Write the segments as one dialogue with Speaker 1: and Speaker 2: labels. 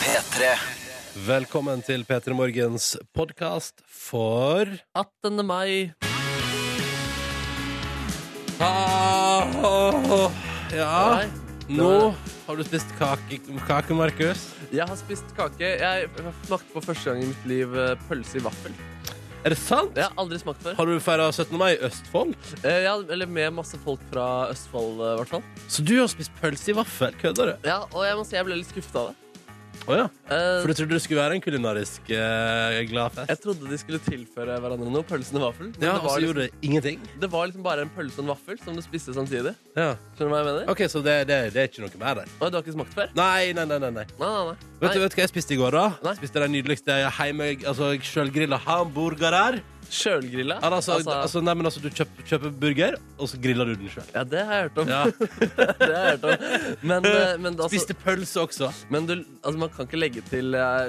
Speaker 1: P3
Speaker 2: Velkommen til P3 Morgens podkast for
Speaker 3: 18. mai. Ah, åh, åh.
Speaker 2: oh, Ja,
Speaker 3: Nei,
Speaker 2: nå har du spist kake, kake Markus.
Speaker 3: jeg har spist kake. Jeg smakte for første gang i mitt liv eh, pølse i vaffel.
Speaker 2: Er det sant?
Speaker 3: Det har jeg aldri smakt før.
Speaker 2: Har du feira 17. mai i Østfold?
Speaker 3: Eh, Ja, eller med masse folk fra Østfold, eh, i hvert fall.
Speaker 2: Så du har spist pølse i vaffel? Kødder du?
Speaker 3: Ja, og jeg må si jeg ble litt skuffa av det.
Speaker 2: Å ja.
Speaker 3: Eh,
Speaker 2: For du trodde det skulle være en kulinarisk uh, gladfest?
Speaker 3: Jeg trodde de skulle tilføre hverandre noe, pølsen og vaffel. Men
Speaker 2: Ja,
Speaker 3: det,
Speaker 2: og
Speaker 3: var
Speaker 2: så
Speaker 3: liksom,
Speaker 2: gjorde det ingenting?
Speaker 3: det var liksom bare en pølse og en vaffel som du spiste samtidig.
Speaker 2: Ja.
Speaker 3: Skjønner du hva jeg mener?
Speaker 2: OK, så det, det, det er ikke noe mer der?
Speaker 3: Og du har ikke smakt før?
Speaker 2: Nei, nei, nei. nei, nei.
Speaker 3: Nei, nei, nei.
Speaker 2: Vet, du, vet du hva jeg spiste i går, da?
Speaker 3: Nei.
Speaker 2: Spiste de nydeligste hjemme, altså, sjølgrilla hamburgerer.
Speaker 3: Sjølgrilla?
Speaker 2: Ja, altså, altså, nei, men altså, du kjøper, kjøper burger, og så griller du den sjøl.
Speaker 3: ja, det har jeg hørt om.
Speaker 2: Ja. Altså-
Speaker 3: Det har jeg hørt om. Men, eh, men, altså,
Speaker 2: Spiste pølse også.
Speaker 3: men du, altså, man kan ikke legge til eh,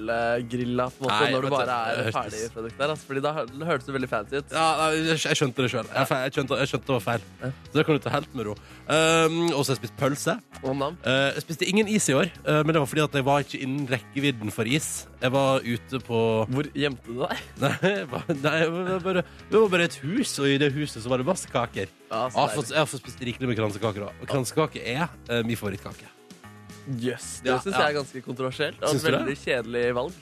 Speaker 3: sjølgrilla på en måte,
Speaker 2: Nei,
Speaker 3: når du
Speaker 2: vet du,
Speaker 3: bare er
Speaker 2: det hørtes-
Speaker 3: ferdig produkt der. Altså, fordi da hø- det hørtes det veldig fancy ut.
Speaker 2: Ja, nei, jeg, jeg skjønte det sjøl. Jeg, fe- jeg, skjønte- jeg skjønte det var feil.
Speaker 3: Ja.
Speaker 2: Så det kan du ta helt med ro. Um, og så har jeg spist pølse.
Speaker 3: Om navn.
Speaker 2: Eh, jeg spiste ingen is i år, eh, men det var fordi at jeg var ikke innen rekkevidden for is. Jeg var ute på
Speaker 3: Hvor gjemte du deg?
Speaker 2: Nei, jeg var- nei jeg var bare, det var bare et hus, og i det huset så var det masse kaker.
Speaker 3: Ja,
Speaker 2: Jeg har
Speaker 3: så
Speaker 2: fått, jeg har fått spist rikelig med kransekaker òg. Og kransekake er eh, min favorittkake.
Speaker 3: deilig. Jøs, det
Speaker 2: Ja,
Speaker 3: synes syns
Speaker 2: ja.
Speaker 3: jeg er ganske kontroversielt. Og
Speaker 2: Syns
Speaker 3: et
Speaker 2: du det?
Speaker 3: veldig kjedelig valg.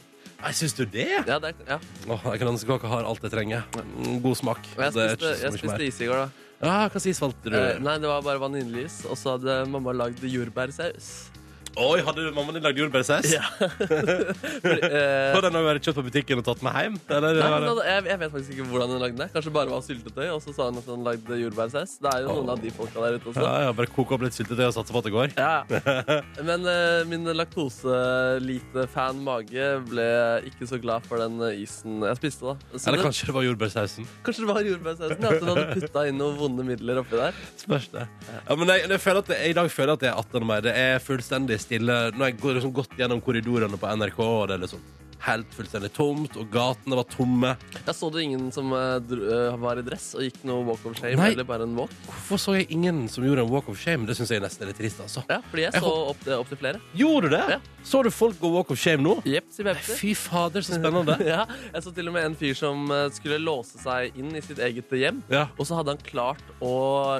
Speaker 2: Nei, syns du det?
Speaker 3: Ja, det er, ja.
Speaker 2: Åh, Kransekake har alt jeg trenger. Mm, God smak.
Speaker 3: Og jeg
Speaker 2: Det er ikke
Speaker 3: spiste,
Speaker 2: så
Speaker 3: jeg
Speaker 2: mye
Speaker 3: spiste
Speaker 2: mer.
Speaker 3: is i går, da.
Speaker 2: Ja, Hva sies, valgte du?
Speaker 3: Eh, Nei, det var bare vaniljeis, og så hadde mamma lagd jordbærsaus.
Speaker 2: Oi, hadde mammaen din lagd jordbærsaus?
Speaker 3: Ja. Fordi, eh,
Speaker 2: Har den også vært kjøpt på butikken og tatt med hjem? Eller?
Speaker 3: Nei, men da- jeg, jeg vet faktisk ikke hvordan hun lagde det. Kanskje bare var syltetøy, og så sa hun at hun lagde jordbærsaus. Det er jo noen av de folka der ute
Speaker 2: ja,
Speaker 3: også.
Speaker 2: ja, bare koke opp litt syltetøy og satse på at det går.
Speaker 3: Ja. ja. Men eh, min laktoselite-fan mage ble ikke så glad for den eh, isen jeg spiste, da. Så
Speaker 2: Eller
Speaker 3: det,
Speaker 2: kanskje det var jordbærsausen.
Speaker 3: kanskje det var jordbærsausen? ja, At hun hadde putta inn noen vonde midler oppi der?
Speaker 2: Spørs det. Ja, men jeg, jeg føler at det, jeg, I dag føler jeg at det er 18. mai. Det er fullstendig stille. Nå har jeg gått- liksom gått gjennom korridorene på NRK, og det er liksom helt fullstendig tomt. Og gatene var tomme.
Speaker 3: Jeg så du ingen som eh, dro, eh, var i dress og gikk noe walk of shame,
Speaker 2: Nei.
Speaker 3: eller bare en walk?
Speaker 2: Hvorfor så jeg ingen som gjorde en walk of shame? Det syns jeg nesten er litt trist, altså.
Speaker 3: Ja, fordi jeg
Speaker 2: Jeg
Speaker 3: så opp, eh, opp til flere.
Speaker 2: Gjorde du det?
Speaker 3: Ja.
Speaker 2: Så du folk gå walk of shame nå?
Speaker 3: Jepp, sier Pepsi.
Speaker 2: Fy fader, så spennende.
Speaker 3: Ja, jeg så til og med en fyr som eh, skulle låse seg inn i sitt eget hjem.
Speaker 2: Ja.
Speaker 3: Og så hadde han klart å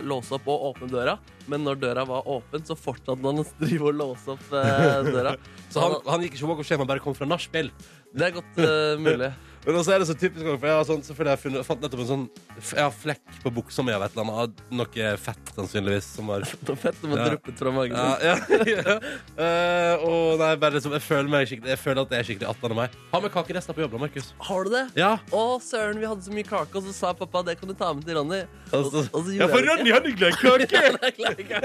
Speaker 3: låse opp og åpne døra, men når døra var åpen, så fortsatte han å drive og låse opp eh, døra.
Speaker 2: Så han, han gikk ikke walk of shame, han bare kom fra nachspiel.
Speaker 3: Det er godt eh, mulig.
Speaker 2: Men også er det så typisk For jeg har sånn, selvfølgelig har jeg funnet, fant nettopp en sånn Jeg har flekk på buksa mi av et eller annet. av Noe fett, sannsynligvis. Som var
Speaker 3: Det var fett, det må
Speaker 2: Ja.
Speaker 3: dryppet fra magen.
Speaker 2: ja,
Speaker 3: din.
Speaker 2: ja, ja. Eh, og nei, bare liksom, jeg føler meg skikkelig Jeg føler at det er skikkelig 18 av meg. Ha med kakerester på jobb, da, Markus.
Speaker 3: Har du det?
Speaker 2: Ja.
Speaker 3: Å, søren, vi hadde så mye kake, og så sa pappa det kan du ta med til Ronny.
Speaker 2: Altså,
Speaker 3: Og- og så gjorde
Speaker 2: ja, for
Speaker 3: jeg det
Speaker 2: Ronny hadde glemt kake!
Speaker 3: ikke. Jeg klarer ikke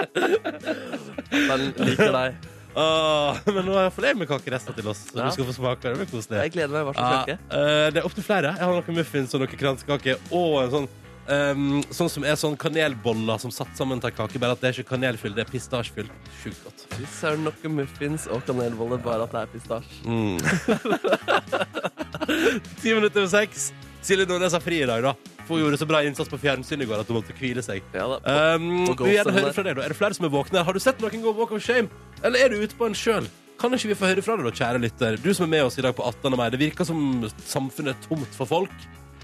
Speaker 3: akkurat det. Han liker deg.
Speaker 2: Ah, men nå har jeg fått med kakerester til oss, så
Speaker 3: Ja.
Speaker 2: du skal få smake. Det blir koselig.
Speaker 3: Jeg gleder meg. Hva
Speaker 2: Ja,
Speaker 3: slags kake?
Speaker 2: eh, det er opptil flere. Jeg har noen muffins og noen kransekake og en sånn ehm, sånn som er sånn kanelboller som satt sammen til kake, bare at det er ikke kanelfyll, det er pistasjefyll. Sjukt godt.
Speaker 3: Fy Søren, nok om muffins og kanelboller, bare at det er pistasje.
Speaker 2: Mm. Ti minutter over seks. Silje Nordnes har fri i dag, da. For hun gjorde så bra innsats på fjernsyn i går at hun måtte hvile seg.
Speaker 3: Ja, da.
Speaker 2: Um,
Speaker 3: Og
Speaker 2: vi vil gjerne
Speaker 3: Ghost
Speaker 2: høre fra deg da Er det flere som er våkne? her? Har du sett noen gå walk of shame? Eller er du ute på en sjøl? Kan ikke vi få høre fra deg, da, kjære lytter? Du som er med oss i dag på 18. mai. Det virker som samfunnet er tomt for folk.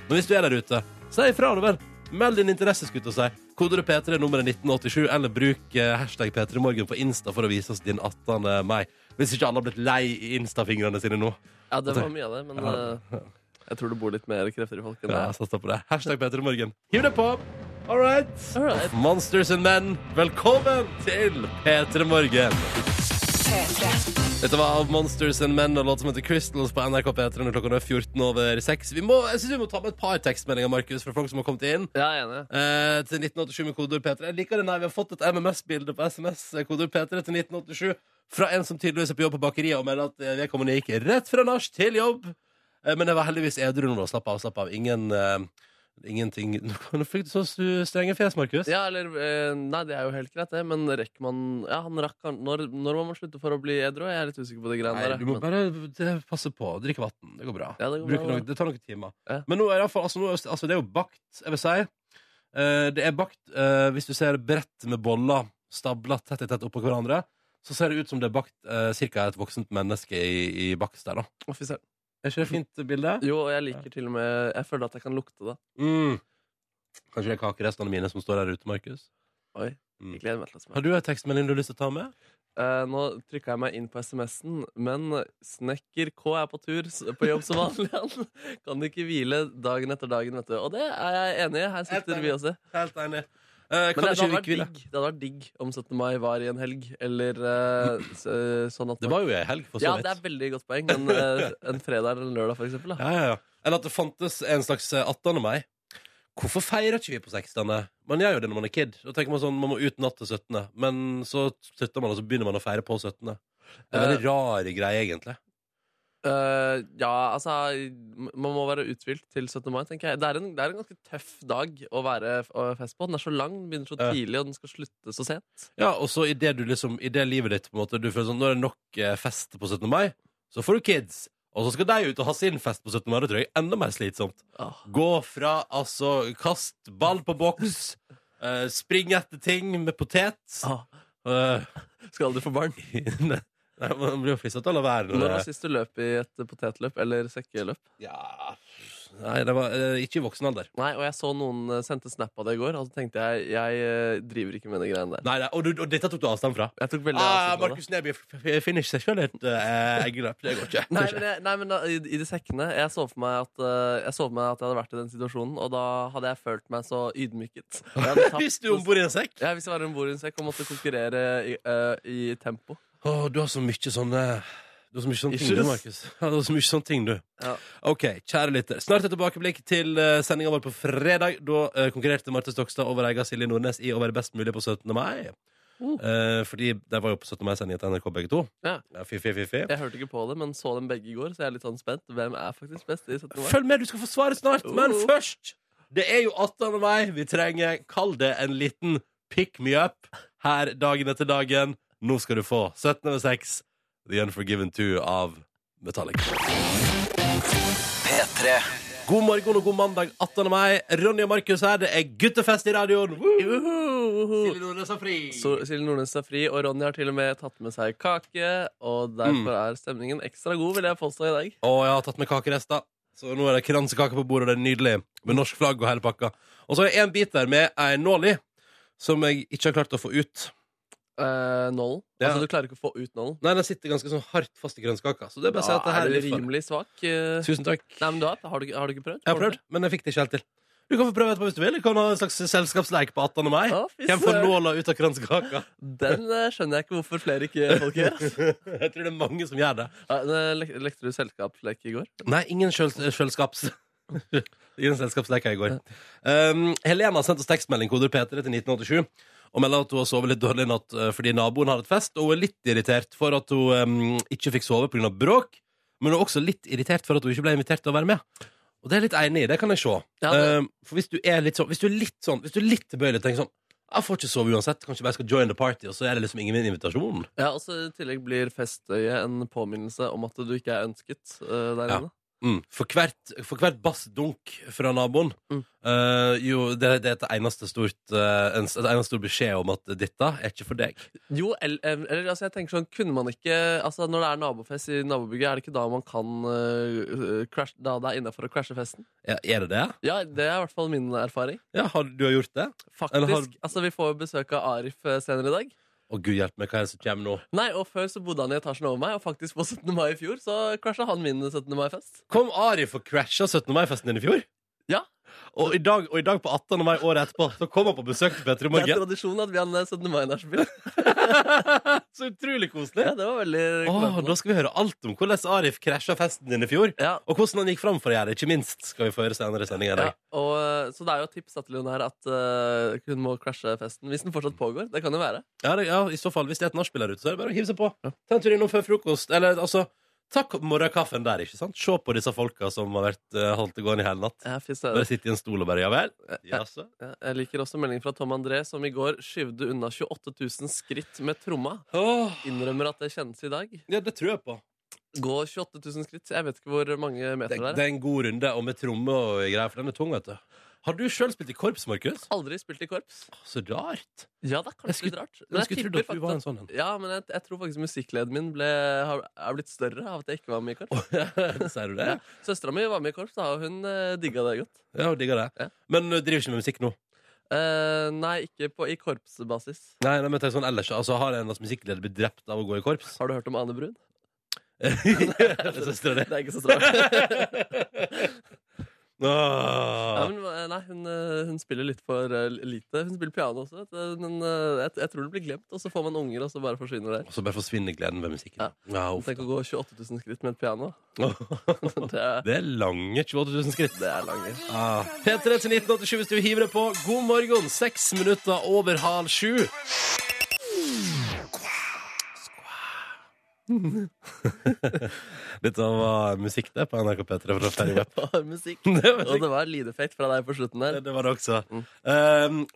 Speaker 2: Men hvis du er der ute, si ifra, da vel. Meld din interesse, skulle jeg til å si. Kodeordet P3 er nummeret 1987, eller bruk eh, hashtag P3morgen på Insta for å vise oss din 18. mai. Hvis ikke alle har blitt lei i Insta-fingrene sine nå.
Speaker 3: Ja, det var mye av det, men
Speaker 2: Altså- Ja.
Speaker 3: eh, jeg tror det bor litt mer krefter i folk enn det.
Speaker 2: Ja, jeg satser på det. Hashtag P3morgen. Hiv deg på! All right.
Speaker 3: All right.
Speaker 2: Monsters and Men, velkommen til P3 Morgen. Dette var av Monsters and Men og låt som heter Crystals på NRK P3 når klokka nå er 14 over 6. Vi må, jeg synes vi må ta med et par tekstmeldinger, Markus, fra folk som har kommet inn.
Speaker 3: Ja, jeg er enig.
Speaker 2: Eh, til 1987 med kodeord P3. Jeg liker det, nei, Vi har fått et MMS-bilde på SMS, eh, kodeord P3 til 1987, fra en som tydeligvis er på jobb på bakeriet og melder at eh, vedkommende gikk rett fra nach til jobb. Eh, men jeg var heldigvis edru nå. Slapp av, slapp av. Ingen, eh, ingenting Nå fikk du så su- strenge fjes, Markus.
Speaker 3: Ja, eller eh, Nei, det er jo helt greit, det, men rekker man Ja, han rakk han Når, når må man slutte for å bli edru? Jeg er litt usikker på de greiene
Speaker 2: Nei,
Speaker 3: der.
Speaker 2: du må
Speaker 3: men-
Speaker 2: bare det- passe på. Drikke vann. Det går bra.
Speaker 3: Ja, det går
Speaker 2: Bruker
Speaker 3: bra,
Speaker 2: noe, det tar noen timer.
Speaker 3: Ja.
Speaker 2: Men nå er det, i hvert fall- altså, nå, er- altså, det er jo bakt, jeg vil si. Eh, det er bakt eh, hvis du ser brett med boller stabla tett i tett oppå hverandre. så ser det ut som det er bakt eh, cirka et voksent menneske i, i bakst der, da.
Speaker 3: Å, fy søren.
Speaker 2: Er ikke det fint bilde?
Speaker 3: Jo, og jeg liker til og med Jeg føler at jeg kan lukte det.
Speaker 2: Mm. Kanskje det er kakerestene mine som står der ute, Markus.
Speaker 3: Oi,
Speaker 2: Mm.
Speaker 3: jeg gleder meg til å smake.
Speaker 2: Har du en tekstmelding du har lyst til å ta med?
Speaker 3: Eh, nå trykka jeg meg inn på SMS-en, men snekker K er på tur s- på jobb som vanlig. Han kan ikke hvile dagen etter dagen, vet du. Og det er jeg enig i. Her sitter
Speaker 2: Helt
Speaker 3: vi også.
Speaker 2: Helt enig. Eh,
Speaker 3: Men
Speaker 2: kan
Speaker 3: det, det,
Speaker 2: ikke
Speaker 3: hadde
Speaker 2: vi
Speaker 3: vært
Speaker 2: hvile?
Speaker 3: digg, det hadde vært digg om 17. mai var i en helg, eller eh, s- eh, sånn at
Speaker 2: Det var jo ei helg, for så
Speaker 3: Ja,
Speaker 2: vidt.
Speaker 3: det er veldig godt poeng. Men eh, en fredag eller en lørdag, for eksempel. Da.
Speaker 2: Ja, ja, ja. Eller at det fantes en slags eh, 18. mai. Hvorfor feirer ikke vi på 60.? Man gjør jo det når man er kid. Da tenker Man sånn, man må ut natt til 17., men så slutter man, og så begynner man å feire på 17. Det er en veldig rar greie, egentlig.
Speaker 3: Eh, ja, altså m- Man må være uthvilt til 17. mai, tenker jeg. Det er, en, det er en ganske tøff dag å være f- å fest på. Den er så lang, den begynner så
Speaker 2: Ja.
Speaker 3: tidlig, og den skal slutte så sent.
Speaker 2: Ja, Og så i det du liksom, i det livet ditt på en måte, du føler sånn, Nå er det nok eh, fest på 17. mai, så får du kids. Og så skal de ut og ha sin fest på 17. mai. Det tror jeg er enda mer slitsomt.
Speaker 3: Åh.
Speaker 2: Gå fra altså Kast ball på boks, eh, spring etter ting med potet
Speaker 3: Ah,
Speaker 2: eh,
Speaker 3: skal aldri få barn.
Speaker 2: Nei, man blir jo fristet til å la være når
Speaker 3: Når var
Speaker 2: det
Speaker 3: sist du løp i et potetløp eller sekkeløp?
Speaker 2: ja. Nei, det var eh, ikke i voksen alder.
Speaker 3: Nei, og jeg så noen eh, sendte snap av det i går, og så tenkte jeg jeg eh, driver ikke med de greiene der.
Speaker 2: Nei, nei, og, du, og dette tok du avstand fra?
Speaker 3: Jeg tok veldig
Speaker 2: Ah,
Speaker 3: avstand fra det.
Speaker 2: Markus Neby f- f- finner ikke seg sjøl et eh, eggeløp. Det går ikke.
Speaker 3: Nei, men, jeg, nei, men da, i, i de sekkene Jeg så for meg at eh, Jeg så for meg at jeg hadde vært i den situasjonen, og da hadde jeg følt meg så ydmyket. Og jeg hadde tapt-
Speaker 2: Hvis du er om bord i en sekk.
Speaker 3: Ja, hvis jeg var en bordinsekk og måtte konkurrere i, eh, i tempo.
Speaker 2: Åh, du har så mye sånne Du har så mye sånne ting,
Speaker 3: Issues.
Speaker 2: du, Markus. Ja, du har så mye sånne ting, du.
Speaker 3: Ja.
Speaker 2: OK, kjære lytter. Snart et tilbakeblikk til uh, sendinga vår på fredag. Da eh, konkurrerte Marte Stokstad over egen Silje Nordnes i å være best mulig på 17. mai.
Speaker 3: Mm.
Speaker 2: Eh, fordi de var jo på 17. mai-sendinga til NRK, begge to.
Speaker 3: Ja.
Speaker 2: Fy, fy, fy, fy.
Speaker 3: Jeg hørte ikke på det, men så dem begge i går, så jeg er litt sånn spent. Hvem er faktisk best i 17. mai?
Speaker 2: Følg med, du skal få svaret snart. Men
Speaker 3: Oh.
Speaker 2: først Det er jo 18. mai. Vi trenger Kall det en liten pick me up her dagen etter dagen. Nå skal du få 17 over 6, The Unforgiven 2 av Metallica. God morgen og god mandag 18. mai. Ronny og Markus her. Det er guttefest i radioen. Woo! Silje Nordnes er fri.
Speaker 3: Så Silje Nordnes er fri, og Ronny har til og med tatt med seg kake. Og derfor
Speaker 2: Mm.
Speaker 3: er stemningen ekstra god, vil jeg påstå i dag.
Speaker 2: Og jeg har tatt med kakerester. Så nå er det kransekake på bordet, og det er nydelig. Med norsk flagg og hele pakka. Og så har jeg en bit der med ei nål i, som jeg ikke har klart å få ut.
Speaker 3: Eh, nålen.
Speaker 2: Ja.
Speaker 3: Altså, du klarer ikke å få ut nålen.
Speaker 2: Nei, den sitter ganske sånn hardt fast i kransekaka. Så det er bare å si
Speaker 3: Da
Speaker 2: at det
Speaker 3: er
Speaker 2: her
Speaker 3: du
Speaker 2: er livsfarlig.
Speaker 3: rimelig svak. eh.
Speaker 2: Tusen takk.
Speaker 3: Nei, men du har, har, du, ikke- har du ikke prøvd?
Speaker 2: Jeg har prøvd, men jeg fikk det ikke helt til. Du kan få prøve etterpå hvis du vil. Du kan ha en slags selskapsleik på 18. mai.
Speaker 3: Ja, fy
Speaker 2: Hvem får
Speaker 3: søren.
Speaker 2: nåla ut av kransekaka?
Speaker 3: Den eh, skjønner jeg ikke hvorfor flere ikke folk gjør. ass.
Speaker 2: Jeg tror det er mange som gjør det.
Speaker 3: Ja, eh, lek- Lekte du selskapslek i går?
Speaker 2: Nei, ingen sjøl- sjølskaps... Ingen selskapsleker i går. Um, Helena har sendt oss tekstmelding koder P3 til 1987 og melder at hun har sovet litt dårlig i natt eh, fordi naboen hadde et fest, og hun er litt irritert for at hun um, ikke fikk sove pga. bråk, men hun er også litt irritert for at hun ikke ble invitert til å være med. Og det er jeg litt enig i, det kan jeg se.
Speaker 3: Ja, det-
Speaker 2: Um, for hvis du er litt sånn Hvis du er litt sånn, hvis du er litt tilbøyelig og tenker sånn jeg får ikke sove uansett, kanskje jeg bare skal join the party, og så er det liksom ingen invitasjon.
Speaker 3: Ja, og så I tillegg blir festøyet en påminnelse om at du ikke er ønsket eh, der
Speaker 2: Ja.
Speaker 3: inne.
Speaker 2: Mm. For, hvert, for hvert bassdunk fra naboen
Speaker 3: Mm.
Speaker 2: eh, Jo, det, det er et eneste stort eh, en, Et eneste stor beskjed om at dette er ikke for deg
Speaker 3: Jo, eller, eller altså, jeg tenker sånn Kunne man ikke Altså Når det er nabofest i nabobygget, er det ikke da man kan eh, eh, crash, Da det er innafor å crashe festen?
Speaker 2: ja, Er det det?
Speaker 3: Ja, det er i hvert fall min erfaring.
Speaker 2: Ja, har, du har gjort det? Eller
Speaker 3: Faktisk.
Speaker 2: har-
Speaker 3: Altså Vi får jo besøk av Arif eh, senere i dag.
Speaker 2: Å gud hjelp meg, hva er det som kommer nå?
Speaker 3: Nei, og Før så bodde han i etasjen over meg, og faktisk på 17. mai i fjor så crasha han min 17. mai-fest.
Speaker 2: Kom Arif og crasha 17. mai-festen din i fjor?
Speaker 3: Ja.
Speaker 2: og i, dag, og i dag på 18. mai året etterpå Så kom han på besøk til Petter i
Speaker 3: Det er
Speaker 2: morgen
Speaker 3: tradisjon at vi har en 17. mai-nachspiel.
Speaker 2: Så utrolig koselig
Speaker 3: ja, det var veldig
Speaker 2: Åh,
Speaker 3: imponerende.
Speaker 2: da skal vi høre alt om hvordan Arif crasha festen din i fjor
Speaker 3: ja,
Speaker 2: Og hvordan han gikk fram for å gjøre det, ikke minst Skal vi få høre senere i sendingen
Speaker 3: Ja,
Speaker 2: i dag
Speaker 3: og, eh, så det er jo et tips da til hun her at eh, hun må crashe festen. Hvis den fortsatt pågår. Det kan jo være.
Speaker 2: Ja, det, ja, i så fall. Hvis det er et nachspiel der ute, så er det bare å hive seg på. Ta en tur innom før frokost. Eller altså Takk morgenkaffen der, ikke sant? Se på disse folka som har vært eh, holdt det gående i hele natt.
Speaker 3: Jeg, fy søren.
Speaker 2: Bare sitte i en stol og bare Ja vel? Jaså?
Speaker 3: Ja, jeg liker også meldingen fra Tom André, som i går skyvde unna 28 000 skritt med tromma.
Speaker 2: Åh,
Speaker 3: Innrømmer at det kjennes i dag.
Speaker 2: Ja, det tror jeg på.
Speaker 3: Gå 28 000 skritt. Jeg vet ikke hvor mange
Speaker 2: Det,
Speaker 3: meter det
Speaker 2: det
Speaker 3: er.
Speaker 2: er en god runde, og med tromme og greier, for den er tung, vet du. Har du sjøl spilt i korps, Markus?
Speaker 3: Aldri spilt i korps.
Speaker 2: Så rart.
Speaker 3: Ja, det er
Speaker 2: Jeg
Speaker 3: kanskje
Speaker 2: skulle-
Speaker 3: litt rart.
Speaker 2: Jeg skulle
Speaker 3: tipper
Speaker 2: trodd at du
Speaker 3: faktisk
Speaker 2: var en sånn en.
Speaker 3: Ja, men jeg, jeg tror faktisk musikkgleden min ble, har, er blitt større av at jeg ikke var med i korps.
Speaker 2: Sier du det?
Speaker 3: Ja. Søstera mi var med i korps, da, og hun eh, digga det godt.
Speaker 2: Ja, hun digger det.
Speaker 3: Ja.
Speaker 2: Men uh, driver ikke med musikk nå?
Speaker 3: Eh, nei, ikke på, i korpsbasis.
Speaker 2: Nei, nei men tenk sånn ellers Altså, Har en av oss musikkleder blitt drept av å gå i korps?
Speaker 3: Har du hørt om Ane Brun?
Speaker 2: Søstera di.
Speaker 3: Det er ikke søstera mi. Ja,
Speaker 2: Åh.
Speaker 3: men, eh, nei, hun, eh, hun spiller litt for eh, lite. Hun spiller piano også, vet du, men eh, jeg, jeg tror det blir glemt. Og så får man unger, og så bare forsvinner det.
Speaker 2: Og så bare forsvinner gleden ved musikken.
Speaker 3: Ja.
Speaker 2: Ja, uff.
Speaker 3: Tenk å gå 28 000 skritt med et piano. Det er,
Speaker 2: Det er lange 28 000 skritt.
Speaker 3: det er lange.
Speaker 2: Ah. P3 til 1987 hvis du hiver deg på. God morgen, seks minutter over halv sju. Dette var musikk det på NRK P3 fra Ferry Web.
Speaker 3: Det var musikk.
Speaker 2: Det var
Speaker 3: Og
Speaker 2: musikk.
Speaker 3: det var lydeffekt fra deg på slutten der.
Speaker 2: Det var det også. Um,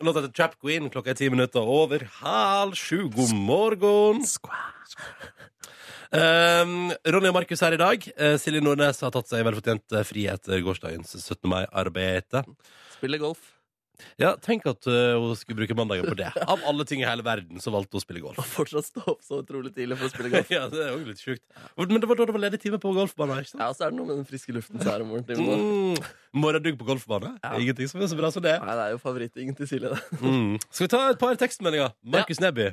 Speaker 2: Låta heter Trap Queen. Klokka er ti minutter over halv sju. God morgen. Um, Ronny og Markus her i dag. Eh, Silje Nordnes har tatt seg velfortjent eh, fri etter gårsdagens 17. mai-arbeid.
Speaker 3: Spiller golf.
Speaker 2: Ja, tenk at eh, hun skulle bruke mandagen på det. Av alle ting i hele verden så valgte hun å spille golf.
Speaker 3: Og fortsatt stå opp så utrolig tidlig for å spille golf.
Speaker 2: ja, det er jo litt sjukt. Men det var da det var ledig time på golfbanen, ikke sant?
Speaker 3: Ja, og så er det noe med den friske luften som er om morgentimen.
Speaker 2: Mm. Morgendugg på golfbane.
Speaker 3: Ja.
Speaker 2: Ingenting som er så bra som det.
Speaker 3: Nei, det er jo favorittingen til Silje, det.
Speaker 2: Mm. Skal vi ta et par tekstmeldinger? Markus Neby.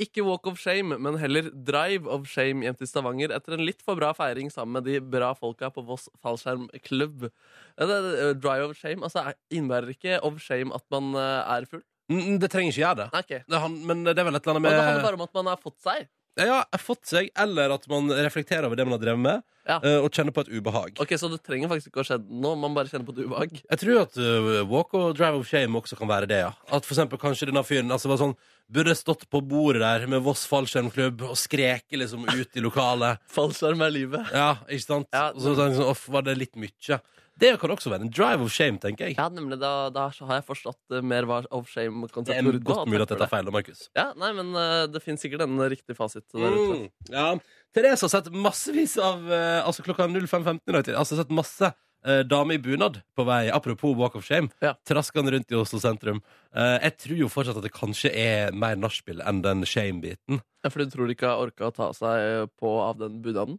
Speaker 3: Ikke walk of shame, men heller drive of shame hjem til Stavanger etter en litt for bra feiring sammen med de bra folka på Voss fallskjermklubb. Ja, det- det- Drive of shame altså er- innebærer ikke of shame at man eh, er full.
Speaker 2: Mm, det trenger ikke gjøre det.
Speaker 3: Nei, ok.
Speaker 2: det han, men det er vel et eller
Speaker 3: Men det handler
Speaker 2: annet med
Speaker 3: bare om at man har fått seg.
Speaker 2: Ja, jeg har fått seg, eller at man reflekterer over det man har drevet med,
Speaker 3: Ja.
Speaker 2: eh, og kjenner på et ubehag.
Speaker 3: Ok, Så det trenger faktisk ikke å ha skjedd noe, man bare kjenner på et ubehag.
Speaker 2: Jeg tror at eh, walk og drive of shame også kan være det, ja. At for eksempel kanskje denne fyren altså, var sånn Burde stått på bordet der med Voss fallskjermklubb og skreke liksom ut i lokalet.
Speaker 3: Fallskjerm er livet.
Speaker 2: Ja, ikke sant?
Speaker 3: Ja.
Speaker 2: Og så tenker jeg sånn, off, var det litt mye. Det kan også være en drive of shame, tenker jeg.
Speaker 3: Ja, nemlig. Da, da har jeg forstått eh, mer hva of
Speaker 2: Det
Speaker 3: shame-konseptet
Speaker 2: er
Speaker 3: går ut på,
Speaker 2: godt
Speaker 3: og takk
Speaker 2: mulig at
Speaker 3: for
Speaker 2: jeg tar feil, da, Markus.
Speaker 3: Ja, nei, men eh, det finnes sikkert en riktig fasit der ute.
Speaker 2: Mm, ja. Therese har sett massevis av eh, Altså klokka 05.15 i dag tidlig. Altså sett masse eh, damer i bunad på vei, apropos walk of shame,
Speaker 3: Ja.
Speaker 2: traskende rundt i Oslo sentrum. Eh, jeg tror jo fortsatt at det kanskje er mer nachspiel enn den shame-biten.
Speaker 3: Ja, Fordi du tror de ikke har orka å ta seg eh, på av den bunaden?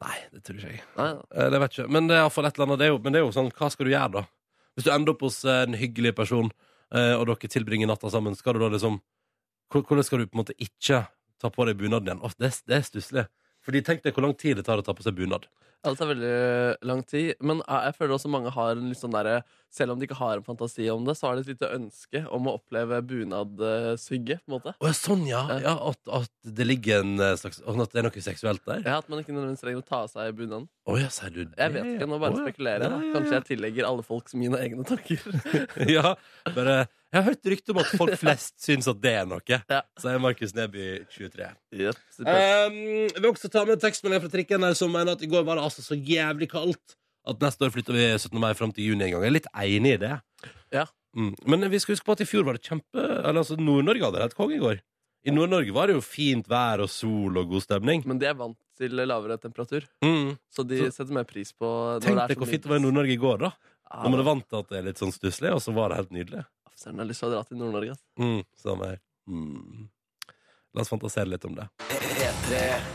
Speaker 2: Nei, det tror ikke jeg.
Speaker 3: Nei,
Speaker 2: Eh, det vet jeg ikke. Men det er i hvert fall et eller annet. Det er jo, men det er jo sånn, hva skal du gjøre, da? Hvis du ender opp hos eh, en hyggelig person, eh, og dere tilbringer natta sammen, skal du da liksom hvor- Hvordan skal du på en måte ikke ta på deg bunaden igjen? Åh, det, er- det er stusslig. Fordi tenk deg hvor lang tid det tar å ta på seg bunad.
Speaker 3: Ja, det tar veldig lang tid. Men eh, jeg føler også mange har en litt sånn derre Selv om de ikke har en fantasi om det, så har de et lite ønske om å oppleve bunadsygge, på en måte.
Speaker 2: Å ja, sånn, ja.
Speaker 3: Ja.
Speaker 2: ja at, at det ligger en eh, slags Sånn at det er noe seksuelt der?
Speaker 3: Ja, At man ikke nødvendigvis trenger å ta av seg bunaden.
Speaker 2: Å ja, sier du det?
Speaker 3: Jeg vet ikke, nå bare
Speaker 2: Å ja.
Speaker 3: spekulerer jeg. da.
Speaker 2: Ja,
Speaker 3: Kanskje
Speaker 2: ja,
Speaker 3: jeg tillegger alle folks mine egne tanker.
Speaker 2: ja. ja, bare Jeg har hørt rykte om at folk flest syns at det er noe.
Speaker 3: Ja.
Speaker 2: Sier Markus Neby, 23.
Speaker 3: Yep,
Speaker 2: Um, jeg vil også ta med en tekstmelding fra trikken der som mener at i går var det altså så jævlig kaldt at neste år flytter vi 17. mai fram til juni en gang. Jeg er litt enig i det.
Speaker 3: Ja.
Speaker 2: Mm. Men vi skal huske på at i fjor var det kjempe Eller altså, Nord-Norge hadde det helt konge i går. I Nord-Norge var det jo fint vær og sol og god stemning.
Speaker 3: Men de er vant til lavere temperatur,
Speaker 2: Mm.
Speaker 3: så de
Speaker 2: Så-
Speaker 3: setter mer pris på når
Speaker 2: Tenk
Speaker 3: det er
Speaker 2: deg
Speaker 3: så
Speaker 2: hvor
Speaker 3: mye
Speaker 2: fint det var i Nord-Norge i går, da.
Speaker 3: Ja,
Speaker 2: Når man er vant til at det er litt sånn stusslig, og så var det helt nydelig.
Speaker 3: Søren, jeg har lyst til å dra til Nord-Norge. ass.
Speaker 2: Mm, samme her. Mm. La oss fantasere litt om det.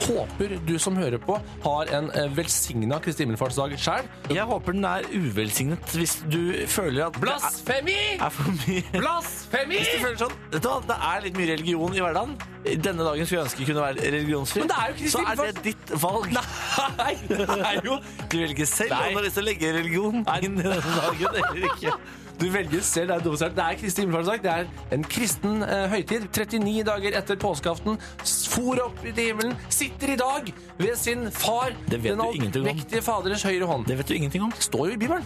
Speaker 1: håper du som hører på har en eh, velsigna Kristi himmelfartsdag sjøl.
Speaker 4: Jeg håper den er uvelsignet hvis du føler at
Speaker 1: Blasfemi!
Speaker 4: det er for mye
Speaker 1: Blasfemi!
Speaker 4: Hvis du føler sånn Vet du hva, det er litt mye religion i hverdagen. Denne dagen skulle jeg ønske kunne være religionsfri.
Speaker 1: Men det er jo Kristi
Speaker 4: Så er det ditt valg. Nei, det er jo Du velger selv
Speaker 1: Nei.
Speaker 4: om du har lyst til å legge religion inn i denne dagen eller ikke.
Speaker 1: Du velger selv, det er dumt sagt. Det er Kristi himmelfartsdag. Det er en kristen eh, høytid. 39 dager etter påskeaften. S- For opp til himmelen. Sitter i dag ved sin far,
Speaker 4: Det vet
Speaker 1: den
Speaker 4: du ingenting om.
Speaker 1: allmektige Faderes høyre hånd.
Speaker 4: Det vet du ingenting om.
Speaker 1: Det står jo i Bibelen.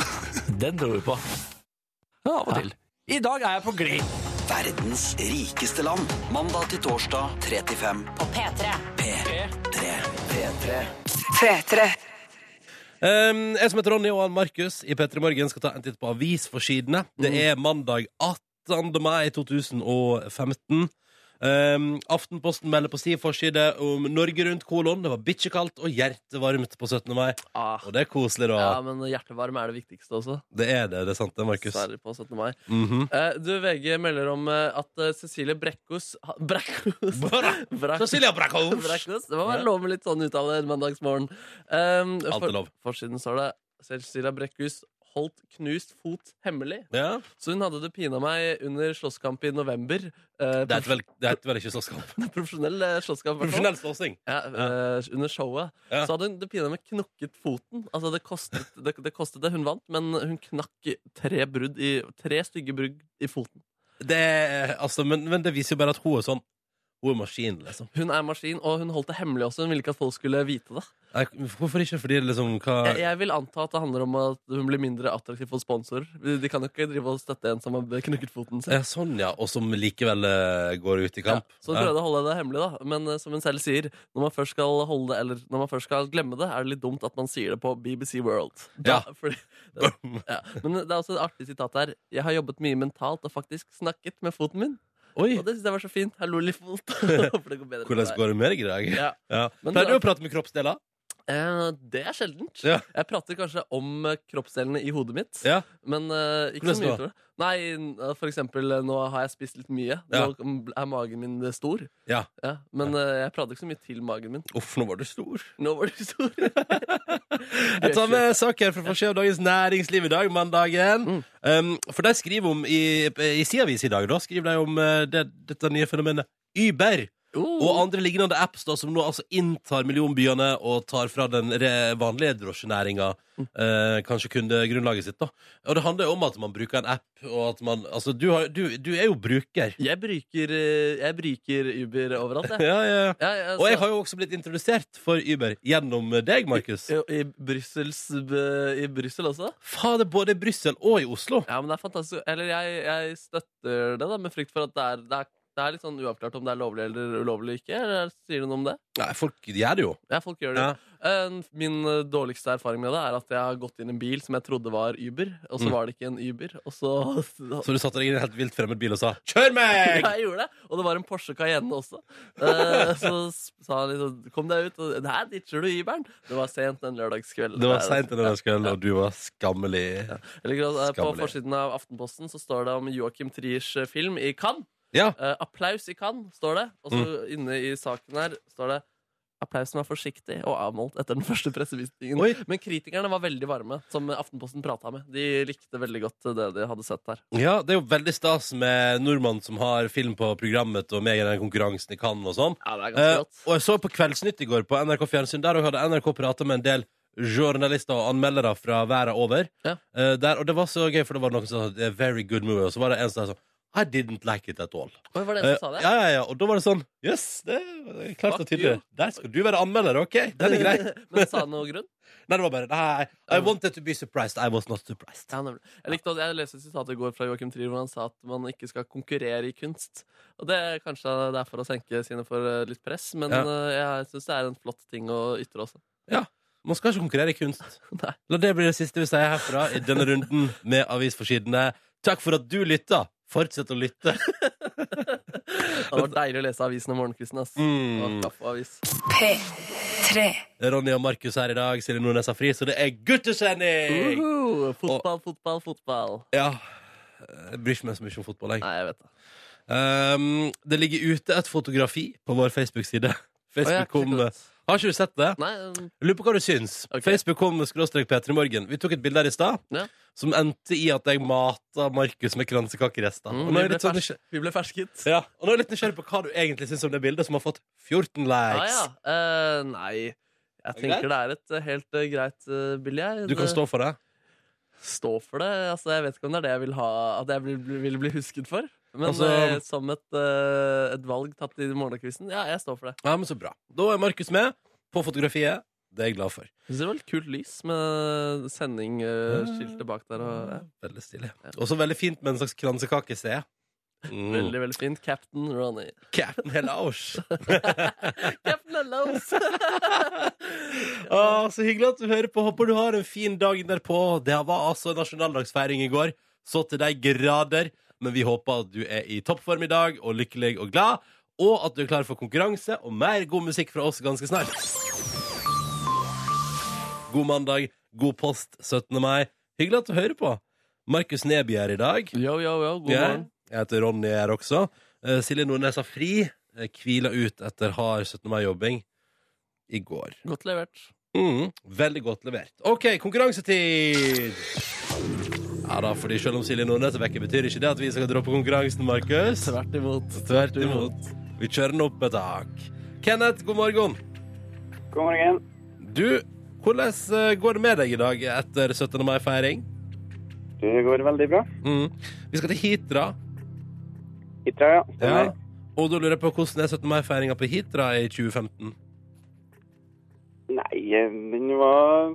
Speaker 4: Den tror vi på.
Speaker 1: Ja, av og til. I dag er jeg på glid.
Speaker 5: Verdens rikeste land. Mandag til torsdag 35 på
Speaker 6: P3.
Speaker 5: P3. P3.
Speaker 2: Um, jeg som heter Ronny og han Markus i P3 Morgen skal ta en titt på
Speaker 3: Mm.
Speaker 2: avisforsidene. Det er mandag 18. mai 2015. Um, Aftenposten melder på sin forside om Norge rundt kolon. Det var bikkjekaldt og hjertevarmt på 17. mai.
Speaker 3: Ah.
Speaker 2: Og det er koselig, da.
Speaker 3: Ja, men hjertevarme er det viktigste også.
Speaker 2: Det er det, det er sant det, Markus.
Speaker 3: Dessverre på 17. mai.
Speaker 2: Mhm.
Speaker 3: Eh, du, VG melder om eh, at eh, Cecilie Brekkhus ha- Brekkhus
Speaker 2: Bra.
Speaker 3: Brekk-
Speaker 2: Cecilia Brakhaus!
Speaker 3: Brekkhus? Det må være lov med litt sånn uttale en mandagsmorgen. Um,
Speaker 2: Alt er lov.
Speaker 3: Forsiden står det Cecilia Brekkhus holdt knust fot hemmelig.
Speaker 2: Ja,
Speaker 3: Så hun hadde det pina meg under slåsskamp i november. Eh,
Speaker 2: det heter vel, det heter vel ikke slåsskamp.
Speaker 3: prof- profesjonell eh, slåsskamp. i hvert fall.
Speaker 2: Profesjonell slåssing.
Speaker 3: Ja, eh, under showet.
Speaker 2: Ja.
Speaker 3: Så hadde hun det pina meg knokket foten. Altså, det kostet det, det kostet det. Hun vant, men hun knakk tre brudd i Tre stygge brudd i foten.
Speaker 2: Det er, altså, men, men det viser jo bare at hun er sånn Hun er maskin, liksom.
Speaker 3: Hun er maskin, og hun holdt det hemmelig også. Hun ville ikke at folk skulle vite det.
Speaker 2: Nei, hvorfor ikke? Fordi liksom hva
Speaker 3: Jeg, jeg vil anta at det handler om at hun blir mindre attraktiv for sponsorer. De kan jo ikke drive og støtte en som har knukket foten sin.
Speaker 2: ja, Sånn, ja. Og som likevel eh, går ut i kamp.
Speaker 3: Ja, så hun prøvde å holde det hemmelig, da. Men eh, som hun selv sier, når man først skal holde det, eller når man først skal glemme det, er det litt dumt at man sier det på BBC World. Da, fordi, ja. Men det er også et artig sitat her. Jeg har jobbet mye mentalt og faktisk snakket med foten min.
Speaker 2: Oi!
Speaker 3: Og det syns jeg var så fint. Hallo, lillefot. Håper det går bedre
Speaker 2: Hvordan går det med deg i dag?
Speaker 3: Ja.
Speaker 2: Ja.
Speaker 3: Men
Speaker 2: Pleier
Speaker 3: da-
Speaker 2: du å prate med kroppsdeler?
Speaker 3: Eh, det er sjeldent.
Speaker 2: Ja.
Speaker 3: Jeg prater kanskje om eh, kroppsdelene i hodet mitt.
Speaker 2: Ja.
Speaker 3: Men eh, ikke
Speaker 2: Hvordan
Speaker 3: så mye
Speaker 2: da?
Speaker 3: utover det. Nei, n- eh, for eksempel eh, nå har jeg spist litt mye.
Speaker 2: Ja.
Speaker 3: Nå er magen min eh, stor.
Speaker 2: Ja.
Speaker 3: Ja, men eh, jeg prater ikke så mye til magen min.
Speaker 2: Uff, nå var du stor.
Speaker 3: Nå var du stor.
Speaker 2: Jeg tar med saker fra forsida av Dagens Næringsliv i dag, mandagen.
Speaker 3: Mm.
Speaker 2: Um, for de skriver om i, i sin avis i dag, da, skriver de om eh, det, dette nye fenomenet Uber. Og
Speaker 3: oh,
Speaker 2: andre lignende apps da, som nå altså inntar millionbyene og tar fra den re- vanlige drosjenæringa eh, kanskje kundegrunnlaget sitt. da. Og det handler jo om at man bruker en app, og at man Altså, du, har, du, du er jo bruker.
Speaker 3: jeg, bruker, eh, jeg bruker Uber overalt, jeg.
Speaker 2: Ja, ja.
Speaker 3: Ja, altså- ja,
Speaker 2: Og jeg
Speaker 3: så-
Speaker 2: har jo også blitt introdusert for Uber gjennom deg, Markus.
Speaker 3: I, i, Brussels, I Brussel også?
Speaker 2: Fader, både i Brussel og i Oslo.
Speaker 3: Ja, men det er fantastisk. Eller jeg, jeg støtter det, da, med frykt for at det er, det, er, det er litt sånn uavklart om det er lovlig eller ulovlig ikke. Eller sier du noe om det?
Speaker 2: Nei, folk gjør det jo.
Speaker 3: Ja, folk gjør det. Eh, Min eh, dårligste erfaring med det er at jeg har gått inn i en bil som jeg trodde var Uber, og så
Speaker 2: Mm.
Speaker 3: var det ikke en Uber. Og så
Speaker 2: Så du satte deg i en helt vilt fremmed bil og sa 'kjør meg'!
Speaker 3: Ja, jeg gjorde det, og det var en Porsche Cayenne også. Eh, så s- sa han liksom 'kom deg ut', og 'her ditcher du Uberen'. Det var sent en lørdagskveld.
Speaker 2: Det var
Speaker 3: Der,
Speaker 2: seint
Speaker 3: ja.
Speaker 2: denne kvelden, og du var skammelig.
Speaker 3: Eller, eh, på
Speaker 2: Skammelig.
Speaker 3: forsiden av Aftenposten så står det om Joachim Triers eh, film i Cannes.
Speaker 2: Ja.
Speaker 3: Eh, applaus i Cannes, står det. Og så inne i saken her står det Applausen var forsiktig og avmålt etter den første pressevisningen.
Speaker 2: Oi.
Speaker 3: Men kritikerne var veldig varme, som Aftenposten prata med. De likte veldig godt det de hadde sett der.
Speaker 2: Ja, det er jo veldig stas med nordmann som har film på programmet, og med i den konkurransen i Cannes og sånn.
Speaker 3: Ja, det er
Speaker 2: Eh,
Speaker 3: ganske godt.
Speaker 2: og jeg så på Kveldsnytt i går på NRK Fjernsyn. Der også hadde NRK prata med en del journalister og anmeldere fra verden over.
Speaker 3: Ja.
Speaker 2: Eh, der, og det var så gøy, for det var noen som sa «Det er 'very good movie', og så var det en som sa sånn I didn't like it at all.
Speaker 3: Oi, var det
Speaker 2: Eh,
Speaker 3: en som sa det?
Speaker 2: ja, ja, ja, Og da var det sånn Jøss, yes, det er klart og
Speaker 3: Fuck
Speaker 2: tydelig. Der skal du være anmelder, OK? Den er grei.
Speaker 3: Men sa han noe grunn?
Speaker 2: Nei, det var bare Nei, I wanted to be surprised. I was not surprised.
Speaker 3: Ja, nemlig. Jeg likte at jeg leste et sitat i går fra Joachim Trier hvor han sa at man ikke skal konkurrere i kunst. Og det er kanskje det er for å senke sine for eh, litt press, men
Speaker 2: Ja.
Speaker 3: eh, jeg syns det er en flott ting å ytre også.
Speaker 2: Man skal ikke konkurrere i kunst.
Speaker 3: Nei.
Speaker 2: La det bli det siste vi sier herfra i denne runden med avisforsidene. Takk for at du lytta. Fortsett å lytte.
Speaker 3: Det hadde vært deilig å lese avisen om morgenkvisten. ass.
Speaker 2: Mm.
Speaker 3: Og kaffeavis.
Speaker 6: P3.
Speaker 2: Ronny og Markus her i dag. Silje Nordnes har fri, så det er guttesending!
Speaker 3: Uhu! Fotball, fotball, fotball.
Speaker 2: Ja. Jeg bryr ikke meg så mye om fotball, jeg.
Speaker 3: Nei, jeg vet det.
Speaker 2: Um, det ligger ute et fotografi på vår Facebook-side.
Speaker 3: Å, ja,
Speaker 2: Facebook kom
Speaker 3: kult.
Speaker 2: Har ikke du sett det?
Speaker 3: Nei, um,
Speaker 2: Jeg Lurer på hva du syns.
Speaker 3: Ok.
Speaker 2: Facebook kom med skråstrek Peter i morgen. Vi tok et bilde her i stad
Speaker 3: Ja.
Speaker 2: som endte i at jeg mata Markus med kransekakerester.
Speaker 3: mm,
Speaker 2: Og nå
Speaker 3: vi,
Speaker 2: er jeg
Speaker 3: ble
Speaker 2: litt sånn
Speaker 3: fersk- vi ble fersket.
Speaker 2: Ja, og nå er jeg litt nysgjerrig på hva du egentlig syns om det bildet, som har fått 14
Speaker 3: Ja,
Speaker 2: likes.
Speaker 3: Ah, ja. Eh, nei, jeg
Speaker 2: det greit?
Speaker 3: tenker det er et eh, helt eh, greit eh, bilde, jeg.
Speaker 2: Du kan
Speaker 3: Det-
Speaker 2: stå for det.
Speaker 3: stå for det. Altså, jeg vet ikke om det er det jeg vil ha At jeg vil, bli- vil bli husket for. Men
Speaker 2: Altså-
Speaker 3: eh, som et, eh, et valg tatt i morgenkvisten, ja, jeg står for det.
Speaker 2: Ja, men så bra. Da er Markus med på fotografiet. Det er jeg glad for.
Speaker 3: Jeg synes det var litt kult lys med sendingskiltet bak der. Og, ja.
Speaker 2: Veldig stilig. Også veldig fint med en slags kransekake, ser jeg. Mm.
Speaker 3: Veldig, veldig fint. Captain Ronny.
Speaker 2: Captain Hellows.
Speaker 3: Captain Hellos!
Speaker 2: Ah, så hyggelig at du hører på. Håper du har en fin dag derpå. Det var altså nasjonaldagsfeiring i går. Så til de grader. Men vi håper at du er i toppform i dag og lykkelig og glad. og at du er klar for konkurranse og mer god musikk fra oss ganske snart. God mandag, god post 17. mai. Hyggelig at du hører på. Markus Neby er i dag.
Speaker 3: Yo, yo, yo, god
Speaker 2: Jeg,
Speaker 3: morgen.
Speaker 2: jeg heter Ronny her også. Eh, Silje Nordnes har fri. eh, Hvila ut etter hard 17. mai-jobbing i går.
Speaker 3: Godt levert.
Speaker 2: Mm, veldig godt levert. OK, konkurransetid! Ja da, fordi selv om Silje Nordnes er vekke, betyr ikke det at vi skal droppe konkurransen, Markus.
Speaker 3: Tvert imot.
Speaker 2: Tvert imot. Vi kjører den opp et tak. Kenneth, god morgen.
Speaker 7: God morgen.
Speaker 2: Du, hvordan eh, går det med deg i dag etter 17. mai-feiring?
Speaker 7: Det går veldig bra.
Speaker 2: Mm. Vi skal til Hitra.
Speaker 7: Hitra, ja.
Speaker 2: Ja.
Speaker 7: Stemmer.
Speaker 2: Og da lurer jeg på hvordan er 17. mai-feiringa på Hitra i 2015?
Speaker 7: Nei, eh, den var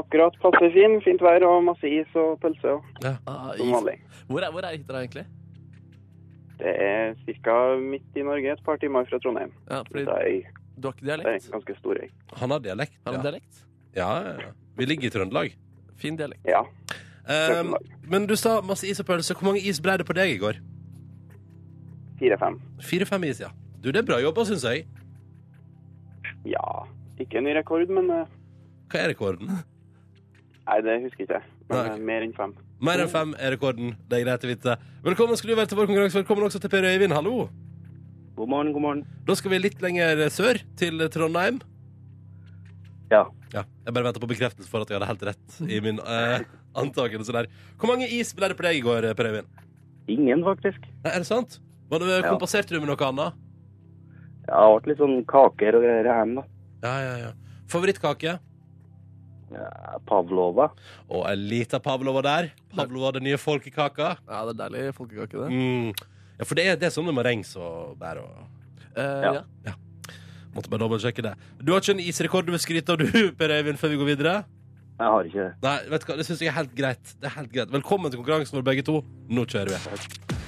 Speaker 7: akkurat passe fin. Fint vær og masse is og pølse og
Speaker 3: Ah,
Speaker 7: som
Speaker 3: is.
Speaker 7: vanlig.
Speaker 3: Hvor er, hvor er Hitra egentlig?
Speaker 7: Det er ca. midt i Norge, et par timer fra Trondheim.
Speaker 3: Ja, fordi
Speaker 7: Det er, øy.
Speaker 3: du har ikke
Speaker 7: det er
Speaker 3: dialekt?
Speaker 7: en ganske stor øy.
Speaker 2: Han har dialekt.
Speaker 3: Har du
Speaker 2: ja.
Speaker 3: dialekt?
Speaker 2: Ja, ja, ja. Vi ligger i Trøndelag.
Speaker 3: Fin dialekt.
Speaker 7: Ja.
Speaker 2: Um, men du sa masse is og pølse. Hvor mange is ble det på deg i går?
Speaker 7: Fire-fem.
Speaker 2: Fire-fem is, ja. Du, Det er bra jobba, syns jeg.
Speaker 7: Ja. Ikke en ny rekord, men eh,
Speaker 2: Hva er rekorden?
Speaker 7: Nei, det husker jeg ikke. Men
Speaker 2: Nei, ok.
Speaker 7: eh, mer enn fem.
Speaker 2: Mer enn fem er rekorden. Det er greit å vite. Velkommen skal du være til vår konkurranse. Velkommen også til Per Øyvind. Hallo.
Speaker 7: God morgen, god morgen.
Speaker 2: Da skal vi litt lenger sør, til Trondheim.
Speaker 7: Ja.
Speaker 2: Ja, Jeg bare venter på bekreftelse for at jeg hadde helt rett i min eh, antakelse der. Hvor mange is ble det på deg i går, Per Øyvind?
Speaker 7: Ingen, faktisk.
Speaker 2: Nei, er det sant? Var det,
Speaker 7: Ja.
Speaker 2: kompenserte du med noe annet?
Speaker 7: Jeg har vært litt sånn kaker og greier hjemme, da.
Speaker 2: Ja, ja, ja. Favorittkake?
Speaker 7: Pavlova.
Speaker 2: Og ei lita Pavlova der. Pavlova, den nye folkekaka.
Speaker 3: Ja, det er deilig folkekake, det.
Speaker 2: Mm. Ja, for det er, det er sånn med marengs og bær og
Speaker 3: Eh,
Speaker 7: Ja.
Speaker 3: ja.
Speaker 2: Måtte bare dobbeltsjekke det. Du har ikke en isrekord du vil skryte av, du, Per Øyvind, før vi går videre?
Speaker 7: Jeg har ikke det.
Speaker 2: Nei, vet du hva, det syns jeg er helt greit. Det er helt greit. Velkommen til konkurransen vår, begge to. Nå kjører vi.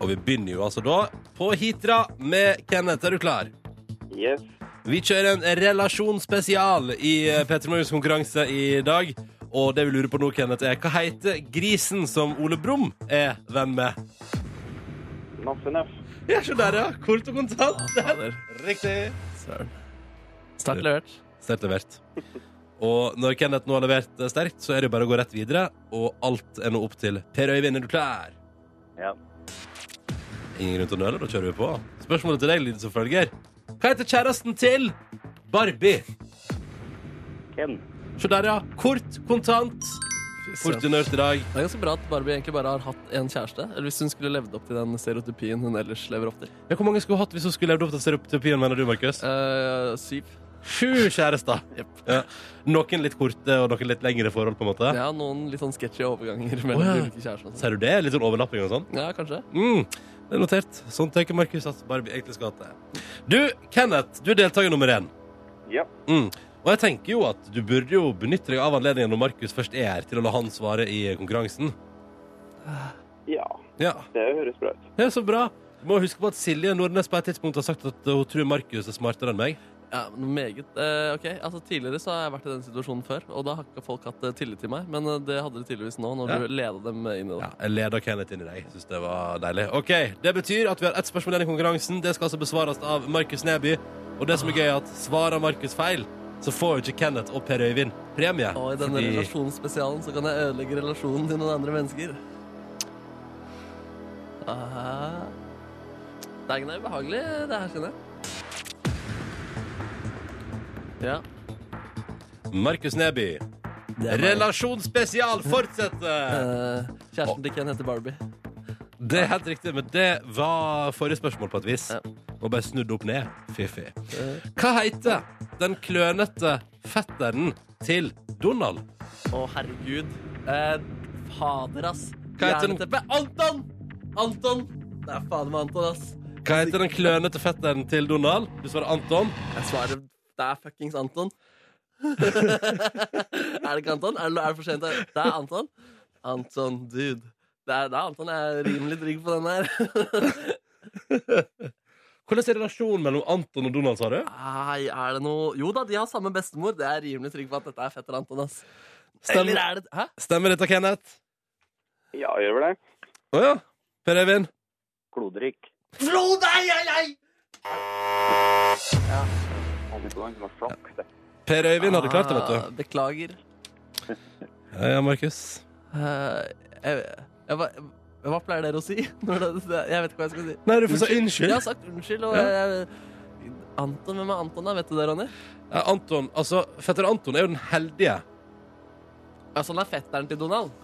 Speaker 2: Og vi begynner jo altså da på Hitra med Kenneth. Er du klar?
Speaker 7: Yes.
Speaker 2: Vi kjører en relasjonsspesial i Petter Morgens konkurranse i dag. Og det vi lurer på nå, Kenneth, er hva heter grisen som Ole Brumm er venn med?
Speaker 7: Naff enough.
Speaker 2: Ja, se der, ja. Kort og kontant.
Speaker 3: Fader.
Speaker 2: Riktig.
Speaker 3: Søren. Sterkt levert.
Speaker 2: Sterkt levert. Og når Kenneth nå har levert eh, sterkt, så er det jo bare å gå rett videre. Og alt er nå opp til Per Øyvind, er du klar?
Speaker 7: Ja.
Speaker 2: Ingen grunn til å nøle, da kjører vi på. Spørsmålet til deg lyder som følger. Hva heter kjæresten til Barbie?
Speaker 7: Ken.
Speaker 2: Se der, ja. Kort, kontant. Kort
Speaker 3: Det
Speaker 2: unørt i dag.
Speaker 3: er ganske bra at Barbie egentlig bare har hatt én kjæreste. Eller hvis hun skulle levd opp til den stereotypien hun ellers lever opp til.
Speaker 2: Ja, hvor mange skulle hun hatt hvis hun skulle levd opp til stereotypien, mener du, Markus?
Speaker 3: Eh, syv.
Speaker 2: Sju kjærester. Ja. Noen litt korte og noen litt lengre forhold, på en måte.
Speaker 3: Jeg har noen litt sånn sketchy overganger mellom
Speaker 2: Å, ja.
Speaker 3: de ulike kjærestene.
Speaker 2: Ser du det? Litt sånn overlapping og sånn?
Speaker 3: Ja, kanskje.
Speaker 2: Mm, det er notert. Sånn tenker Markus at Barbie egentlig skal ha det. Du, Kenneth, du er deltaker nummer én.
Speaker 7: Ja.
Speaker 2: Mm. Og jeg tenker jo at du burde jo benytte deg av anledningen når Markus først er her, til å la han svare i konkurransen.
Speaker 7: Ja,
Speaker 2: Ja,
Speaker 7: det høres bra ut.
Speaker 2: det er så bra. Du må huske på at Silje Nordnes på et tidspunkt har sagt at hun tror Markus er smartere enn meg.
Speaker 3: Ja, men meget. Eh, ok, altså Tidligere så har jeg vært i den situasjonen før, og da har ikke folk hatt eh, tillit til meg. Men eh, det hadde de tydeligvis nå, når
Speaker 2: Ja.
Speaker 3: du leda dem inn i det.
Speaker 2: Ja, jeg leder Kenneth inn i deg. Synes det var deilig. Ok, Det betyr at vi har ett spørsmål igjen i konkurransen. Det skal altså besvares av Markus Neby. Og det som er gøy, er at svarer Markus feil, så får jo ikke Kenneth og Per Øyvind premie.
Speaker 3: Og i denne
Speaker 2: Fordi-
Speaker 3: relasjonsspesialen så kan jeg ødelegge relasjonen til noen andre mennesker. Aha. Dagen er ubehagelig, det her, kjenner jeg. Ja.
Speaker 2: Markus Neby.
Speaker 3: Det er meg.
Speaker 2: Relasjonsspesial fortsetter!
Speaker 3: Eh, kjæresten til Ken heter Barbie.
Speaker 2: Det er helt riktig, men det var forrige spørsmål på et vis.
Speaker 3: Ja.
Speaker 2: Og bare snudd opp ned. Fiffig.
Speaker 3: Eh,
Speaker 2: Hva heter den klønete fetteren til Donald?
Speaker 3: Å, herregud. Eh, fader, ass.
Speaker 2: Hva heter den?
Speaker 3: Jernteppe. Anton! Anton! Det er fader meg Anton, ass.
Speaker 2: Hva heter den klønete fetteren til Donald? Du svarer Anton.
Speaker 3: Jeg svarer det er fuckings Anton. er det ikke Anton? Er det, er det for sent? Det er Anton. Anton, dude. Det er, det er Anton. Jeg er rimelig trygg på den her.
Speaker 2: Hvordan er relasjonen mellom Anton og Donald, sa du?
Speaker 3: Nei, er det noe Jo da, de har samme bestemor. Det er jeg rimelig trygg på at dette er fetter Anton, ass. Eller
Speaker 2: Stemmer,
Speaker 3: er det Hæ?
Speaker 2: stemmer dette, Kenneth?
Speaker 7: Ja, gjør vel det.
Speaker 2: Å ja. Per Eivind?
Speaker 7: Klodrik.
Speaker 2: Per Øyvind hadde klart det, vet du.
Speaker 3: Ah, Beklager.
Speaker 2: Ja, ja, Markus.
Speaker 3: Eh, jeg, jeg, var- hva pleier dere å si? Når det, det- jeg vet ikke hva jeg skal si.
Speaker 2: Nei, du får si unnskyld.
Speaker 3: Jeg har sagt unnskyld, og
Speaker 2: Ja.
Speaker 3: jeg, jeg, Anton, hvem er Anton, da? Vet du det, Ronny?
Speaker 2: Ja, Anton, altså, Fetter Anton er jo den heldige.
Speaker 3: Altså,
Speaker 2: sånn
Speaker 3: han er fetteren til Donald.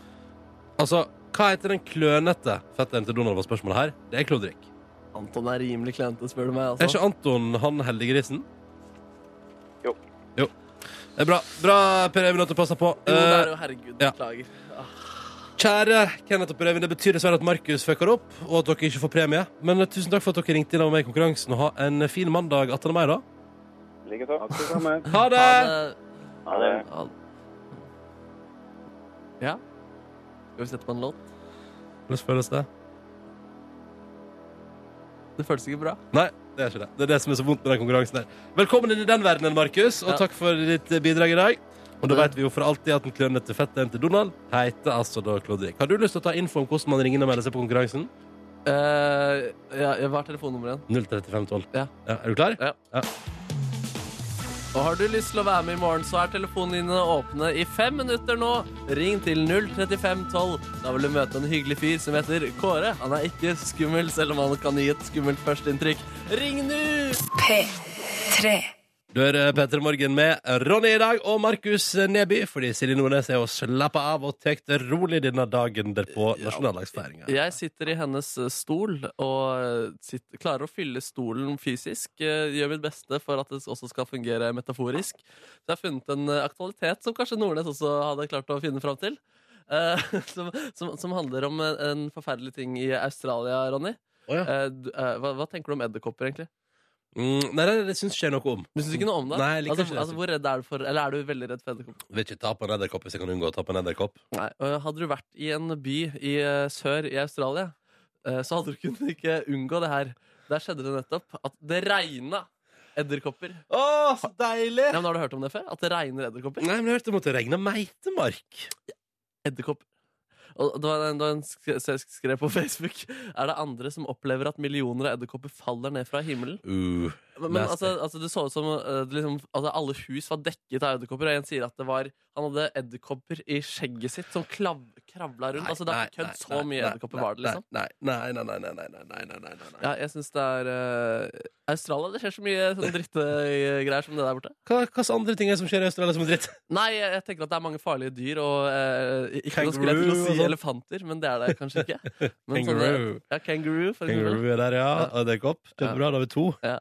Speaker 2: Altså, Hva heter den klønete fetteren til Donald? var spørsmålet her? Det er Klodrik.
Speaker 3: Anton er rimelig klente, spør du meg.
Speaker 2: Er ikke
Speaker 3: altså.
Speaker 2: Anton han heldiggrisen?
Speaker 7: Jo.
Speaker 2: Jo. Det er bra, bra Per Øyvind, at du passer på.
Speaker 3: Jo, det er
Speaker 2: Eh,
Speaker 3: jo, herregud,
Speaker 2: ja.
Speaker 3: beklager.
Speaker 2: Kjære Kenneth og Per Øyvind, det betyr dessverre at Markus fucker opp, og at dere ikke får premie. Men eh, tusen takk for at dere ringte inn og var med i konkurransen, og ha en fin mandag 18. mai, da.
Speaker 7: Likeså.
Speaker 2: Ha det!
Speaker 3: Han,
Speaker 7: Ha det.
Speaker 3: eh, han... Ja? Skal vi sette på en låt?
Speaker 2: Hvordan føles det?
Speaker 3: Det føles ikke bra.
Speaker 2: Nei, det er ikke det. Det er det som er så vondt med den konkurransen der. Velkommen inn i den verdenen, Markus, og
Speaker 3: Ja.
Speaker 2: takk for ditt eh, bidrag i dag. Og da vet vi jo for alltid at den klønete fetteren til Donald heter altså da Klodrik. Har du lyst til å ta info om hvordan man ringer inn og melder seg på konkurransen?
Speaker 3: Eh, ja, hva er telefonnummeret igjen?
Speaker 2: 03512.
Speaker 3: Ja.
Speaker 2: Er du klar?
Speaker 3: Ja.
Speaker 2: Ja.
Speaker 3: Og har du lyst til å være med i morgen, så er telefonlinjene åpne i fem minutter nå. Ring til 03512. Da vil du møte en hyggelig fyr som heter Kåre. Han er ikke skummel, selv om han kan gi et skummelt førsteinntrykk. Ring nå!
Speaker 6: P3.
Speaker 2: Du er eh, Petter Morgen med Ronny i dag og Markus eh, Neby, fordi Silje Nordnes er å slappe av og tek det rolig denne dagen derpå nasjonaldagsfeiringa.
Speaker 3: Jeg sitter i hennes eh, stol og eh, sitter, klarer å fylle stolen fysisk. eh, Gjør mitt beste for at det også skal fungere metaforisk. Så jeg har funnet en eh, aktualitet som kanskje Nordnes også hadde klart å finne fram til. eh, som, som, som handler om en, en forferdelig ting i Australia, Ronny.
Speaker 2: Å ja.
Speaker 3: Eh, du- eh, hva, hva tenker du om edderkopper, egentlig?
Speaker 2: Mm, nei, nei, det syns ikke jeg noe om.
Speaker 3: Du syns ikke noe om det?
Speaker 2: Nei, jeg liker
Speaker 3: altså,
Speaker 2: ikke det.
Speaker 3: altså, hvor redd er du for Eller er du veldig redd for edderkopper?
Speaker 2: Vil ikke ta på en edderkopp hvis jeg kan unngå å ta på en edderkopp.
Speaker 3: Nei, og Hadde du vært i en by i eh, sør i Australia, eh, så hadde du kunnet ikke unngå det her. Der skjedde det nettopp at det regna edderkopper.
Speaker 2: Å, så deilig!
Speaker 3: Ja, men Har du hørt om det før? At det regner edderkopper?
Speaker 2: Nei, men jeg hørte det måtte regne meitemark.
Speaker 3: Edderkopper. Og det var en, det var en sk sk- skrev på Facebook Er det andre som opplever at millioner av edderkopper faller ned fra himmelen?
Speaker 2: Uh,
Speaker 3: Men, men
Speaker 2: Nasty.
Speaker 3: altså, altså, det så ut som eh, det liksom, altså, alle hus var dekket av edderkopper, og en sier at det var han hadde edderkopper i skjegget sitt som klav, kravla rundt. altså, det er ikke kødd. Så mye edderkopper var det, liksom.
Speaker 2: Nei, nei, nei, nei, nei, nei, nei, nei, nei, nei, nei.
Speaker 3: Ja, jeg synes det er eh, Australia, det skjer så mye sånn sånne drittgreier som det der borte.
Speaker 2: Hva slags andre ting er det som skjer i Australia som er dritt?
Speaker 3: Nei, jeg, jeg tenker at det er mange farlige dyr, og eh, ikke noe skulle jeg til
Speaker 2: Kangaroo
Speaker 3: å
Speaker 2: og
Speaker 3: si
Speaker 2: sånn.
Speaker 3: elefanter, men det er det kanskje ikke. Men sånne-
Speaker 2: Kangaroo.
Speaker 3: ja, kangaroo, for eksempel.
Speaker 2: sånn Kangaroo er der, ja. Og edderkopp. Kjempebra, da har vi to.
Speaker 3: Ja,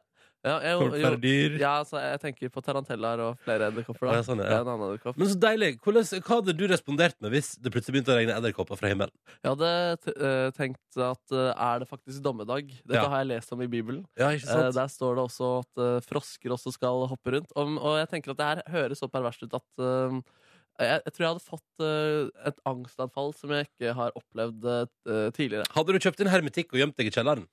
Speaker 3: jeg, jo,
Speaker 2: Flere
Speaker 3: jo,
Speaker 2: dyr.
Speaker 3: ja, så jeg tenker på tarantellaer og flere edderkopper.
Speaker 2: Ja,
Speaker 3: Da.
Speaker 2: sånn, ja.
Speaker 3: Det er En annen edderkopp.
Speaker 2: Men så deilig. Hvordan, hva hadde du respondert med hvis det plutselig begynte å regne edderkopper fra himmelen?
Speaker 3: Jeg hadde t eh, tenkt at eh, er det faktisk dommedag? Dette
Speaker 2: Ja.
Speaker 3: har jeg lest om i Bibelen.
Speaker 2: Ja, ikke
Speaker 3: Eh, der står det også at eh, frosker også skal hoppe rundt. Om, og jeg tenker at det her høres så perverst ut at eh, jeg, jeg tror jeg hadde fått eh, et angstanfall som jeg ikke har opplevd eh, tidligere.
Speaker 2: Hadde du kjøpt inn hermetikk og gjemt deg i kjelleren?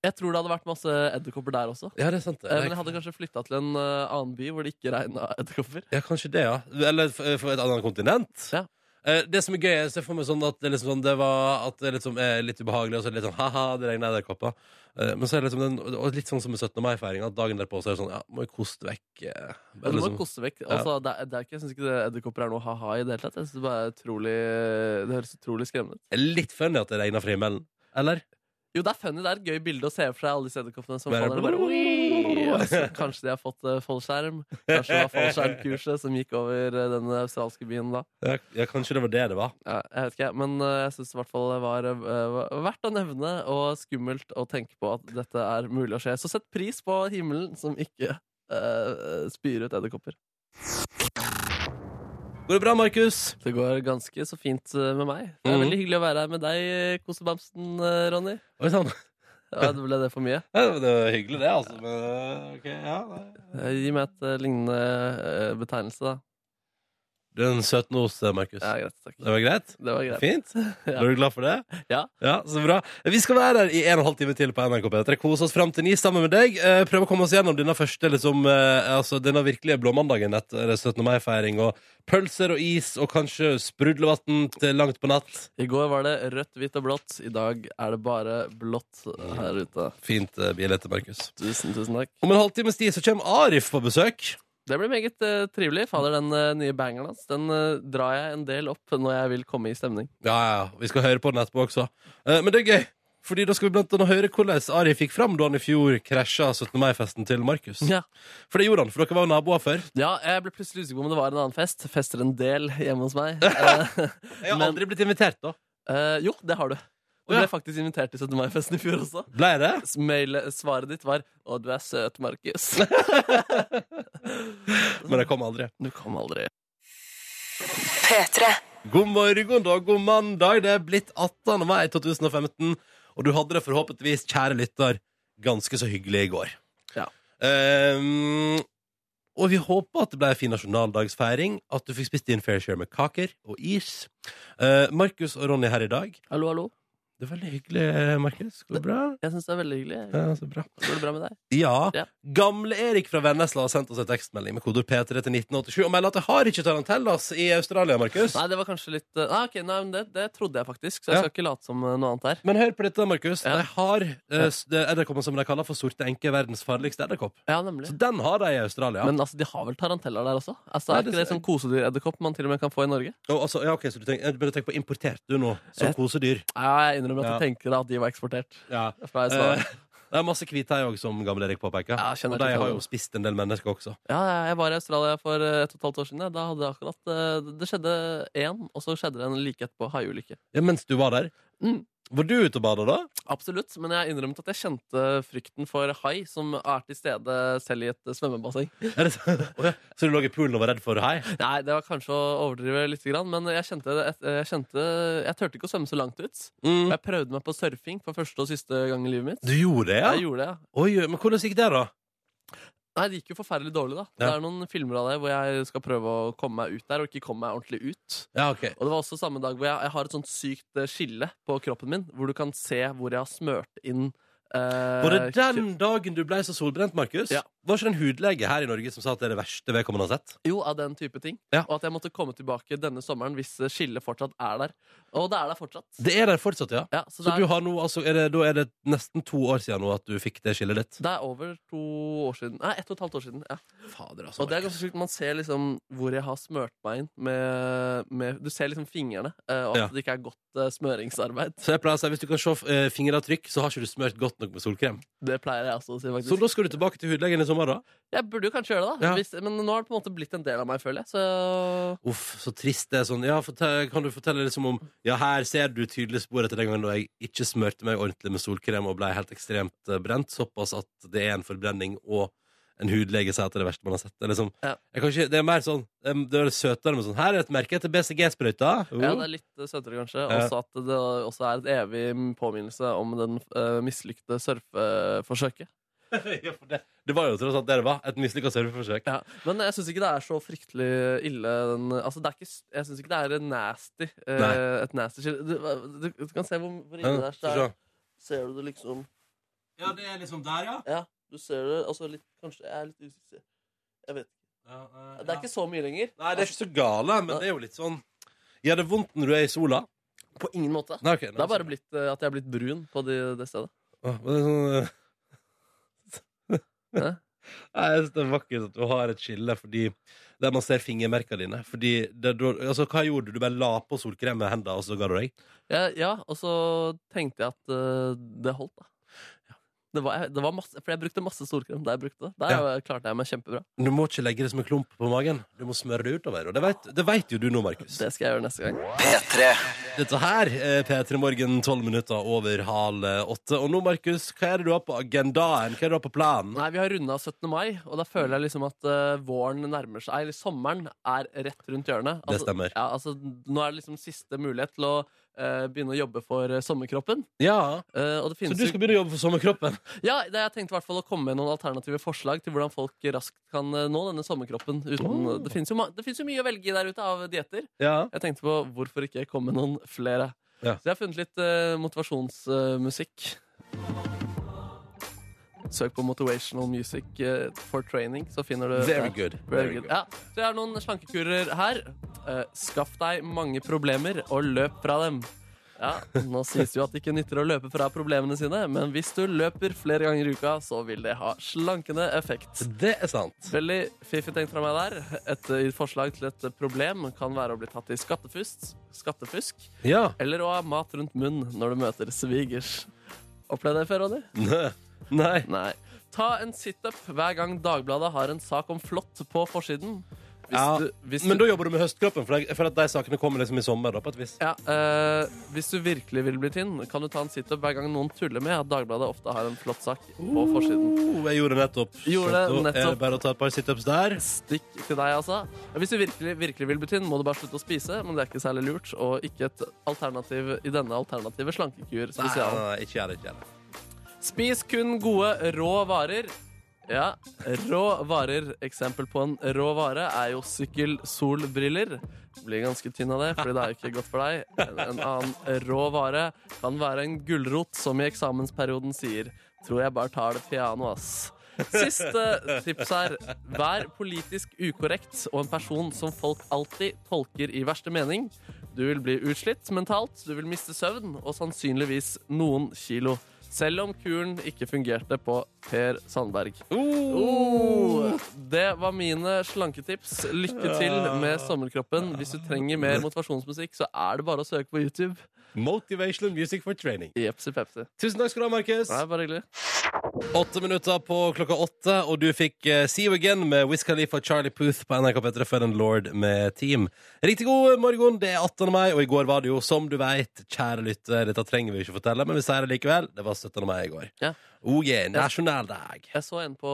Speaker 3: Jeg tror det hadde vært masse edderkopper der også.
Speaker 2: Ja, det er sant. det.
Speaker 3: Eh, men jeg hadde kanskje flytta til en eh, annen by hvor det ikke regna edderkopper.
Speaker 2: Ja, kanskje det, ja. Eller f- eh, for et annet kontinent.
Speaker 3: Ja.
Speaker 2: Eh, Det som er gøy, jeg ser for meg sånn at det, er liksom sånn, det, var, at det liksom er litt ubehagelig, og så er det litt sånn ha-ha, det regner edderkopper. Eh, Men så er det liksom den, og litt sånn som med 17. mai-feiringa, at dagen derpå så er det sånn ja, må jeg koste vekk eh,
Speaker 3: Og du må
Speaker 2: liksom.
Speaker 3: koste vekk. Altså, det, er- det er ikke, jeg syns ikke det- edderkopper er noe ha-ha i det hele tatt. Jeg synes det, bare er utrolig, det høres utrolig skremmende ut.
Speaker 2: Det er Litt funny at det regner fra himmelen. Eller?
Speaker 3: Jo, det er funny. Det er et gøy bilde å se for seg alle disse edderkoppene som
Speaker 2: Bare-
Speaker 3: faller. og Bare, «Oi!» altså, kanskje de har fått eh, fallskjerm. Kanskje det var fallskjermkurset som gikk over eh, den australske byen da.
Speaker 2: Ja, ja, kanskje det var det det var.
Speaker 3: Ja, jeg vet ikke, men eh, jeg syns i hvert fall det var eh, var verdt å nevne og skummelt å tenke på at dette er mulig å skje. Så sett pris på himmelen som ikke eh, spyr ut edderkopper.
Speaker 2: Går det bra, Markus?
Speaker 3: Det går ganske så fint eh, med meg. Det er
Speaker 2: Mhm.
Speaker 3: veldig hyggelig å være her med deg, eh, kosebamsen eh, Ronny.
Speaker 2: Oi sånn. sann.
Speaker 3: Ja, det ble det for mye?
Speaker 2: Ja, men Det var hyggelig, det, altså. Men, eh, ok, ja, nei.
Speaker 3: Eh, Gi meg et eh, lignende eh, betegnelse, da.
Speaker 2: Du er en søt nos, Markus.
Speaker 3: Ja, greit, takk.
Speaker 2: Det var greit?
Speaker 3: Det var greit.
Speaker 2: Fint? Er du glad for det?
Speaker 3: Ja.
Speaker 2: Så bra. Vi skal være her i en og en halv time til på NRK P3. Kose oss fram til ni sammen med deg. Eh, Prøve å komme oss gjennom denne første, liksom, eh, altså denne virkelige blåmandagen etter 17. mai-feiring. Og pølser og is og kanskje sprudlevann til langt på natt.
Speaker 3: I går var det rødt, hvitt og blått. I dag er det bare blått her ute.
Speaker 2: Fint eh, bilde, Markus.
Speaker 3: Tusen, tusen takk.
Speaker 2: Om en halvtimes tid så kommer Arif på besøk.
Speaker 3: Det blir meget eh, trivelig. Fader, den eh, nye bangeren hans den eh, drar jeg en del opp når jeg vil komme i stemning.
Speaker 2: Ja, ja, ja. Vi skal høre på den etterpå også. Eh, Men det er gøy, Fordi da skal vi blant annet høre hvordan Ari fikk fram da han i fjor krasja 17. mai-festen til Markus.
Speaker 3: Ja.
Speaker 2: For det gjorde han, for dere var jo naboer før.
Speaker 3: ja, jeg ble plutselig usikker på om det var en annen fest. Fester en del hjemme hos meg. Eh,
Speaker 2: Jeg har
Speaker 3: Men-
Speaker 2: aldri blitt invitert, da.
Speaker 3: eh, jo, det har du. Du
Speaker 2: Å, ja.
Speaker 3: ble faktisk invitert til 17. mai-festen i fjor også.
Speaker 2: Ble det?
Speaker 3: S- Mail, svaret ditt var 'Å, du er søt, Markus'.
Speaker 2: Men jeg kom aldri.
Speaker 3: Du kom aldri.
Speaker 6: P3.
Speaker 2: God morgen, da. God mandag. Det er blitt 18. mai 2015. Og du hadde det forhåpentligvis, kjære lytter, ganske så hyggelig i går.
Speaker 3: Ja.
Speaker 2: Ehm, og vi håper at det ble en fin nasjonaldagsfeiring, at du fikk spist din fair share med kaker og is. Eh, Markus og Ronny her i dag.
Speaker 3: Hallo, hallo.
Speaker 2: Det er veldig hyggelig, eh, Markus. Går det bra?
Speaker 3: Jeg syns det er veldig hyggelig.
Speaker 2: Ja, så bra.
Speaker 3: Går det bra med deg?
Speaker 2: Ja.
Speaker 3: Ja.
Speaker 2: Gamle-Erik fra Vennesla har sendt oss en tekstmelding med kodeord P3 til 1987 og melder at det har ikke tarantellas i Australia, Markus.
Speaker 3: Nei, det var kanskje litt eh, Nei, ok, nei, men det, det trodde jeg faktisk, så jeg
Speaker 2: Ja.
Speaker 3: skal ikke late som eh, noe annet her.
Speaker 2: Men hør på dette, Markus.
Speaker 3: Ja.
Speaker 2: De har eh, s- det- edderkoppen som de kaller for sorte enke, verdens farligste edderkopp.
Speaker 3: Ja, nemlig.
Speaker 2: Så den har de i Australia.
Speaker 3: Men altså, de har vel taranteller der også? Altså,
Speaker 2: Nei,
Speaker 3: Er
Speaker 2: det
Speaker 3: ikke det
Speaker 2: ser-
Speaker 3: sånn kosedyredderkopp man til og med kan få i Norge?
Speaker 2: Og altså, ja, ok, så du tenker, du tenke på importert, du nå, som
Speaker 3: Et-
Speaker 2: kosedyr.
Speaker 3: Ja, jeg innrømmer at jeg tenker at de var eksportert.
Speaker 2: Ja. Eh,
Speaker 3: Fra Island.
Speaker 2: det er masse hvite her òg, som Gamle-Erik påpeker.
Speaker 3: Ja, jeg kjenner
Speaker 2: og de
Speaker 3: til
Speaker 2: har
Speaker 3: det.
Speaker 2: jo spist en del mennesker også.
Speaker 3: Ja, ja, jeg var i Australia for eh, et og et halvt år siden. ja. Da hadde det akkurat eh, Det skjedde én, og så skjedde det en like etterpå haiulykke.
Speaker 2: Ja, mens du var der.
Speaker 3: Mm.
Speaker 2: Var du ute og bada da?
Speaker 3: Absolutt, men jeg innrømmet at jeg kjente frykten for hai, som er til stede selv i et eh, svømmebasseng.
Speaker 2: Er det så? Å ja. så du lå i poolen og var redd for hai?
Speaker 3: Nei, det var kanskje å overdrive litt, grann, men jeg kjente, det- jeg kjente Jeg turte ikke å svømme så langt ut.
Speaker 2: Mm.
Speaker 3: Jeg prøvde meg på surfing for første og siste gang i livet mitt.
Speaker 2: Du gjorde det, ja?
Speaker 3: Jeg gjorde det, ja.
Speaker 2: Oi, men hvordan gikk det, da?
Speaker 3: Nei, det gikk jo forferdelig dårlig, da. Det
Speaker 2: Ja.
Speaker 3: er noen filmer av det hvor jeg skal prøve å komme meg ut der, og ikke komme meg ordentlig ut.
Speaker 2: Ja, ok.
Speaker 3: Og det var også samme dag hvor jeg, jeg har et sånt sykt eh, skille på kroppen min, hvor du kan se hvor jeg har smørt inn eh,
Speaker 2: Var det den dagen du ble så solbrent, Markus?
Speaker 3: Ja.
Speaker 2: Var ikke det en hudlege her i Norge som sa at det er det verste vedkommende har sett?
Speaker 3: Jo, av den type ting.
Speaker 2: Ja.
Speaker 3: Og at jeg måtte komme tilbake denne sommeren hvis eh, skillet fortsatt er der. Og det er der fortsatt.
Speaker 2: Det er der fortsatt, ja.
Speaker 3: Ja, så
Speaker 2: Så
Speaker 3: det
Speaker 2: du
Speaker 3: er,
Speaker 2: har nå, altså, er det, da er det nesten to år siden nå at du fikk det skillet ditt?
Speaker 3: det er over to år siden. Nei, ett og et halvt år siden. ja.
Speaker 2: Fader, altså.
Speaker 3: Og det er ganske sjukt. Man ser liksom hvor jeg har smørt meg inn med, med Du ser liksom fingrene, eh, og at
Speaker 2: Ja.
Speaker 3: det ikke er godt eh, smøringsarbeid.
Speaker 2: Så jeg pleier å si, Hvis du kan se eh, fingeravtrykk, så har ikke du smørt godt nok med solkrem.
Speaker 3: Det pleier jeg også å si, faktisk.
Speaker 2: Så da skal du tilbake til hudlegen i sommer, da?
Speaker 3: Jeg burde jo kanskje gjøre det, da.
Speaker 2: Ja.
Speaker 3: Hvis, men nå har det på en måte blitt en del av meg, føler jeg. Så
Speaker 2: Uff, så trist det er sånn. Ja, fortell, kan du fortelle liksom om Ja, her ser du tydelig spor etter den gangen da jeg ikke smørte meg ordentlig med solkrem og ble helt ekstremt eh, brent, såpass at det er en forbrenning og en hudlege sier at det er det verste man har sett. Det er, liksom,
Speaker 3: Ja.
Speaker 2: jeg kan ikke, det er mer sånn eh, Det er søtere med sånn Her er et merke etter BCG-sprøyta.
Speaker 3: ja, det er litt eh, søtere, kanskje.
Speaker 2: Ja.
Speaker 3: Også at det også er et evig påminnelse om den uh, mislykte surfeforsøket.
Speaker 2: Ja, for det, det var jo tross alt det det var. Et mislykka surfeforsøk.
Speaker 3: Ja. Men jeg syns ikke det er så fryktelig ille den, altså det er ikke, s- Jeg syns ikke det er nasty. eh,
Speaker 2: Nei.
Speaker 3: et nasty skille. Du, du, du kan se hvor, hvor
Speaker 2: Ja,
Speaker 3: ille det er. så
Speaker 2: skal
Speaker 3: det
Speaker 2: vi
Speaker 3: er. Ser du det liksom
Speaker 2: se. ja, det er liksom der, ja.
Speaker 3: Ja, du ser det. Altså litt, kanskje Jeg er litt usikker. Jeg vet ikke.
Speaker 2: ja, eh,
Speaker 3: Det er ikke så mye lenger. Altså,
Speaker 2: Nei, det er ikke så gale, men det er jo litt sånn Gjør det vondt når du er i sola?
Speaker 3: På ingen måte.
Speaker 2: Nei, ok, nei,
Speaker 3: Det er bare
Speaker 2: sånn.
Speaker 3: blitt eh, at jeg er blitt brun på de, det stedet.
Speaker 2: Åh, men det er sånn, eh.
Speaker 3: Hæ?
Speaker 2: Nei, jeg synes det er vakkert at du har et skille fordi der man ser fingermerkene dine. Fordi det, du, altså, Hva gjorde du? Du bare la på solkrem med hendene, og så ga du deg?
Speaker 3: Ja, ja og så tenkte jeg at eh, det holdt, da. Det var, det var masse, for jeg brukte masse solkrem da jeg brukte det. Der
Speaker 2: Ja.
Speaker 3: eh, klarte jeg meg kjempebra.
Speaker 2: Du må ikke legge det som en klump på magen. Du må smøre det utover. Og det vet, det vet jo du nå, Markus.
Speaker 3: Det skal jeg gjøre neste gang.
Speaker 5: P3.
Speaker 2: Dette her er P3 Morgen, tolv minutter over halv eh, åtte. Og nå, Markus, hva er det du har på agendaen? Hva er det du har på planen?
Speaker 3: Nei, Vi har runda 17. mai, og da føler jeg liksom at eh, våren nærmer seg Eller sommeren er rett rundt hjørnet. altså,
Speaker 2: Det stemmer.
Speaker 3: Ja, altså, nå er det liksom siste mulighet til å eh, begynne å jobbe for eh, sommerkroppen.
Speaker 2: Ja,
Speaker 3: Eh, og det
Speaker 2: Så
Speaker 3: finnes
Speaker 2: du
Speaker 3: jo-
Speaker 2: skal begynne å jobbe for sommerkroppen?
Speaker 3: Ja, det, jeg tenkte i hvert fall å komme med noen alternative forslag til hvordan folk raskt kan eh, nå denne sommerkroppen. Uten,
Speaker 2: Oh.
Speaker 3: Det fins jo, ma- det finnes jo mye å velge i der ute av dietter.
Speaker 2: Ja.
Speaker 3: Jeg tenkte på hvorfor ikke komme med noen flere.
Speaker 2: Ja.
Speaker 3: Så jeg har funnet litt eh, motivasjonsmusikk. Søk på motivational music eh, for training, så finner du
Speaker 2: Very good.
Speaker 3: Very good. Ja. Så jeg har noen slankekurer her. Eh, skaff deg mange problemer og løp fra dem. Ja, Nå sies jo at det ikke nytter å løpe fra problemene sine, men hvis du løper flere ganger i uka, så vil det ha slankende effekt.
Speaker 2: Det er sant.
Speaker 3: Veldig fiffig tenkt fra meg der. Et eh, forslag til et problem kan være å bli tatt i skattefusk, skattefusk
Speaker 2: Ja.
Speaker 3: eller å ha mat rundt munnen når du møter svigers. Opplevd det før, Ronny?
Speaker 2: Nei.
Speaker 3: Nei. Ta en situp hver gang Dagbladet har en sak om flått på forsiden. Hvis
Speaker 2: Ja,
Speaker 3: du, hvis
Speaker 2: Men
Speaker 3: du,
Speaker 2: da jobber du med høstkroppen, for jeg- jeg føler at de sakene kommer liksom i sommer. da, på et vis.
Speaker 3: ja, eh, hvis du virkelig vil bli tynn, kan du ta en situp hver gang noen tuller med at Dagbladet ofte har en flott sak på forsiden.
Speaker 2: Oh, jeg gjorde det nettopp.
Speaker 3: Gjorde det
Speaker 2: Så da er
Speaker 3: nettopp.
Speaker 2: det bare å ta et par situps der.
Speaker 3: Stikk til deg, altså. Hvis du virkelig, virkelig vil bli tynn, må du bare slutte å spise, men det er ikke særlig lurt, og ikke et alternativ i denne alternative slankekur
Speaker 2: Nei, nei,
Speaker 3: spesialen.
Speaker 2: nei, ikke gjør det. ikke gjør det.
Speaker 3: Spis kun gode rå varer. Ja, rå varer. Eksempel på en rå vare er jo sykkelsolbriller. Blir ganske tynn av det, fordi det er jo ikke godt for deg. En, en annen rå vare kan være en gulrot, som i eksamensperioden sier Tror jeg bare tar det piano, ass. Siste tips her. Vær politisk ukorrekt og en person som folk alltid tolker i verste mening. Du vil bli utslitt mentalt, du vil miste søvn og sannsynligvis noen kilo. Selv om kuren ikke fungerte på Per Sandberg. Oh, det var mine slanketips. Lykke til med sommerkroppen. Hvis du trenger mer motivasjonsmusikk, så er det bare å søke på YouTube.
Speaker 2: Motivational music for training.
Speaker 3: Jepsi pepsi.
Speaker 2: Tusen takk skal du ha, Markus.
Speaker 3: Det er bare hyggelig.
Speaker 2: Åtte minutter på klokka åtte, og du fikk eh, See You Again med Wiz Khalifa og Charlie Puth på NRK P3 før en Lord med Team. Riktig god morgen, det er 18. mai, og i går var det jo, som du veit, kjære lytter, dette trenger vi ikke fortelle, men vi sier det likevel, det var 17. mai i går.
Speaker 3: Ja.
Speaker 2: Oh yeah, nasjonaldag.
Speaker 3: Jeg så en på,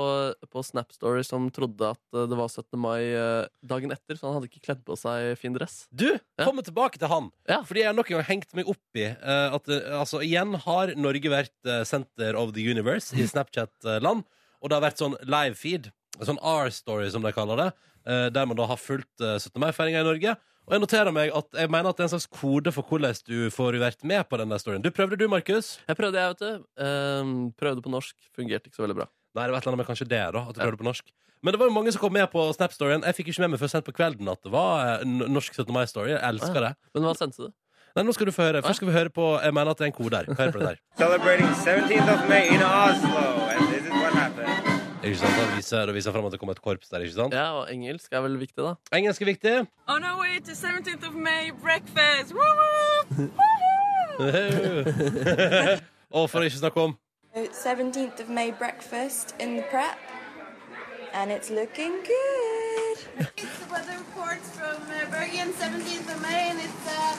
Speaker 3: på Snap Story som trodde at eh, det var 17. mai eh, dagen etter, så han hadde ikke kledd på seg fin dress.
Speaker 2: Du, kommer tilbake til han.
Speaker 3: Ja.
Speaker 2: Fordi jeg har nok en gang hengt meg opp i eh, at eh, altså, igjen har Norge vært eh, Center of the Universe i Snapchat-land. Og det har vært sånn live-feed, sånn R-story som de kaller det, eh, der man da har fulgt eh, 17. mai-feiringa i Norge. Og jeg noterer meg at jeg mener at det er en slags kode for hvordan du får vært med på den der storyen. Du prøvde du, Markus?
Speaker 3: Jeg prøvde, jeg, vet du. Ehm, prøvde på norsk. Fungerte ikke så veldig bra.
Speaker 2: Nei, det var et eller annet med kanskje det, da. At du prøvde på norsk. Men det var jo mange som kom med på Snap-storyen. Jeg fikk ikke med meg før sent på kvelden at det var eh, n- norsk 17. mai-story. Jeg elsker det.
Speaker 3: Men hva sendte du?
Speaker 2: Nei, nå skal du få høre. Først skal vi høre på Jeg mener at det er en kode her. Hør på det der.
Speaker 8: Celebrating 17th of May in Oslo, and this is what happened.
Speaker 2: Ikke sant? Da viser, da viser jeg frem at det kom et korps der, ikke sant?
Speaker 3: Ja, og engelsk er vel viktig, da.
Speaker 2: Engelsk er viktig.
Speaker 9: On our way to 17th of May breakfast. Woo woo!
Speaker 2: og for å ikke snakke om
Speaker 10: 17th of May breakfast in the prep, and it's looking good.
Speaker 9: It's the weather report from uh, Bergen, 17th of May, and it's uh,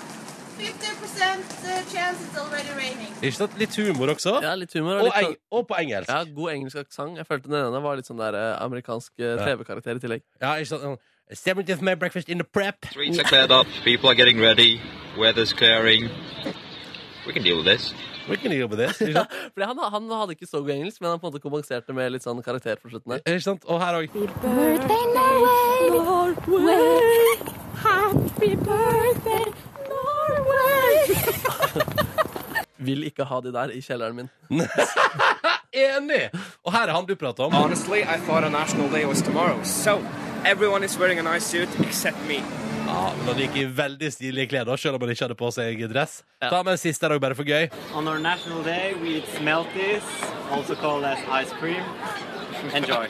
Speaker 9: 50% uh, chance it's already raining.
Speaker 2: Ikke sant? Litt humor også.
Speaker 3: Ja, litt humor. Og
Speaker 2: og,
Speaker 3: litt,
Speaker 2: eng
Speaker 3: sånn-
Speaker 2: og på engelsk.
Speaker 3: ja,
Speaker 2: Ja.
Speaker 3: god engelsk aksent. Jeg følte den ene var litt sånn der eh, amerikansk eh, TV-karakter i tillegg.
Speaker 2: ikke sant? Sånn, 70th May breakfast in the prep.
Speaker 8: Streets are cleared up, people are getting ready, weather's clearing. We can deal with this.
Speaker 2: We can deal with this. Ikke sant?
Speaker 3: Fordi han, han hadde ikke så god engelsk, men han på en måte kompenserte med litt sånn karakter på slutten der.
Speaker 2: Ikke sant? Og her òg.
Speaker 3: Vil ikke ha de der i kjelleren min.
Speaker 2: Enig! Og her er han du prater om.
Speaker 8: Honestly, I thought a national day was tomorrow, so everyone is wearing a nice suit except me.
Speaker 2: Ja, men Han gikk i veldig stilige klær, da, selv om han ikke hadde på seg dress. Ta med en siste her òg, bare for gøy.
Speaker 8: On our national day, we eat smelties, also called as ice cream. Enjoy.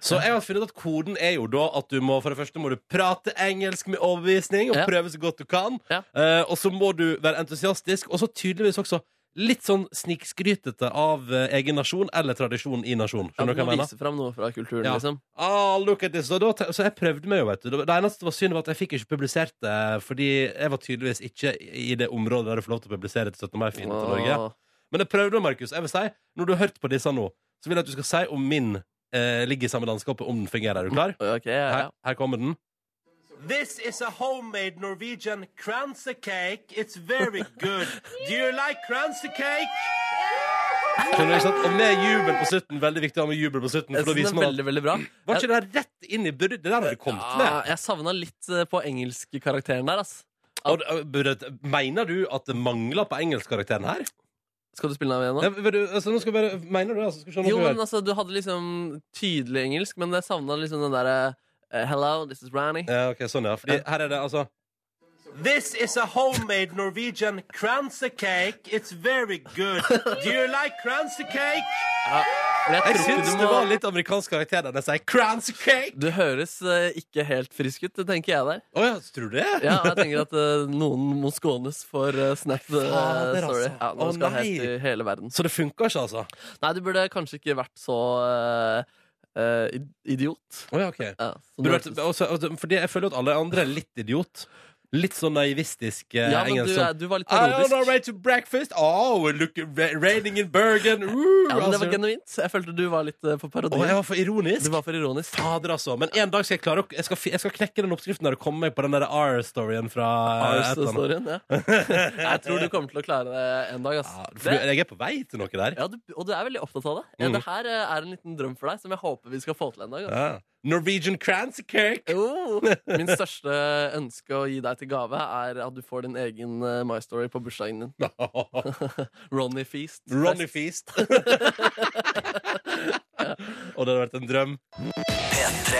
Speaker 2: Så jeg har funnet at koden er jo da at du må for det første må du prate engelsk med overbevisning og
Speaker 3: Ja.
Speaker 2: prøve så godt du kan.
Speaker 3: Ja.
Speaker 2: Eh, og så må du være entusiastisk, og så tydeligvis også litt sånn snikskrytete av eh, egen nasjon eller tradisjon i nasjon.
Speaker 3: Han
Speaker 2: Skjønner du hva
Speaker 3: må
Speaker 2: jeg mener?
Speaker 3: vise fram noe fra kulturen,
Speaker 2: Ja.
Speaker 3: liksom.
Speaker 2: Ah, look at this. Så, da, så jeg prøvde meg jo, vet du. Det eneste som var synd, var at jeg fikk ikke publisert det, fordi jeg var tydeligvis ikke i det området der du får lov til å publisere til 17. mai-fint til Norge.
Speaker 3: Åh.
Speaker 2: Men jeg prøvde, Markus. Jeg vil si, Når du har hørt på disse nå, så vil jeg at du skal si om min eh, ligger i samme landskapet, om den fungerer. Er du klar?
Speaker 3: Ok, ja, ja.
Speaker 2: Her, her kommer den. This is a homemade Norwegian kranse cake. It's very good. Do you like kranse cake? Skjønner du, ikke sant? Og med jubel på slutten. Veldig viktig å ha med jubel på slutten.
Speaker 3: Jeg
Speaker 2: For da
Speaker 3: synes
Speaker 2: viser
Speaker 3: den er
Speaker 2: man at
Speaker 3: veldig, veldig bra.
Speaker 2: Var ikke det her rett inn i burde- Det der hadde du kommet med.
Speaker 3: Ja, jeg savna litt eh, på engelskkarakteren der, ass.
Speaker 2: Og, og, burde- mener du at det mangler på engelskkarakteren her?
Speaker 3: Skal du spille den av igjen nå?
Speaker 2: Ja, vil du- altså, nå skal vi bare, mener du det? Altså, skal vi se om
Speaker 3: Jo,
Speaker 2: vi hører.
Speaker 3: men altså, du hadde liksom tydelig engelsk, men jeg savna liksom den derre eh, Hello, this is Ranny.
Speaker 2: Ja, ok, sånn ja. Fordi her er det altså This is a homemade Norwegian kranse cake. It's very good. Do you like kranse cake? Jeg syns det var litt amerikansk karakter da jeg sier kranse cake.
Speaker 3: Du høres eh, ikke helt frisk ut, tenker jeg der.
Speaker 2: Å ja, tror du det?
Speaker 3: Ja, og jeg tenker at eh, noen må skånes for eh, snap eh,
Speaker 2: Fader,
Speaker 3: story.
Speaker 2: altså.
Speaker 3: Ja, når
Speaker 2: Å,
Speaker 3: du skal
Speaker 2: nei.
Speaker 3: helt i hele verden.
Speaker 2: Så det funka ikke, altså?
Speaker 3: Nei, du burde kanskje ikke vært så eh, eh, id- idiot.
Speaker 2: Å ja, ok.
Speaker 3: Ja, som du
Speaker 2: Burde vært, også, også, altså, fordi jeg føler at alle andre er litt idiot. Litt sånn naivistisk eh,
Speaker 3: ja, men du,
Speaker 2: engelsk. sånn,
Speaker 3: er- du var litt
Speaker 2: I on
Speaker 3: parodisk.
Speaker 2: our way to breakfast. Oh, look, ra- raining in Bergen. Woo,
Speaker 3: Ja, men det var
Speaker 2: altså.
Speaker 3: genuint. Jeg følte du var litt eh, for parodi.
Speaker 2: Å, jeg var for ironisk.
Speaker 3: Du var for ironisk.
Speaker 2: Fader, altså. Men en dag skal jeg klare å Jeg skal, fi- jeg skal knekke den oppskriften der og komme meg på den der R-storyen fra et eller
Speaker 3: Arse-storyen, ja.
Speaker 2: annet.
Speaker 3: Jeg tror du kommer til å klare det en dag. Ass.
Speaker 2: Ja, for
Speaker 3: Det,
Speaker 2: du- jeg er Mm. på vei til noe der.
Speaker 3: ja, du, og du er veldig opptatt av det. Ja, det her eh, er en liten drøm for deg som jeg håper vi skal få til en dag. ass.
Speaker 2: Ja. Norwegian Crancy Cake.
Speaker 3: Jo. Min største ønske å gi deg til gave er at du får din egen eh, My Story på bursdagen din. Ronny Feast.
Speaker 2: Ronny Feast. og det hadde vært en drøm.
Speaker 6: P3.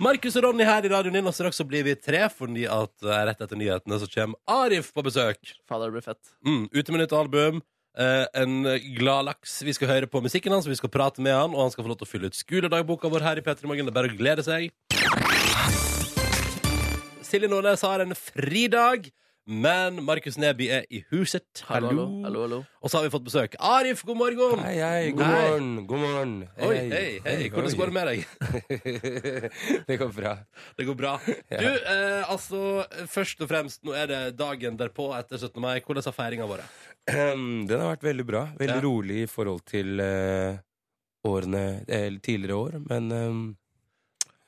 Speaker 2: Markus og Ronny her i radioen din, og straks så blir vi tre, fordi at eh, rett etter nyhetene så kommer Arif på besøk.
Speaker 3: Fader, det blir fett.
Speaker 2: Mm, ute med nytt album. Eh, en glad laks. Vi skal høre på musikken hans, vi skal prate med han, og han skal få lov til å fylle ut skoledagboka vår her i P3 Morgen. Det er bare å glede seg. Silje Nordnes har en fridag, men Markus Neby er i huset.
Speaker 3: Hallo, hallo. hallo, hallo.
Speaker 2: Og så har vi fått besøk. Arif, god morgen!
Speaker 11: Hei, hei, god
Speaker 2: Hei.
Speaker 11: morgen, god morgen.
Speaker 2: Oi, hei, hei. Hvordan går det med deg?
Speaker 11: deg? det går bra.
Speaker 2: Det går bra. Du, eh, altså, først og fremst, nå er det dagen derpå etter 17. mai. Hvordan har feiringa vært?
Speaker 11: Ehm, Den har vært veldig bra. Veldig
Speaker 2: Ja.
Speaker 11: rolig i forhold til eh, årene, eller tidligere år, men ehm,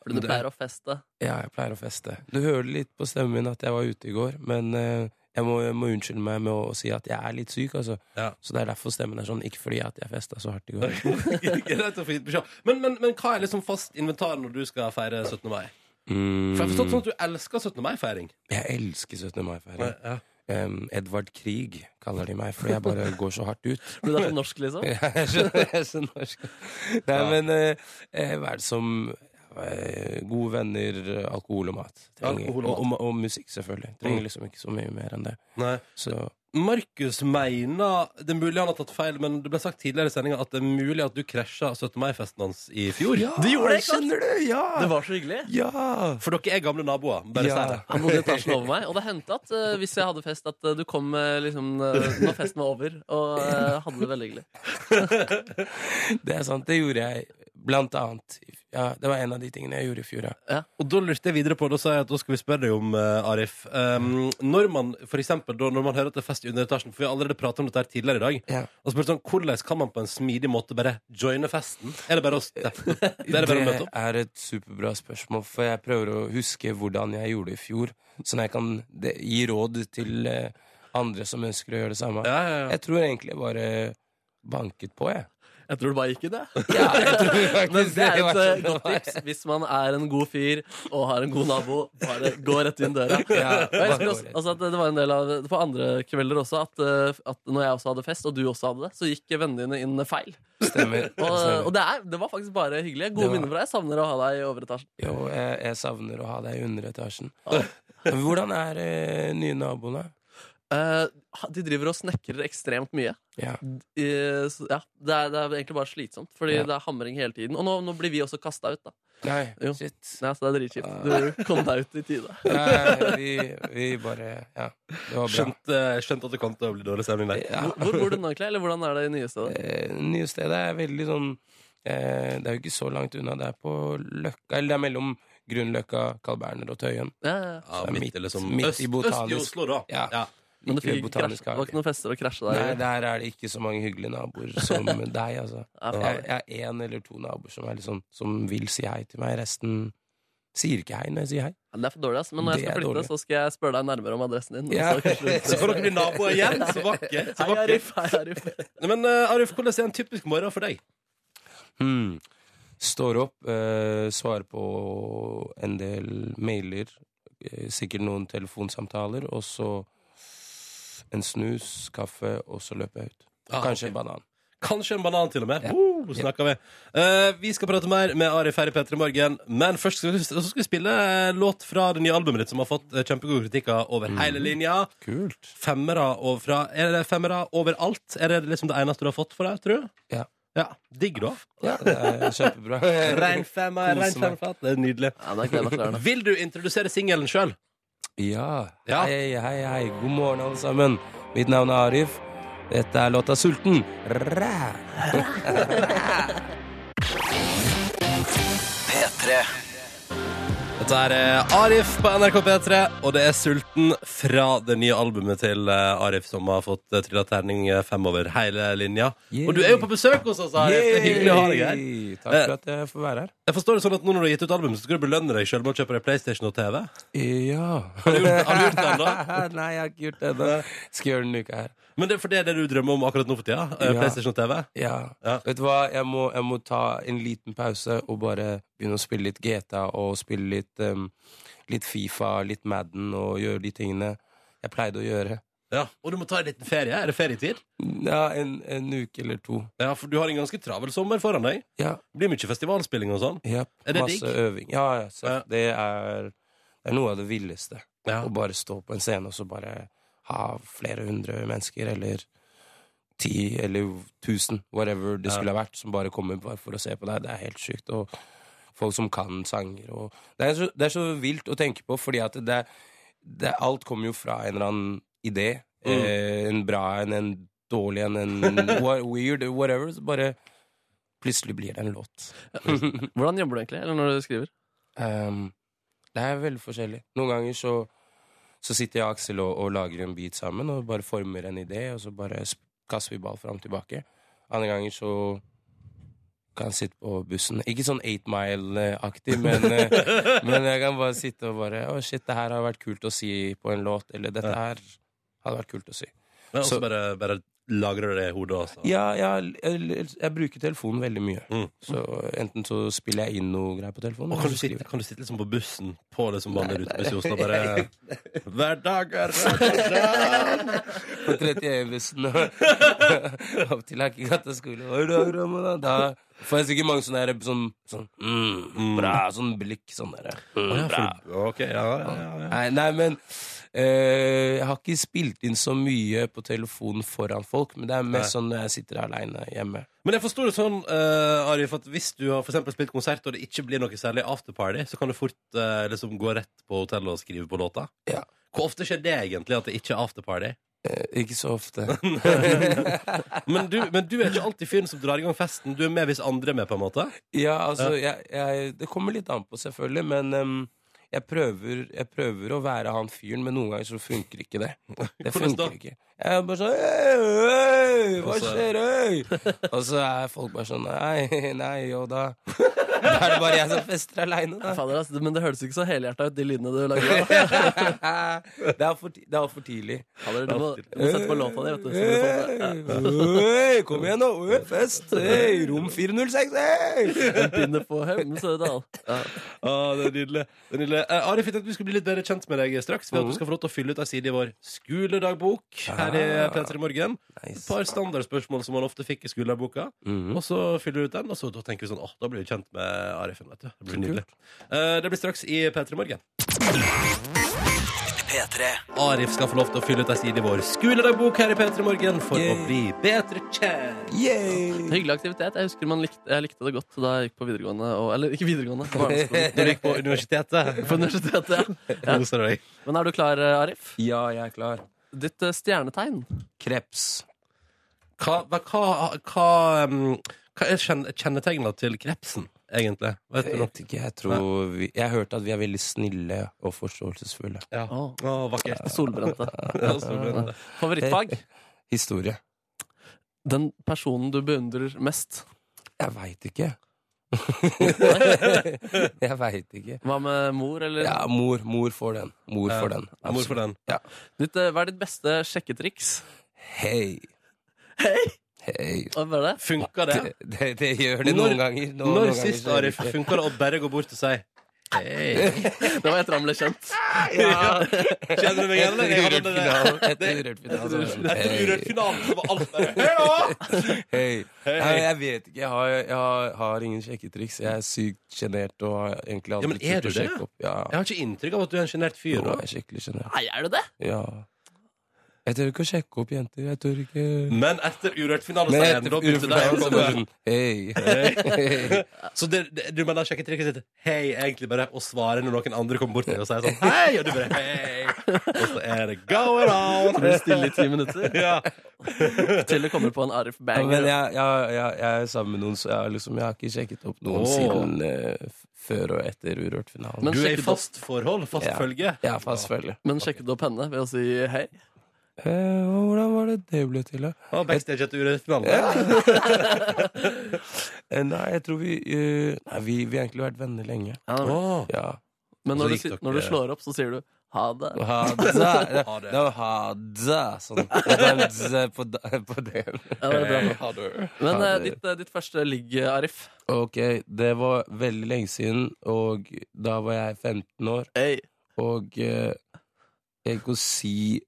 Speaker 3: Fordi du
Speaker 11: Det-
Speaker 3: pleier å feste.
Speaker 11: ja, jeg pleier å feste. Du hører litt på stemmen min at jeg var ute i går, men eh, jeg, må, jeg må unnskylde meg med å, si at jeg er litt syk, altså.
Speaker 2: Ja.
Speaker 11: Så det er derfor stemmen er sånn, ikke fordi at jeg festa så hardt i går.
Speaker 2: Greit å få gitt beskjed. Men, men, men hva er liksom fast inventar når du skal feire 17. mai?
Speaker 11: Mm,
Speaker 2: For jeg har forstått sånn at du elsker 17. mai-feiring.
Speaker 11: jeg elsker 17. mai-feiring.
Speaker 2: Ja.
Speaker 11: Ehm, Edvard Grieg kaller de meg, fordi jeg bare går så hardt ut.
Speaker 3: Blir du er så norsk, liksom?
Speaker 11: Ja, jeg skjønner- jeg skjønner norsk. Nei, men eh, eh, hva er det som eh, Gode venner, alkohol og mat. Trenger,
Speaker 2: Alkohol
Speaker 11: og,
Speaker 2: og
Speaker 11: og, ma- og musikk, selvfølgelig. Trenger liksom ikke så mye mer enn det.
Speaker 2: Nei.
Speaker 11: Så
Speaker 2: Markus mener Det er mulig han har tatt feil, men det ble sagt tidligere i sendinga at det er mulig at du krasja 17. mai-festen hans i fjor.
Speaker 11: Du gjorde det, skjønner du! Ja!
Speaker 3: Det var så hyggelig.
Speaker 11: ja.
Speaker 2: For dere er gamle naboer. Bare
Speaker 11: Ja.
Speaker 2: si det.
Speaker 3: Han bodde etasjen over meg, og det hendte at eh, hvis jeg hadde fest, at eh, du kom eh, liksom, eh, når festen var over, og eh, hadde det veldig hyggelig.
Speaker 11: Det er sant. Det gjorde jeg blant annet. i f- Ja, det var en av de tingene jeg gjorde i fjor, ja.
Speaker 2: Og da lurte jeg videre på Da sa jeg at da skal vi spørre deg om, eh, Arif um, Når man, for eksempel da, Når man hører at det er fest i underetasjen For vi har allerede pratet om dette her tidligere i dag
Speaker 11: Ja.
Speaker 2: Og spør sånn, hvordan kan man på en smidig måte Bare joine festen? Er det bare å, steppe opp? det er det bare å møte opp?
Speaker 11: er et superbra spørsmål, for jeg prøver å huske hvordan jeg gjorde det i fjor, sånn at jeg kan de- gi råd til eh, andre som ønsker å gjøre det samme.
Speaker 2: Ja, ja, ja.
Speaker 11: Jeg tror egentlig jeg bare banket på, jeg.
Speaker 3: Jeg tror det bare gikk i det.
Speaker 11: Ja, jeg tror faktisk
Speaker 3: Men det er et
Speaker 11: var sånn
Speaker 3: eh,
Speaker 11: det
Speaker 3: godt
Speaker 11: var.
Speaker 3: tips hvis man er en god fyr og har en god nabo. Bare gå rett inn døra.
Speaker 11: Ja,
Speaker 3: Og jeg
Speaker 11: bare
Speaker 3: husker
Speaker 11: gå
Speaker 3: også,
Speaker 11: rett.
Speaker 3: altså at det var en del av På andre kvelder også at, eh, at når jeg også hadde fest, og du også hadde det, så gikk vennene dine inn feil.
Speaker 11: Stemmer.
Speaker 3: Og,
Speaker 11: Stemmer.
Speaker 3: og det, er, det var faktisk bare hyggelig. Gode
Speaker 11: Det var-
Speaker 3: minner fra deg. Jeg Savner å ha deg i overetasjen.
Speaker 11: Jo, jeg, jeg savner å ha deg i underetasjen. Men Hvordan er eh, nye naboene?
Speaker 3: Eh, de driver og snekrer ekstremt mye.
Speaker 11: Ja.
Speaker 3: Eh, så, ja, det, er, det er egentlig bare slitsomt, fordi
Speaker 11: Ja.
Speaker 3: det er hamring hele tiden. Og nå, nå blir vi også kasta ut, da.
Speaker 11: Nei,
Speaker 3: Jo.
Speaker 11: shit. Ah.
Speaker 3: Ja, så det er dritkjipt. Du kom deg ut i tide.
Speaker 11: Nei, vi, vi bare Ja, det var bra.
Speaker 2: Skjønt, eh, skjønt at det kom til å bli dårlig stemning der
Speaker 11: Ja.
Speaker 3: Hvor- Hvor bor du nå, egentlig? Eller hvordan er det nye stedet?
Speaker 11: Eh, nye stedet er veldig sånn eh, Det er jo ikke så langt unna. Det er på Løkka Eller det er mellom Grünerløkka, Carl Berner og Tøyen.
Speaker 3: Ja, ja.
Speaker 2: ja,
Speaker 11: det er
Speaker 2: midt,
Speaker 11: midt-
Speaker 2: eller som
Speaker 11: midt i
Speaker 2: øst, øst i
Speaker 11: botanisk.
Speaker 2: Oslo da
Speaker 11: Ja.
Speaker 3: Men det,
Speaker 11: Like ved
Speaker 3: fikk krasj,
Speaker 11: Botanisk
Speaker 3: det var
Speaker 11: hage.
Speaker 3: ikke noen fester å krasje der.
Speaker 11: Nei,
Speaker 3: i.
Speaker 11: der er det ikke så mange hyggelige naboer som deg, altså.
Speaker 3: Ja, faen.
Speaker 11: sånn, Jeg jeg har én eller to naboer som, er liksom, som vil si hei til meg. Resten Sier ikke hei når jeg sier hei.
Speaker 3: Det er for dårlig, ass. Men når jeg
Speaker 11: Det
Speaker 3: skal
Speaker 11: er
Speaker 3: flytte,
Speaker 11: dårlig.
Speaker 3: så skal jeg spørre deg nærmere om adressen din.
Speaker 11: Ja.
Speaker 3: og kanskje-
Speaker 2: Så kan dere bli naboer igjen. Så vakkert. så
Speaker 3: Hei, Arif.
Speaker 2: vakkert.
Speaker 3: Hei, Arif.
Speaker 2: Nei, Men eh, Arif, hvordan er en typisk morgen for deg?
Speaker 11: Hmm. Står opp, eh, svarer på en del mailer, eh, sikkert noen telefonsamtaler, og så en snus, kaffe, og så løper jeg ut.
Speaker 2: Ah,
Speaker 11: Kanskje en banan.
Speaker 2: Kanskje en banan til og med. Woo, snakker vi. Eh, vi skal prate mer med Arif her i P3 Morgen, men først skal vi, så skal vi spille eh, låt fra det nye albumet ditt, som har fått eh, kjempegode kritikker over
Speaker 11: Mhm.
Speaker 2: hele linja.
Speaker 11: Kult.
Speaker 2: Femmere og fra Er det femmere overalt? Er det liksom det eneste du har fått for deg, tror du?
Speaker 11: Ja.
Speaker 2: Digg, da.
Speaker 11: Ja, det er kjempebra.
Speaker 2: Rein femmer, rein
Speaker 11: Kose meg.
Speaker 2: femmerflat. Det er nydelig. Vil du introdusere singelen sjøl?
Speaker 11: Ja. Hei, hei, hei. God morgen, alle sammen. Mitt navn er Arif. Dette er låta 'Sulten'. Ræ.
Speaker 5: P3.
Speaker 2: Dette er eh, Arif på NRK P3, og det er Sulten fra det nye albumet til eh, Arif, som har fått eh, trilla terning eh, fem over hele linja. Og du er jo på besøk hos oss, Arif. Det er hyggelig å ha deg her.
Speaker 11: Yay. Takk for
Speaker 2: Eh,
Speaker 11: at jeg får være her.
Speaker 2: Jeg forstår det sånn at nå når du har gitt ut albumet, så skal du belønne deg sjøl med å kjøpe deg PlayStation og TV?
Speaker 11: Ja.
Speaker 2: Eh. Har du gjort, har du gjort det ennå?
Speaker 11: Nei, jeg har ikke gjort det ennå. Skal gjøre det denne uka her.
Speaker 2: Men det er for det er det du drømmer om akkurat nå for tida? eh,
Speaker 11: Ja.
Speaker 2: PlayStation og TV?
Speaker 11: Ja. Vet du hva, jeg må, jeg må ta en liten pause og bare begynne å spille litt GTA og spille litt, um, litt Fifa, litt Madden og gjøre de tingene jeg pleide å gjøre.
Speaker 2: Ja, Og du må ta en liten ferie? Er det ferietid?
Speaker 11: Ja, en, en uke eller to.
Speaker 2: Ja, for du har en ganske travel sommer foran deg.
Speaker 11: Ja.
Speaker 2: Det blir mye festivalspilling og sånn.
Speaker 11: Japp,
Speaker 2: Er det
Speaker 11: masse
Speaker 2: digg?
Speaker 11: øving. Ja, ja, så Det, er, det er noe av det villeste. Å bare stå på en scene og så bare ha flere hundre mennesker, eller ti eller tusen, whatever det
Speaker 2: Ja.
Speaker 11: skulle ha vært, som bare kommer bare for å se på deg. Det er helt sykt. Og folk som kan sanger og Det er så, det er så vilt å tenke på, fordi at det, det Alt kommer jo fra en eller annen idé.
Speaker 2: Mm.
Speaker 11: Eh, en bra en, en dårlig en, en wha- weird, whatever. Så bare plutselig blir det en låt.
Speaker 3: Hvordan jobber du egentlig eller når du skriver?
Speaker 11: Ehm, det er veldig forskjellig. Noen ganger så, så sitter jeg og Aksel og, og lager en beat sammen og bare former en idé, og så bare sp- kaster vi ball fram og tilbake. Andre ganger så kan jeg sitte på bussen. Ikke sånn 8 Mile-aktig, men, eh, men jeg kan bare sitte og bare Å, shit, det her har vært kult å si på en låt. Eller dette her hadde vært kult å si.
Speaker 2: Men også
Speaker 11: Så-
Speaker 2: bare, bare lagrer du det i hodet også.
Speaker 11: ja, ja, jeg, jeg bruker telefonen veldig mye. Så enten så spiller jeg inn noe greier på telefonen.
Speaker 2: Og kan du sitte, kan du sitte liksom på bussen på det som vanlig rutebuss i Oslo? Bare Hverdag er
Speaker 11: På 31-bussen opp til Akegata skole. Hva da, Ramona? Da får jeg sikkert mange sånne der, sånn, sånn mm, bra, sånn blikk. Sånn der. Mm,
Speaker 2: Å ja, for
Speaker 11: bra.
Speaker 2: du- ok, ja, ja, ja, ja.
Speaker 11: Nei, nei, men eh, jeg har ikke spilt inn så mye på telefonen foran folk, men det er mest
Speaker 2: Nei.
Speaker 11: sånn når jeg sitter aleine hjemme.
Speaker 2: Men jeg forstår det sånn, eh, Arif, at hvis du har for eksempel spilt konsert og det ikke blir noe særlig afterparty, så kan du fort eh, liksom gå rett på hotellet og skrive på låta? Hvor ofte skjer det egentlig at det ikke er afterparty?
Speaker 11: Eh, Ikke så ofte.
Speaker 2: men, du, men du er ikke alltid fyren som drar i gang festen. Du er med hvis andre er med, på en måte?
Speaker 11: Ja, altså
Speaker 2: Ja.
Speaker 11: Jeg, jeg, Det kommer litt an på, selvfølgelig, men ehm, jeg, prøver, jeg prøver å være han fyren, men noen ganger så funker ikke det. Det
Speaker 2: Hvordan da?
Speaker 11: funker ikke. Jeg er bare sånn «Øy, øy, Hva
Speaker 2: Og så-
Speaker 11: skjer, øy? Og så er folk bare sånn Nei, nei, og da Da er det bare jeg som fester aleine, da.
Speaker 3: Fader, ass, men det høres ikke så helhjerta ut, de lydene du lager. da.
Speaker 11: Det er for, ti- det er for tidlig.
Speaker 3: Fader, du, må, du må sette på låta di, vet du. Så blir det sånn, ja.
Speaker 11: Øy, kom igjen, nå! Øy, fest! Øy, rom 406! Øy!
Speaker 3: En pinne på Høim, Sørdal. Ja.
Speaker 2: Ah, det er nydelig. Det er nydelig. Eh, Arif, jeg tenkte vi skulle bli litt bedre kjent med deg eh, straks. Ved at du skal få lov til å fylle ut ei side i vår skoledagbok her i
Speaker 11: Ah.
Speaker 2: P3 Morgen. Et par standardspørsmål som man ofte fikk i skoledagboka. Og så fyller du ut den, og så da tenker vi sånn åh, da blir vi kjent med Arifen. vet du. Det blir nydelig. Eh, det blir straks i P3 Morgen.
Speaker 5: P3.
Speaker 2: Arif skal få lov til å fylle ut ei side i vår skoledagbok her i P3 Morgen for å bli bedre kjent.
Speaker 3: Hyggelig aktivitet. Jeg husker man likte, jeg likte det godt da jeg gikk på videregående. Og, eller ikke videregående,
Speaker 2: Når du
Speaker 3: barneskolen.
Speaker 2: gikk på universitetet.
Speaker 3: På universitetet, ja. ja.
Speaker 2: Koser du deg.
Speaker 3: Men er du klar, eh, Arif?
Speaker 11: Ja, jeg er klar.
Speaker 3: Ditt eh, stjernetegn?
Speaker 11: Kreps.
Speaker 2: Hva, hva, hva, hva, um, hva er kjenn- kjennetegnet til krepsen, egentlig? Vet du noe?
Speaker 11: Vet ikke, jeg tror vi, Jeg har hørt at vi er veldig snille og forståelsesfulle.
Speaker 2: Ja. Å, vakkert.
Speaker 3: Solbrente.
Speaker 2: Ja, solbrente.
Speaker 3: Favorittfag?
Speaker 11: Historie.
Speaker 3: Den personen du beundrer mest?
Speaker 11: Jeg veit ikke. jeg veit ikke.
Speaker 3: Hva med mor, eller?
Speaker 11: Ja, mor. Mor får den. Mor
Speaker 3: Ja,
Speaker 11: får den.
Speaker 3: ja, mor får den.
Speaker 11: Ja.
Speaker 3: Ditt, eh, hva er ditt beste sjekketriks?
Speaker 11: Hei.
Speaker 3: Hei?
Speaker 11: Hei.
Speaker 3: Hva var det?
Speaker 2: Funka
Speaker 11: det? Det, det, gjør det
Speaker 2: Når-
Speaker 11: noen ganger. Nå-
Speaker 2: når
Speaker 11: noen ganger
Speaker 2: sist,
Speaker 11: så gjør det
Speaker 2: Arif,
Speaker 11: ikke.
Speaker 2: funka det å bare gå bort og si Hei.
Speaker 3: Det var etter han ble kjent.
Speaker 2: Ja. Kjenner du meg igjen, eller? Jeg hadde
Speaker 11: Etter
Speaker 2: det-
Speaker 11: urørt final.
Speaker 2: det-
Speaker 11: Etter urørt final.
Speaker 2: Etter
Speaker 11: så var det- Hei.
Speaker 2: urørt final, så var alt der. Hei da!
Speaker 11: Hei.
Speaker 2: Hei.
Speaker 11: Nei, jeg vet ikke. Jeg har, jeg har, har ingen sjekketriks. Jeg er sykt sjenert og har egentlig
Speaker 2: Ja,
Speaker 11: aldri
Speaker 2: men er
Speaker 11: turt
Speaker 2: du
Speaker 11: å
Speaker 2: det?
Speaker 11: sjekke opp. Ja.
Speaker 2: Jeg har ikke inntrykk av at du er en sjenert fyr.
Speaker 11: Jo,
Speaker 2: da.
Speaker 11: jeg er skikkelig sjenert.
Speaker 3: Nei, er du det?
Speaker 11: Ja. Jeg tør ikke å sjekke opp jenter. Jeg tør ikke
Speaker 2: Men etter urørt finale,
Speaker 11: Men
Speaker 2: så er
Speaker 11: etter
Speaker 2: det da begynte
Speaker 11: urørt
Speaker 2: det
Speaker 11: finale,
Speaker 2: å
Speaker 11: så
Speaker 2: komme.
Speaker 11: bare sånn, hei.
Speaker 2: Hei. Så det, det, du mener sjekketrikset ditt hei egentlig bare å svare når noen andre kommer bort til deg og sier sånn hei, og du bare hei, og så er det go around.
Speaker 3: Så blir det stille i ti minutter.
Speaker 2: Ja.
Speaker 3: Til det kommer på en Arif
Speaker 11: Ja,
Speaker 3: Banger.
Speaker 11: men jeg, jeg, jeg, jeg er sammen med noen, så jeg, har liksom, jeg har ikke sjekket opp noen
Speaker 2: Åh.
Speaker 11: siden eh, f- før og etter Urørt-finalen.
Speaker 2: Du er i fast forhold, fast
Speaker 11: Ja.
Speaker 2: følge.
Speaker 11: Ja, fast følge.
Speaker 3: Men sjekket du opp henne ved å si hei?
Speaker 11: Eh, og hvordan var det det ble til, da?
Speaker 2: Og backstage etter urørt finale.
Speaker 11: Eh, Nei, jeg tror vi eh, Nei, vi, vi har egentlig vært venner lenge.
Speaker 3: Ja, det var-
Speaker 2: Åh.
Speaker 11: Ja.
Speaker 3: Men når du,
Speaker 11: Så gikk
Speaker 3: si- når du
Speaker 11: dere-
Speaker 3: slår opp, så sier du ha det.
Speaker 11: Ha det. Det
Speaker 2: Ha det.
Speaker 11: var ha det. Sånn. Det var en z på, da- på det.
Speaker 3: Ja, det er bra.
Speaker 11: Ha det.
Speaker 3: Men
Speaker 11: Ha
Speaker 3: eh,
Speaker 11: det.
Speaker 3: ditt, eh, ditt første ligg, Arif.
Speaker 11: Ok, det var veldig lenge siden, og da var jeg 15 år.
Speaker 3: Hey.
Speaker 11: Og eh, jeg kan ikke si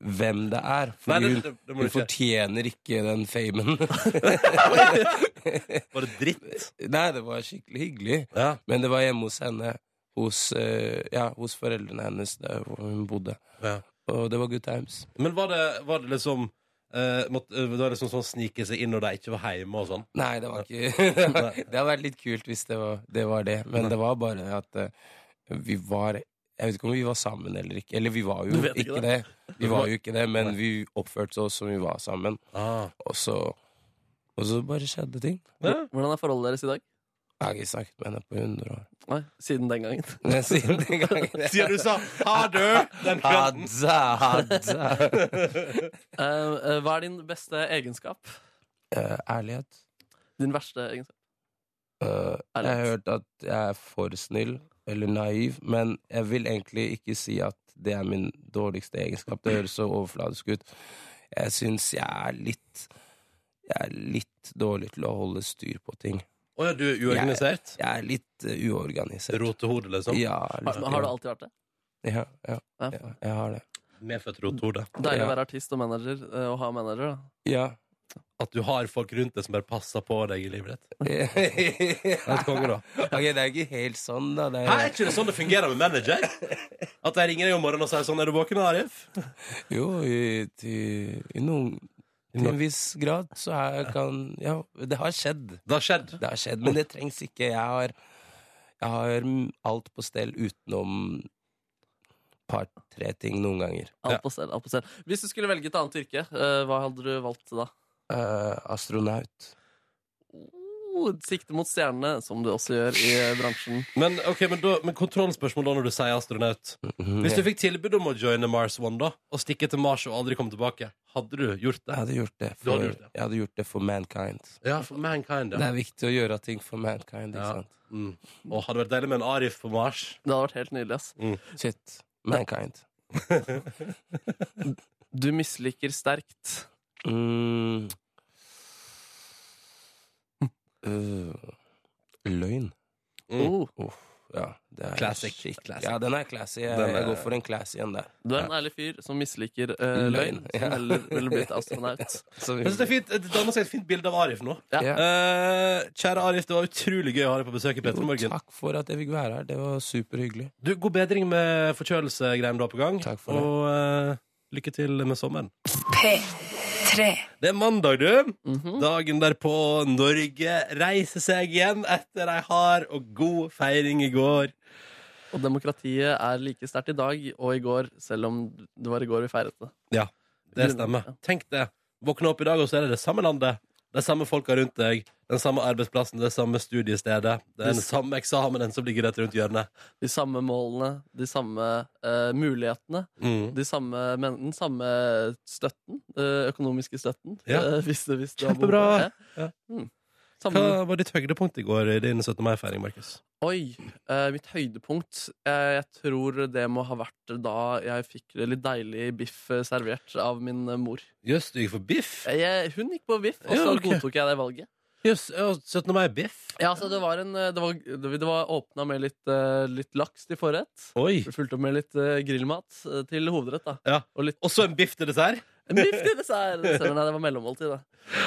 Speaker 11: hvem det er, for
Speaker 2: Nei, det-
Speaker 11: hun,
Speaker 2: det- det må du
Speaker 11: hun
Speaker 2: ikke.
Speaker 11: fortjener ikke den famen.
Speaker 2: Var det dritt?
Speaker 11: Nei, det var skikkelig hyggelig,
Speaker 2: Ja.
Speaker 11: men det var hjemme hos henne. Hos, eh, ja, hos foreldrene hennes, der hvor hun bodde.
Speaker 2: ja.
Speaker 11: Og det var good times.
Speaker 2: Men var det, var det liksom eh, måtte, eh, var det liksom sånn snike seg inn når de ikke var hjemme og sånn?
Speaker 11: Nei, det var ikke Det hadde vært litt kult hvis det var det. Var det. Men det var bare at eh, vi var Jeg vet ikke om vi var sammen eller ikke. Eller vi var jo
Speaker 3: Du
Speaker 11: ikke,
Speaker 3: vet ikke
Speaker 11: det. Vi var jo ikke det, men vi oppførte oss som vi var sammen.
Speaker 2: Ah.
Speaker 11: Og så, og så bare skjedde ting.
Speaker 2: Ja.
Speaker 3: Hvordan er forholdet deres i dag?
Speaker 11: Jeg har ikke snakket med henne på 100 år.
Speaker 3: Nei, Siden den gangen.
Speaker 11: Men siden den gangen
Speaker 2: Siden du sa 'ha du' den kvelden.
Speaker 11: Hadde, hadde.
Speaker 3: Eh, eh, hva er din beste egenskap?
Speaker 11: Eh, ærlighet.
Speaker 3: Din verste egenskap?
Speaker 11: Eh, jeg har hørt at jeg er for snill eller naiv, men jeg vil egentlig ikke si at det er min dårligste egenskap. Det høres så overfladisk ut. Jeg syns jeg er litt Jeg er litt dårlig til å holde styr på ting.
Speaker 2: Å ja, du er uorganisert?
Speaker 11: Jeg er litt eh, uorganisert.
Speaker 2: Rotehode, liksom?
Speaker 11: Ja,
Speaker 3: Har,
Speaker 11: litt,
Speaker 3: har du alltid vært det?
Speaker 11: ja, ja,
Speaker 3: Ja.
Speaker 11: ja, jeg har det.
Speaker 2: Medfødt rotehode.
Speaker 3: Deilig å
Speaker 11: Ja.
Speaker 3: være artist og manager eh, og ha manager.
Speaker 11: Ja.
Speaker 2: At du har folk rundt deg som bare passer på deg i livet ditt.
Speaker 11: ok,
Speaker 2: Det er konge, da.
Speaker 11: det er ikke helt sånn, da.
Speaker 2: Hæ,
Speaker 11: Det
Speaker 2: er
Speaker 11: er,
Speaker 2: ikke det sånn det fungerer med manager? At jeg ringer deg om morgenen og sier sånn 'Er du våken, Arif?'
Speaker 11: jo, i, til, i noen til en viss grad så er, kan Ja, det har skjedd.
Speaker 2: Det har skjedd.
Speaker 11: Det har skjedd, men det trengs ikke. Jeg har, jeg har mm, alt på stell utenom par-tre ting noen ganger.
Speaker 3: da Alt på stell, alt på stell. Hvis du skulle velge et annet yrke, eh, hva hadde du valgt da?
Speaker 11: Eh, astronaut.
Speaker 3: Oh, Sikte mot stjernene, som du også gjør i eh, bransjen.
Speaker 2: Men, ok, men, da, men kontrollspørsmål da når du sier astronaut.
Speaker 11: Mhm.
Speaker 2: Hvis du fikk tilbud om å joine Mars One da og stikke til Mars og aldri komme tilbake, hadde du gjort
Speaker 11: Jeg
Speaker 2: det?
Speaker 11: hadde gjort det
Speaker 2: Du
Speaker 11: for,
Speaker 2: hadde gjort det.
Speaker 11: Jeg hadde gjort det for mankind.
Speaker 2: Ja, for mankind,
Speaker 11: Det
Speaker 2: ja.
Speaker 11: er viktig å gjøre ting for mankind, ikke
Speaker 2: Ja.
Speaker 11: sant?
Speaker 2: Mm. Og hadde vært deilig med en Arif på Mars.
Speaker 3: Det hadde vært helt nydelig. ass
Speaker 11: Shit. Mankind.
Speaker 3: Du misliker sterkt.
Speaker 11: Mm. Øh, løgn.
Speaker 2: Mm.
Speaker 3: Oh,
Speaker 11: Uff, ja, det er
Speaker 2: Classic,
Speaker 11: skikkelig-
Speaker 2: classic.
Speaker 11: Ja, den er classy. Jeg,
Speaker 2: Den
Speaker 11: jeg
Speaker 2: er-
Speaker 11: går for en classy en der.
Speaker 3: du er en ærlig fyr som misliker eh, løgn.
Speaker 11: Løgn, ja.
Speaker 3: Som heller ville blitt astronaut.
Speaker 11: Så vi-
Speaker 2: Jeg synes det er fint, det danner seg et fint bilde av Arif nå.
Speaker 11: Ja.
Speaker 2: Eh, kjære Arif, det var utrolig gøy å ha deg på besøk i Petter
Speaker 11: Jo,
Speaker 2: Morgen.
Speaker 11: takk for at jeg fikk være her. Det var superhyggelig.
Speaker 2: Du, God bedring med forkjølelsegreiene du har på gang.
Speaker 11: Takk for det.
Speaker 2: Og eh, lykke til med sommeren.
Speaker 6: P3.
Speaker 2: Det er mandag, du. Dagen derpå Norge reiser seg igjen etter ei hard og god feiring i går.
Speaker 3: Og demokratiet er like sterkt i dag og i går, selv om det var i går vi feiret det.
Speaker 2: Ja, det stemmer. Tenk det. Våkne opp i dag, og så er det det samme landet. De samme folka rundt deg, den samme arbeidsplassen, det samme studiestedet. Det er den samme eksamenen som ligger rett rundt hjørnet.
Speaker 3: De samme målene, de samme eh, mulighetene,
Speaker 2: Mm.
Speaker 3: de samme, men, den samme støtten, eh, økonomiske støtten.
Speaker 2: Ja.
Speaker 3: eh, hvis, du- hvis du har
Speaker 2: Kjempebra.
Speaker 3: Mm. behov for det.
Speaker 2: Hva var ditt høydepunkt i går i din 17. mai-feiring, Markus?
Speaker 3: Oi, eh, mitt høydepunkt eh, Jeg tror det må ha vært da jeg fikk litt deilig biff eh, servert av min eh, mor.
Speaker 2: Jøss, du gikk for biff?
Speaker 3: Eh, Jeg, hun gikk på biff, og
Speaker 2: Ja,
Speaker 3: så
Speaker 2: ok.
Speaker 3: godtok jeg det valget.
Speaker 2: Jøss, ja, 17. mai-biff?
Speaker 3: Ja, altså det var en eh, Det var, det var åpna med litt, eh, litt laks til forrett.
Speaker 2: Oi.
Speaker 3: Fulgt opp med litt eh, grillmat eh, til hovedrett, da.
Speaker 2: Ja.
Speaker 3: Og
Speaker 2: så en biff til dessert?
Speaker 3: En biff til dessert! Selv om nei, det var mellommåltid, da.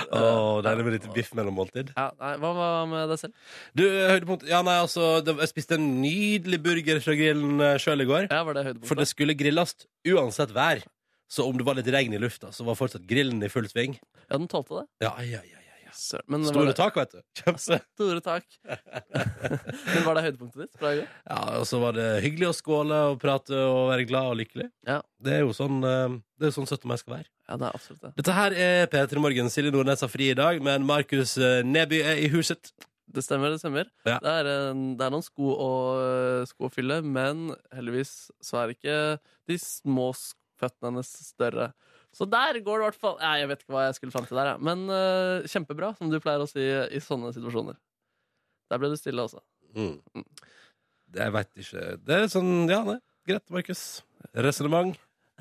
Speaker 2: Å, deilig med litt biff mellom måltid.
Speaker 3: Ja, nei, hva var med deg selv?
Speaker 2: Du, høydepunkt Ja, nei, altså, det, jeg spiste en nydelig burger fra grillen eh, sjøl i går.
Speaker 3: Ja, var det høydepunktet?
Speaker 2: For det skulle grilles uansett vær. Så om det var litt regn i lufta, så var fortsatt grillen i full sving.
Speaker 3: Ja, den tålte det.
Speaker 2: Ja, ja, ja, ja, ja.
Speaker 3: men-
Speaker 2: Store tak, vet du. Kjempe.
Speaker 3: Store tak. Men var det høydepunktet ditt fra i går?
Speaker 2: Ja, og så var det hyggelig å skåle og prate og være glad og lykkelig. Det er jo sånn, eh, det er sånn 17. mai skal være.
Speaker 3: Ja, det er absolutt det.
Speaker 2: Dette her er P3 Morgen. Silje Nordnes har fri i dag, men Markus eh, Neby er i huset.
Speaker 3: Det stemmer, det stemmer.
Speaker 2: Ja.
Speaker 3: Det, er en, det er noen sko å, sko å fylle, men heldigvis så er ikke de små sk- føttene hennes større. Så der går det i hvert fall Nei, jeg vet ikke hva jeg skulle fram til der, jeg. men eh, kjempebra, som du pleier å si i sånne situasjoner. Der ble du stille, altså.
Speaker 2: Mm. Det, jeg veit ikke Det er sånn, ja, nei. Greit, Markus. Resonnement.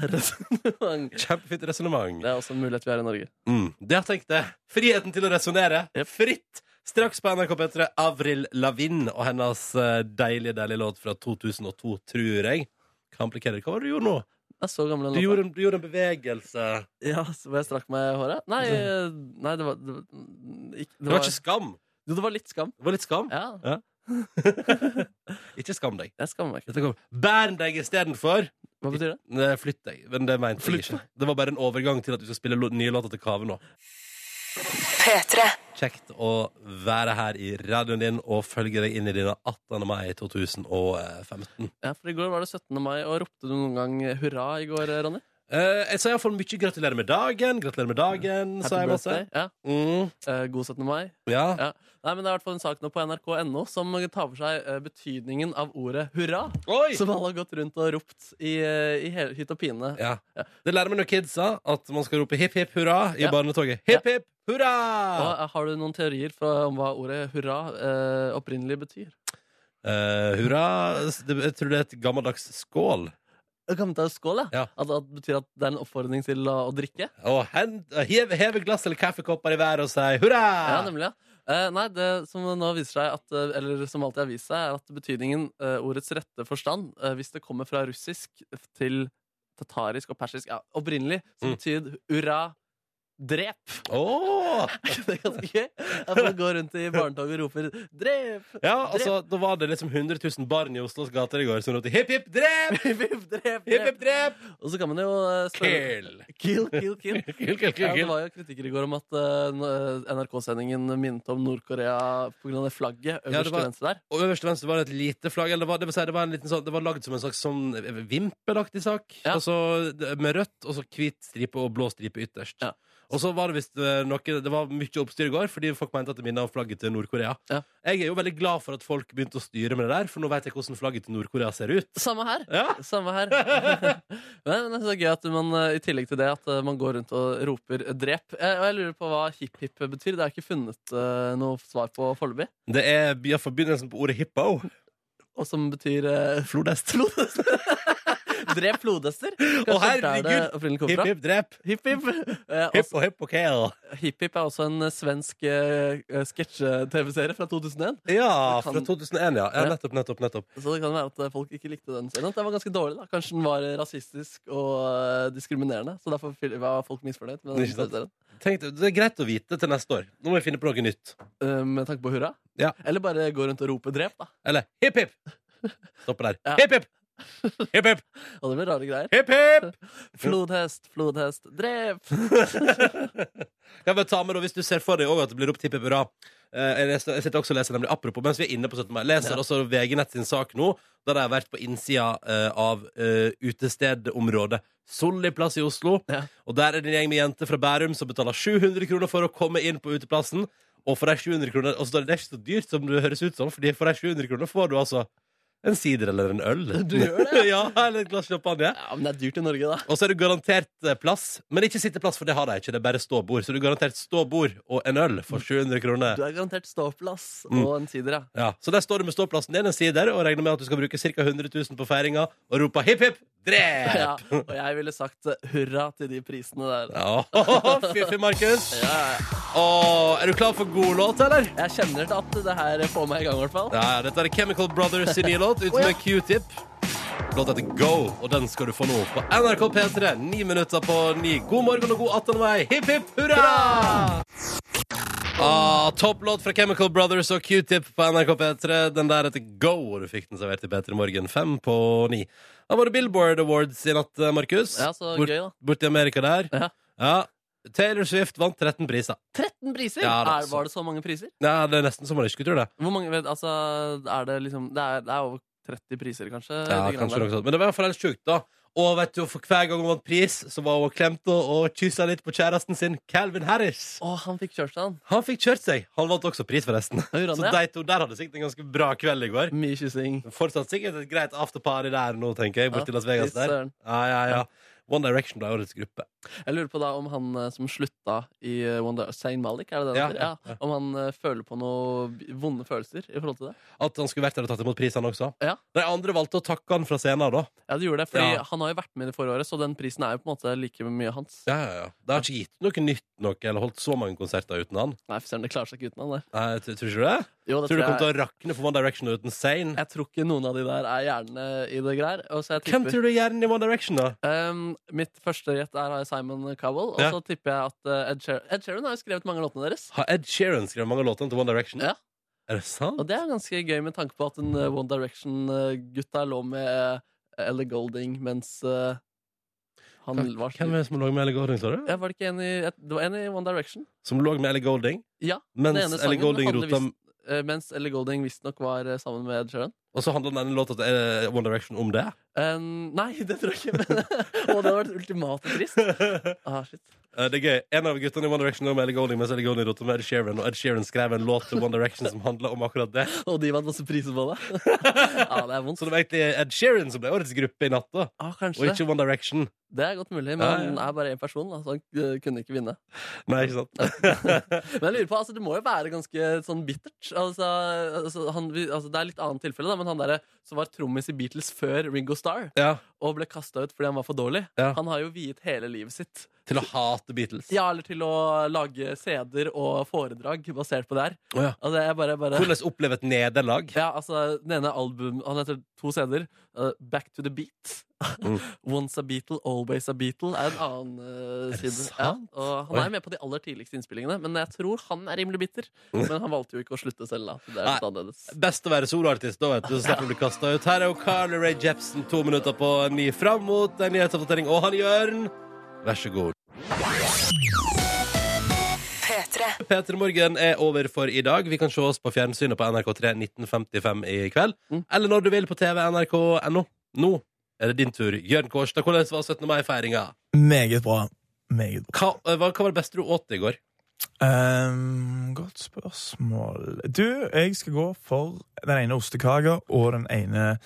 Speaker 2: Kjempefint resonnement.
Speaker 3: Det er også en mulighet vi har i Norge.
Speaker 2: Mm. Det har jeg tenkt, det. Friheten til å resonnere. Fritt! Straks på NRK P3, Avril Lavigne og hennes eh, deilige, deilige låt fra 2002, tror jeg. Hva implikerer det? Hva var det du gjorde nå?
Speaker 3: Jeg er så gammel
Speaker 2: Du gjorde, en- du gjorde en bevegelse.
Speaker 3: Ja, så hvor jeg strakk meg i håret? Nei, eh, nei det var Det, var- ikke,
Speaker 2: Det var ikke skam.
Speaker 3: Jo, det var litt skam.
Speaker 2: Det var litt skam?
Speaker 3: Ja.
Speaker 2: Ja. ikke skam deg.
Speaker 3: Jeg skammer meg
Speaker 2: ikke. Bern deg istedenfor.
Speaker 3: Hva betyr det?
Speaker 2: Nei, Flytt deg. Men det mente jeg ikke. Det var bare en overgang til at du skal spille lo- nye låter til Kave nå.
Speaker 6: P3.
Speaker 2: Kjekt å være her i radioen din og følge deg inn i dine 18. mai 2015.
Speaker 3: Ja, for i går var det 17. mai, og ropte du noen gang hurra i går, Ronny?
Speaker 2: Eh, jeg sa iallfall mye gratulerer med dagen. Gratulerer med dagen, sa jeg masse.
Speaker 3: Ja.
Speaker 2: Mm.
Speaker 3: Eh, god 17. mai.
Speaker 2: Ja.
Speaker 3: Ja. Nei, men Det er i hvert fall en sak nå på nrk.no som tar for seg eh, betydningen av ordet hurra.
Speaker 2: Oi!
Speaker 3: Som alle har gått rundt og ropt i, eh, i hele, hytt og pine.
Speaker 2: Ja. Det lærer meg når kidsa at man skal rope hipp hipp hurra i
Speaker 3: Ja.
Speaker 2: barnetoget. Hipp hipp hurra!
Speaker 3: Og, eh, har du noen teorier fra, om hva ordet hurra eh, opprinnelig betyr?
Speaker 2: Eh, hurra det, Jeg tror det er et gammeldags skål.
Speaker 3: Gammelt av skål,
Speaker 2: ja.
Speaker 3: At, at det betyr at det er en oppfordring til å, å drikke?
Speaker 2: Og hend- heve, heve glass eller kaffekopper i været og si hurra!
Speaker 3: Ja, nemlig, ja. Eh, nei, det som nå viser seg, at, eh, eller som alltid har vist seg, er at betydningen eh, ordets rette forstand, eh, hvis det kommer fra russisk til tatarisk og persisk, ja, opprinnelig, så
Speaker 2: Mm.
Speaker 3: betyr ura drep.
Speaker 2: Åh!
Speaker 3: det er ganske gøy. At man går rundt i barnetoget og roper drep!
Speaker 2: Ja, altså, Da var det liksom 100 000 barn i Oslos gater i går som ropte 'hipp, hipp, drep'!
Speaker 3: hipp, hipp, drep,
Speaker 2: hipp, hipp, drep!
Speaker 3: Og så kan man jo eh, spørre Kill, kill, kill.
Speaker 2: Kill, kill, kill,
Speaker 3: Ja, det
Speaker 2: kill.
Speaker 3: var jo kritikker i går om at eh, NRK-sendingen minnet om Nord-Korea pga. det flagget øverst
Speaker 2: Ja, det var-
Speaker 3: til venstre der.
Speaker 2: Og øverst til venstre var det et lite flagg. Eller det var, det, vil si, det, var en liten sånn, det var lagd som en slags sånn vimpelaktig sak. Og så det- med rødt, og så hvit stripe og blå stripe ytterst. Og så var det visst eh, noe Det var mye oppstyr i går, fordi folk mente at det minnet om flagget til Nord-Korea. Jeg er jo veldig glad for at folk begynte å styre med det der, for nå vet jeg hvordan flagget til Nord-Korea ser ut.
Speaker 3: Samme her.
Speaker 2: Ja.
Speaker 3: Samme her. Men det er så gøy at man eh, i tillegg til det at eh, man går rundt og roper 'drep'. Eh, Og jeg lurer på hva hipp-hipp betyr. Det er ikke funnet eh, noe svar på foreløpig.
Speaker 2: Det er ja, forbindelsen på ordet hippo.
Speaker 3: Og som betyr eh,
Speaker 2: Flodhest.
Speaker 3: Drep flodhester.
Speaker 2: Å,
Speaker 3: Kanskje der det
Speaker 2: herregud!
Speaker 3: opprinnelig kommer fra.
Speaker 2: Hipp, hipp, drep.
Speaker 3: Hipp, hipp. Eh,
Speaker 2: Hipp og hipp og kale.
Speaker 3: Hipp-hipp er også en eh, svensk eh, eh, sketsje-TV-serie fra 2001.
Speaker 2: Ja,
Speaker 3: Det kan-
Speaker 2: fra 2001, ja. ja
Speaker 3: Ja.
Speaker 2: nettopp, nettopp, nettopp.
Speaker 3: Så det kan være at eh, folk ikke likte den serien. At Den var ganske dårlig, da. Kanskje den var eh, rasistisk og eh, diskriminerende. Så derfor fil- var folk misfornøyd med den
Speaker 2: Ikke sant?
Speaker 3: serien.
Speaker 2: Tenk, det er greit å vite til neste år. Nå må vi finne på noe nytt.
Speaker 3: Eh, Med tanke på hurra?
Speaker 2: Ja.
Speaker 3: Eller bare gå rundt og rope 'drep', da.
Speaker 2: Eller hipp, hipp. Stoppe der.
Speaker 3: Ja.
Speaker 2: Hipp, hipp. Hipp, hipp.
Speaker 3: Og det blir rare greier.
Speaker 2: Hipp, hipp!
Speaker 3: Flodhest, flodhest, drep!
Speaker 2: Ja, men ta med da, Hvis du ser for deg også at det blir ropt hipp, hipp, hurra Eh, Jeg leste- jeg sitter også og leser nemlig apropos mens vi er inne på 17. mai. Leser
Speaker 11: Ja.
Speaker 2: også VG Nett sin sak nå, der de har vært på innsida eh, av eh, utestedområdet Solli plass i Oslo. Og der er det en gjeng med jenter fra Bærum som betaler 700 kroner for å komme inn på uteplassen. Og for de 700 kroner, og så er det ikke så dyrt som det høres ut som, Fordi for de 700 kroner får du altså En sider eller en øl.
Speaker 3: Du gjør det?
Speaker 2: ja, eller et glass champagne.
Speaker 3: Ja, Men det er dyrt i Norge, da.
Speaker 2: Og så er det garantert eh, plass, men ikke sitteplass, for det har de ikke. Det er bare ståbord. Så du er garantert ståbord og en øl for 700 kroner.
Speaker 3: Du er garantert ståplass
Speaker 2: Mm.
Speaker 3: og en sider, ja.
Speaker 2: Ja, Så der står du med ståplassen din en sider og regner med at du skal bruke ca. 100 000 på feiringa og roper hipp, hipp, drep!
Speaker 3: ja. Og jeg ville sagt eh, hurra til de prisene der.
Speaker 2: Ja, Fiffi Markus.
Speaker 3: Ja, ja.
Speaker 2: Åh, er du klar for god låt, eller?
Speaker 3: Jeg kjenner til at det her får meg i gang, i hvert fall.
Speaker 2: Ja, dette er Chemical Brothers sin nye låt, ute
Speaker 3: Å, ja.
Speaker 2: med Q-tip. Låta heter Go, og den skal du få nå på NRK P3. Ni minutter på ni. God morgen og god 18. mai. Hipp, hipp, hurra! Ah, Topplåt fra Chemical Brothers og Q-tip på NRK P3. Den der heter Go, og du fikk den servert i P3 Morgen fem på ni. Da var det Billboard Awards i natt, eh, Markus.
Speaker 3: Ja, så gøy, da.
Speaker 2: Borti Amerika der.
Speaker 3: Ja.
Speaker 2: Taylor Swift vant 13 priser.
Speaker 3: 13 priser!
Speaker 2: Ja, da,
Speaker 3: er, var det så mange priser?
Speaker 2: Ja, det er nesten så man ikke skulle tro det.
Speaker 3: Hvor mange, vet, altså, er det, liksom, det, er, det er over 30 priser, kanskje?
Speaker 2: Ja,
Speaker 3: de greiene
Speaker 2: kanskje
Speaker 3: der.
Speaker 2: noe sånt. Men det var iallfall helt sjukt, da. Og vet du, for hver gang hun vant pris, så var hun klemt og, og kyssa litt på kjæresten sin, Calvin Harris.
Speaker 3: Å, han fikk kjørt seg, han.
Speaker 2: Han fikk kjørt seg. Han vant også pris, forresten.
Speaker 3: gjorde han
Speaker 2: så
Speaker 3: det,
Speaker 2: de to der hadde sikkert en ganske bra kveld i går.
Speaker 3: Mye kyssing.
Speaker 2: Fortsatt sikkert et greit afterparty der nå, tenker jeg, borti
Speaker 3: Ja,
Speaker 2: Las Vegas
Speaker 3: fy
Speaker 2: der.
Speaker 3: søren.
Speaker 2: Ja, ja, ja. One Direction ble årets gruppe.
Speaker 3: Jeg lurer på da om han eh, som slutta i eh, One Day Zayn Malik, er det det han
Speaker 2: Ja,
Speaker 3: heter?
Speaker 2: ja,
Speaker 3: Ja, Om han eh, føler på noen vonde følelser i forhold til det?
Speaker 2: At han skulle vært der og tatt imot pris, han også.
Speaker 3: Ja.
Speaker 2: De andre valgte å takke han fra scenen, da.
Speaker 3: Ja, det gjorde det, fordi
Speaker 2: Ja.
Speaker 3: han har jo vært med i det forrige året, så den prisen er jo på en måte like mye hans.
Speaker 2: Ja, ja, ja. Det har ikke gitt noe nytt nok, eller holdt så mange konserter uten han.
Speaker 3: Nei, for søren, det klarer seg ikke uten han, det.
Speaker 2: Nei, t- tror ikke du det?
Speaker 3: Jo, det
Speaker 2: tror du
Speaker 3: tror
Speaker 2: kommer til
Speaker 3: jeg-
Speaker 2: å rakne for One Direction og uten Zayn?
Speaker 3: Jeg tror ikke noen av de der er gjerne i det greier. Og så jeg
Speaker 2: Hvem
Speaker 3: tipper-
Speaker 2: tror du er hjernen i One Direction, da?
Speaker 3: Um, mitt første gjett er av Simon Cowell, og
Speaker 2: Ja.
Speaker 3: så tipper jeg at eh, Ed Sheeran, Ed Sheeran har jo skrevet mange av låtene deres.
Speaker 2: Har Ed Sheeran skrevet mange låter til One Direction?
Speaker 3: Ja.
Speaker 2: Er det sant?
Speaker 3: Og det er ganske gøy med tanke på at en eh, One Direction-gutta lå med eh, Ellie Golding mens eh, han
Speaker 2: Hva-
Speaker 3: var
Speaker 2: Hvem er det som lå med Ellie Golding, sa du?
Speaker 3: ja, Var det ikke en i, et- det var en i One Direction?
Speaker 2: Som lå med Ellie Golding?
Speaker 3: Ja.
Speaker 2: Mens
Speaker 3: den ene
Speaker 2: Ellie
Speaker 3: sangen
Speaker 2: Golding
Speaker 3: handler
Speaker 2: rota
Speaker 3: visst- eh, Mens Ellie Golding visstnok var eh, sammen med Ed Sheeran.
Speaker 2: Og så handler denne låta til eh, One Direction om det?
Speaker 3: Um, nei, det tror jeg ikke. Men, og det hadde vært ultimate trist. Ah, shit.
Speaker 2: Eh, Det er gøy. En av guttene i One Direction lå med Ellie Golding mens Ellie Golding rota med Ed Sheeran, og Ed Sheeran skrev en låt til One Direction som handla om akkurat det.
Speaker 3: Og de vant masse priser på det. Ja, det er vondt.
Speaker 2: Så det var egentlig Ed Sheeran som ble årets gruppe i natt, da.
Speaker 3: Ah, kanskje
Speaker 2: Og
Speaker 3: det.
Speaker 2: ikke One Direction.
Speaker 3: Det er godt mulig, men
Speaker 2: Ja, ja.
Speaker 3: han er bare én person, da, så han eh, kunne ikke vinne.
Speaker 2: Nei, ikke sant?
Speaker 3: Men jeg lurer på, altså, det må jo være ganske sånn bittert. Altså, altså, han, vi- altså, det er litt annet tilfelle, da, men han derre som var trommis i Beatles før Ringo Starr,
Speaker 2: Ja.
Speaker 3: og ble kasta ut fordi han var for dårlig,
Speaker 2: Ja.
Speaker 3: han har jo viet hele livet sitt
Speaker 2: Til å hate Beatles.
Speaker 3: Ja, eller til å lage CD-er og foredrag basert på det her.
Speaker 2: Å, ja.
Speaker 3: Altså, jeg bare, bare
Speaker 2: Hvordan oppleve et nederlag?
Speaker 3: ja, altså, den ene album Han heter to CD-er. eh, Back to the Beat. Once a Beatle, Always a Beatle er en annen eh,
Speaker 2: det
Speaker 3: side. Ja,
Speaker 2: sant?
Speaker 3: og han
Speaker 2: Oi.
Speaker 3: er jo med på de aller tidligste innspillingene, men jeg tror han er rimelig bitter. Men han valgte jo ikke å slutte selv, da. Så det er litt
Speaker 2: Nei.
Speaker 3: annerledes.
Speaker 2: Best å være soloartist, da, vet du. Så slipper du å bli kasta ut. Her er jo Carly Rae Jepsen to minutter på ni fram mot en nyhetsoppdatering. Og han Jørn, vær så god.
Speaker 6: P3.
Speaker 2: P3 Morgen er over for i dag. Vi kan se oss på fjernsynet på NRK3 1955 i kveld.
Speaker 12: Mm.
Speaker 2: Eller når du vil på TV nrk.no. Nå er det din tur. Jørn Kårstad, hvordan var 17. mai-feiringa?
Speaker 12: Meget bra. Meget bra.
Speaker 2: Hva, eh, hva hva var det beste du åt i går?
Speaker 12: Ehm, godt spørsmål Du, jeg skal gå for den ene ostekaka og den ene,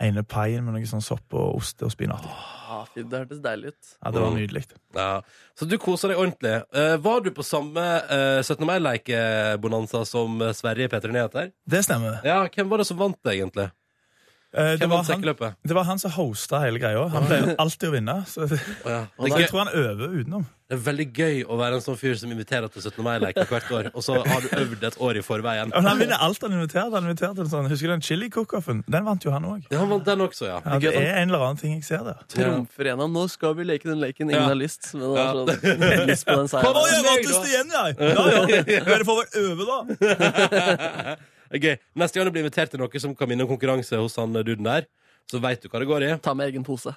Speaker 12: ene paien med noe sånn sopp og ost og spinat. i.
Speaker 3: Ah, fy, det hørtes deilig ut.
Speaker 12: Ja, det var nydelig.
Speaker 2: Ja. Så du kosa deg ordentlig. Eh, var du på samme eh, 17. mai-leikebonanza som eh, Sverige P3 Nyheter?
Speaker 12: Det stemmer.
Speaker 2: Ja, hvem var det som vant det, egentlig?
Speaker 12: Eh, det,
Speaker 2: Hvem
Speaker 12: var
Speaker 2: vant
Speaker 12: han,
Speaker 2: sekkeløpet?
Speaker 12: det var han som hosta hele greia. Han pleier jo alltid å vinne. Så,
Speaker 2: ja.
Speaker 12: så jeg tror han øver utenom.
Speaker 2: Det er veldig gøy å være en sånn fyr som inviterer til 17. mai-leker hvert år, og så har du øvd et år i forveien.
Speaker 12: Men han vinner alt han inviterer. Han inviterer til en sånn, Husker du den chili-cook-offen? Den vant jo han òg.
Speaker 2: Ja, han vant den også, ja.
Speaker 12: Ja, det er en eller annen ting jeg ser der.
Speaker 3: Trumfer igjennom. Nå skal vi leke den leken ingen
Speaker 12: Ja.
Speaker 3: har lyst. Men det var
Speaker 12: Ja.
Speaker 3: sånn, lyst på den
Speaker 12: Kom og gjør
Speaker 3: seieren.
Speaker 12: Mattis igjen, jeg! Ja, ja. Dere får vel øve, da.
Speaker 2: Det er Gøy. Neste gang du blir invitert til noe som kan vinne en konkurranse hos han duden der, så veit du hva det går i.
Speaker 3: Ta med egen pose.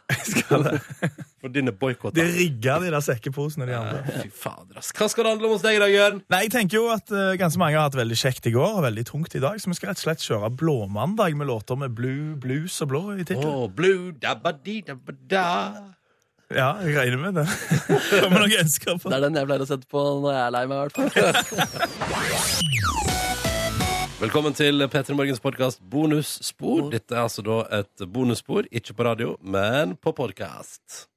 Speaker 2: For dine boikotter.
Speaker 12: De rigger de der sekkeposene, de andre.
Speaker 2: Fy fader, ass. Hva skal det handle om hos deg i dag, Jørn?
Speaker 12: Nei, jeg tenker jo at eh, ganske mange har hatt veldig kjekt i går, og veldig tungt i dag, så vi skal rett og slett kjøre Blåmandag med låter med blue, blues og blå i tittelen.
Speaker 2: Oh, blue, dabba di, dabba da.
Speaker 12: Ja, jeg regner med det. Kommer noen ønsker på
Speaker 3: Det er den jeg pleier å sette på når jeg er lei meg, i hvert fall.
Speaker 2: Velkommen til P3 Morgens podkast Bonusspor. Dette er altså da et bonusspor, ikke på radio, men på podkast.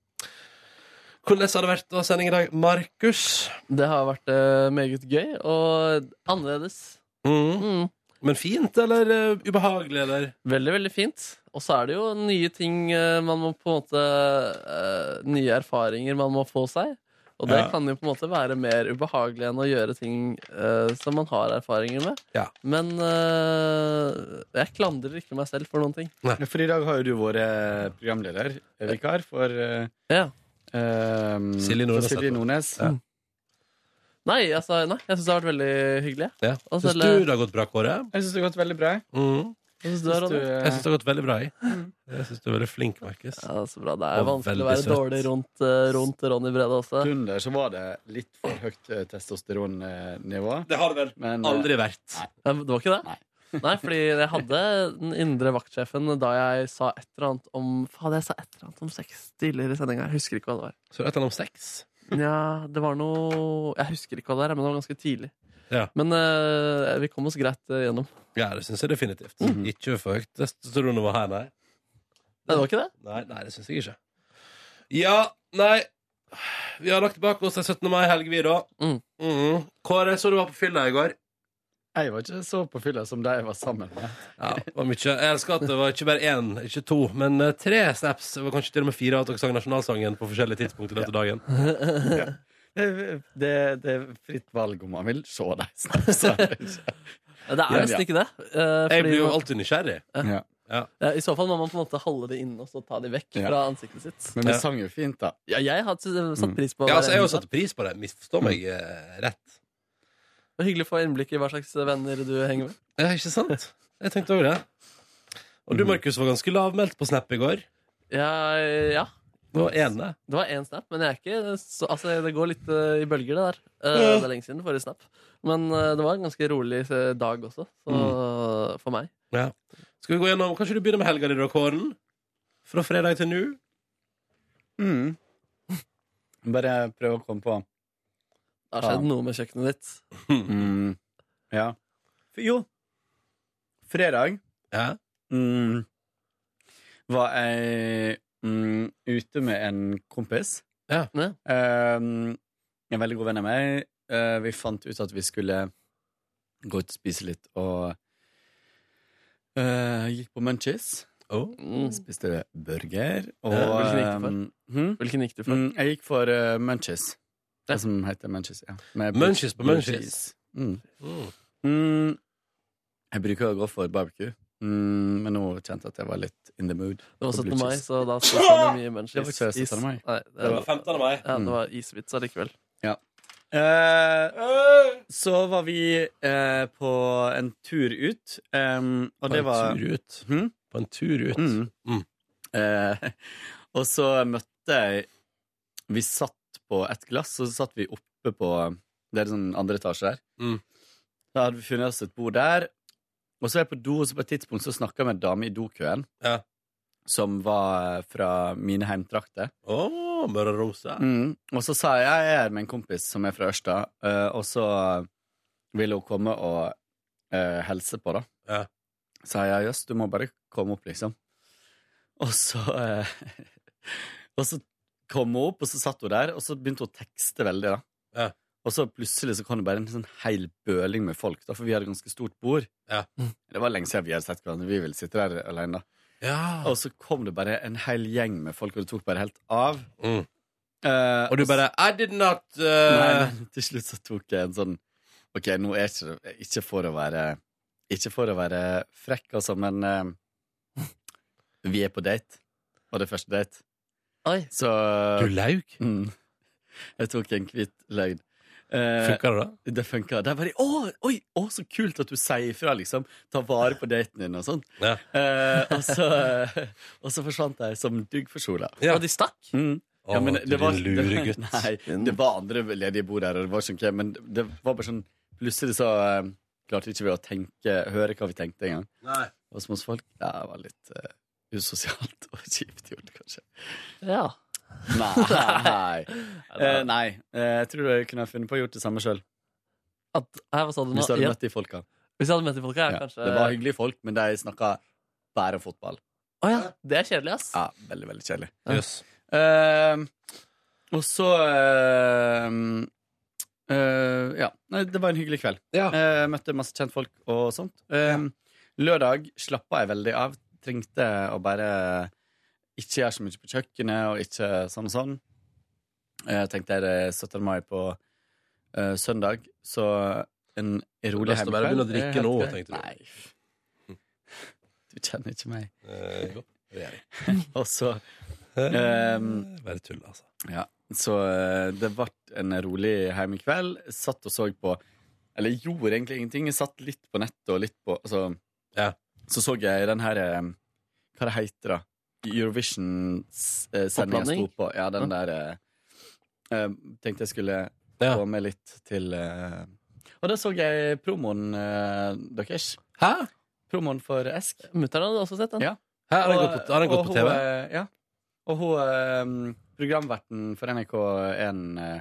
Speaker 2: Hvordan har det vært å sende i dag, Markus?
Speaker 3: Det har vært eh, meget gøy og annerledes.
Speaker 2: Mm.
Speaker 3: Mm.
Speaker 2: Men fint, eller eh, ubehagelig, eller?
Speaker 3: Veldig, veldig fint. Og så er det jo nye ting eh, man må på en måte eh, Nye erfaringer man må få seg. Og det
Speaker 2: Ja.
Speaker 3: kan jo på en måte være mer ubehagelig enn å gjøre ting eh, som man har erfaringer med. Men eh, jeg klandrer ikke meg selv for noen ting.
Speaker 13: For i dag har jo du vært eh, programleder, eh, vikar, for eh, ehm,
Speaker 2: Silje Nordnes,
Speaker 13: for Silje
Speaker 2: heter hun.
Speaker 13: Nordnes.
Speaker 2: Ja.
Speaker 3: Nei, altså, nei jeg syns det har vært veldig hyggelig.
Speaker 2: Ja.
Speaker 3: Og
Speaker 2: Syns
Speaker 3: selv-
Speaker 2: du det har gått bra, Kåre?
Speaker 13: Jeg syns det har gått veldig bra.
Speaker 2: Mm.
Speaker 3: Hva syns du,
Speaker 13: Syns du,
Speaker 3: Ronny?
Speaker 13: eh,
Speaker 2: Jeg syns det har gått veldig bra. jeg. Jeg syns du er veldig flink, Markus.
Speaker 3: Mm. Ja, så bra. Det er vanskelig å være dårlig rundt, eh, rundt Ronny Brede også.
Speaker 13: Under så var det litt for høyt eh, testosteronnivå.
Speaker 2: Det har det vel aldri vært.
Speaker 3: eh, Nei, Det var ikke det? Nei. fordi jeg hadde den indre vaktsjefen da jeg sa et eller annet om Faen, jeg sa et eller annet om sex tidligere i sendinga. Jeg husker ikke hva det var.
Speaker 2: Så et eller annet om sex?
Speaker 3: Ja, det var noe Jeg husker ikke hva det er, men det var ganske tidlig.
Speaker 2: Ja.
Speaker 3: Men eh, vi kom oss greit eh, gjennom.
Speaker 2: Ja, det syns jeg definitivt. Ikke for høyt testosteronnivå her, nei.
Speaker 3: Nei, det var ikke det?
Speaker 2: Nei, nei det syns jeg ikke. Ja, nei Vi har lagt bak oss den 17. mai-helg, vi, da. Mhm. Kåre, så du var på fylla i går?
Speaker 13: Jeg var ikke så på fylla som de jeg var sammen med.
Speaker 2: Ja, det var mye. Jeg elsker at det var ikke bare én, ikke to, men eh, tre snaps. Det var kanskje til og med fire at dere sang nasjonalsangen på forskjellige tidspunkt i løpet av dagen.
Speaker 13: Ja. Det, det, det er fritt valg om man vil se deg snapse.
Speaker 3: Det er nesten ikke det. eh,
Speaker 2: Jeg
Speaker 3: fordi
Speaker 2: blir jo
Speaker 3: man-
Speaker 2: alltid nysgjerrig.
Speaker 13: Ja.
Speaker 3: Ja, I så fall må man på en måte holde det inne og så ta det vekk
Speaker 13: Ja.
Speaker 3: fra ansiktet sitt.
Speaker 13: Men vi sang jo fint, da.
Speaker 3: Ja, jeg har satt pris på
Speaker 2: Ja, altså, jeg har jo
Speaker 3: hver
Speaker 2: satt pris på det. Misforstå meg eh, rett.
Speaker 3: Det var Hyggelig å få innblikk i hva slags venner du henger med.
Speaker 2: Ja, ikke sant? Jeg tenkte over det. Og du, Markus, var ganske lavmælt på Snap i går.
Speaker 3: Ja, ja.
Speaker 2: Det var ene.
Speaker 3: Det var én snap, men jeg er ikke så, altså, Det går litt eh, i bølger, det der. Eh,
Speaker 2: Ja.
Speaker 3: Det er lenge siden forrige snap. Men eh, det var en ganske rolig eh, dag også, så, for meg.
Speaker 2: Ja. Skal vi gå gjennom, Kanskje du begynner med helga di, da, Kåren? Fra fredag til nå?
Speaker 13: Mm. Bare prøve å komme på.
Speaker 3: Det har skjedd noe med kjøkkenet ditt.
Speaker 13: Mm. Ja. For, jo. Fredag mm, var jeg mm, ute med en kompis. Um, en veldig god venn av meg. Eh, vi fant ut at vi skulle gå ut og spise litt, og eh, gikk på Munchies. Spiste burger. Og,
Speaker 3: Mm. Ja, hvilken gikk du for?
Speaker 13: um, hm? Mm, jeg gikk for eh, Munchies. Det som heter Munchies, ja. Med blue-
Speaker 2: Munchies på
Speaker 13: blue
Speaker 2: Munchies.
Speaker 13: cheese. Mm. Mm, jeg bruker å gå for barbecue, mm, men nå kjente jeg at jeg var litt in the mood.
Speaker 3: Det var
Speaker 13: for
Speaker 3: 17.
Speaker 13: blue
Speaker 3: mai,
Speaker 13: cheese.
Speaker 3: så da spiste jeg mye munchies.
Speaker 13: Det var ikke 17.
Speaker 3: Is.
Speaker 13: mai.
Speaker 3: Nei,
Speaker 13: Det var 15. mai.
Speaker 3: Ja,
Speaker 13: Mm.
Speaker 3: det var isvits allikevel.
Speaker 13: Ja. Eh, så var vi eh, på en tur ut, em, og
Speaker 2: På
Speaker 13: det
Speaker 2: en
Speaker 13: var
Speaker 2: tur ut?
Speaker 13: Hm?
Speaker 2: På en tur ut.
Speaker 13: Mm. Eh, og så møtte jeg Vi satt på et glass, og så satt vi oppe på Det er sånn andre etasje der.
Speaker 2: Mm.
Speaker 13: Da hadde vi funnet oss et bord der. Og så er jeg på do, og så på et tidspunkt så snakka jeg med en dame i dokøen. Som var fra mine heimtrakter.
Speaker 2: Oh, Møre og Romsdal.
Speaker 13: Mm. Og så sa jeg jeg er her med en kompis som er fra Ørsta, eh, og så ville hun komme og eh, helse på, da. Sa jeg jøss, du må bare komme opp, liksom. Og så eh, Og så kom hun opp, og så satt hun der, og så begynte hun å tekste veldig, da. Og så plutselig så kom det bare en sånn hel bøling med folk, da, for vi hadde ganske stort bord. Mm. Det var lenge siden vi hadde sett hverandre. Vi ville sitte der alene, da. Og så kom det bare en hel gjeng med folk, og det tok bare helt av. Eh,
Speaker 2: Mm. Og du
Speaker 13: s-
Speaker 2: bare, "I did not, uh,"
Speaker 13: Nei, nei, til slutt så tok jeg en sånn Ok, nå er ikke det Ikke for å være Ikke for å være frekk, altså, men eh, Vi er på date. Og det er første date. Så
Speaker 2: Du laug?
Speaker 13: Mm. Jeg tok en hvit løgn. Eh,
Speaker 2: Funka det da?
Speaker 13: Det funka. Det er bare å, oi, å, så kult at du sier ifra, liksom. Ta vare på daten din og sånn. Eh, og, så, og så forsvant jeg som dugg for sola.
Speaker 3: Ja. Og de stakk?
Speaker 13: Mm.
Speaker 2: Å, du din lure gutt.
Speaker 13: Nei, det var andre ledige bord der, og det var ikke noe, men det var bare sånn Plutselig så eh, klarte ikke vi å tenke, høre hva vi tenkte engang.
Speaker 2: Nei.
Speaker 13: Og som hos folk Ja, det var litt eh, usosialt og kjipt gjort, kanskje.
Speaker 3: Ja.
Speaker 13: Nei. Eh, nei. Eh, jeg tror du kunne ha funnet på å gjort det samme sjøl.
Speaker 3: At, her, hva sa du nå?
Speaker 13: Hvis du hadde
Speaker 3: Igjen?
Speaker 13: møtt de folka.
Speaker 3: Hvis jeg hadde møtt de folka, ja, kanskje
Speaker 13: Det var hyggelige folk, men de snakka bare fotball.
Speaker 3: Å ja, det er kjedelig, ass.
Speaker 13: Ja, veldig, veldig kjedelig.
Speaker 3: Ja.
Speaker 13: Eh, og så eh, eh, Ja. Nei, det var en hyggelig kveld. Eh, møtte masse kjentfolk og sånt. Eh, Lørdag slappa jeg veldig av. Trengte å bare ikke gjøre så mye på kjøkkenet og ikke sånn og sånn. Eh, tenkte jeg det er 17. mai på eh, søndag, så en rolig
Speaker 2: Lyst til å bare begynne å drikke
Speaker 13: er
Speaker 2: nå,
Speaker 13: helt greit.
Speaker 2: tenkte du.
Speaker 13: Nei. Du kjenner ikke meg.
Speaker 2: Eh, jo, det gjør
Speaker 13: og så ehm, Mm.
Speaker 2: Eh, bare tull, altså.
Speaker 13: Ja, så eh, det ble en rolig heimekveld. Satt og så på Eller gjorde egentlig ingenting. Jeg satt litt på nettet og litt på altså, Så så jeg den her eh, Hva det heter det? Eurovision-sendinga sto
Speaker 3: Oppladning?
Speaker 13: på. Ja, den der eh, eh, Tenkte jeg skulle få med litt til eh, Og da så jeg promoen eh, deres.
Speaker 2: Hæ?
Speaker 13: Promoen for Esk.
Speaker 3: Mutter'n hadde også sett den.
Speaker 13: Ja.
Speaker 2: Hæ, har den
Speaker 13: Og-
Speaker 2: gått på- har den gått
Speaker 13: og
Speaker 2: på
Speaker 13: hun,
Speaker 2: TV?
Speaker 13: eh, Ja. Og hun, eh, programverten for NRK1 eh,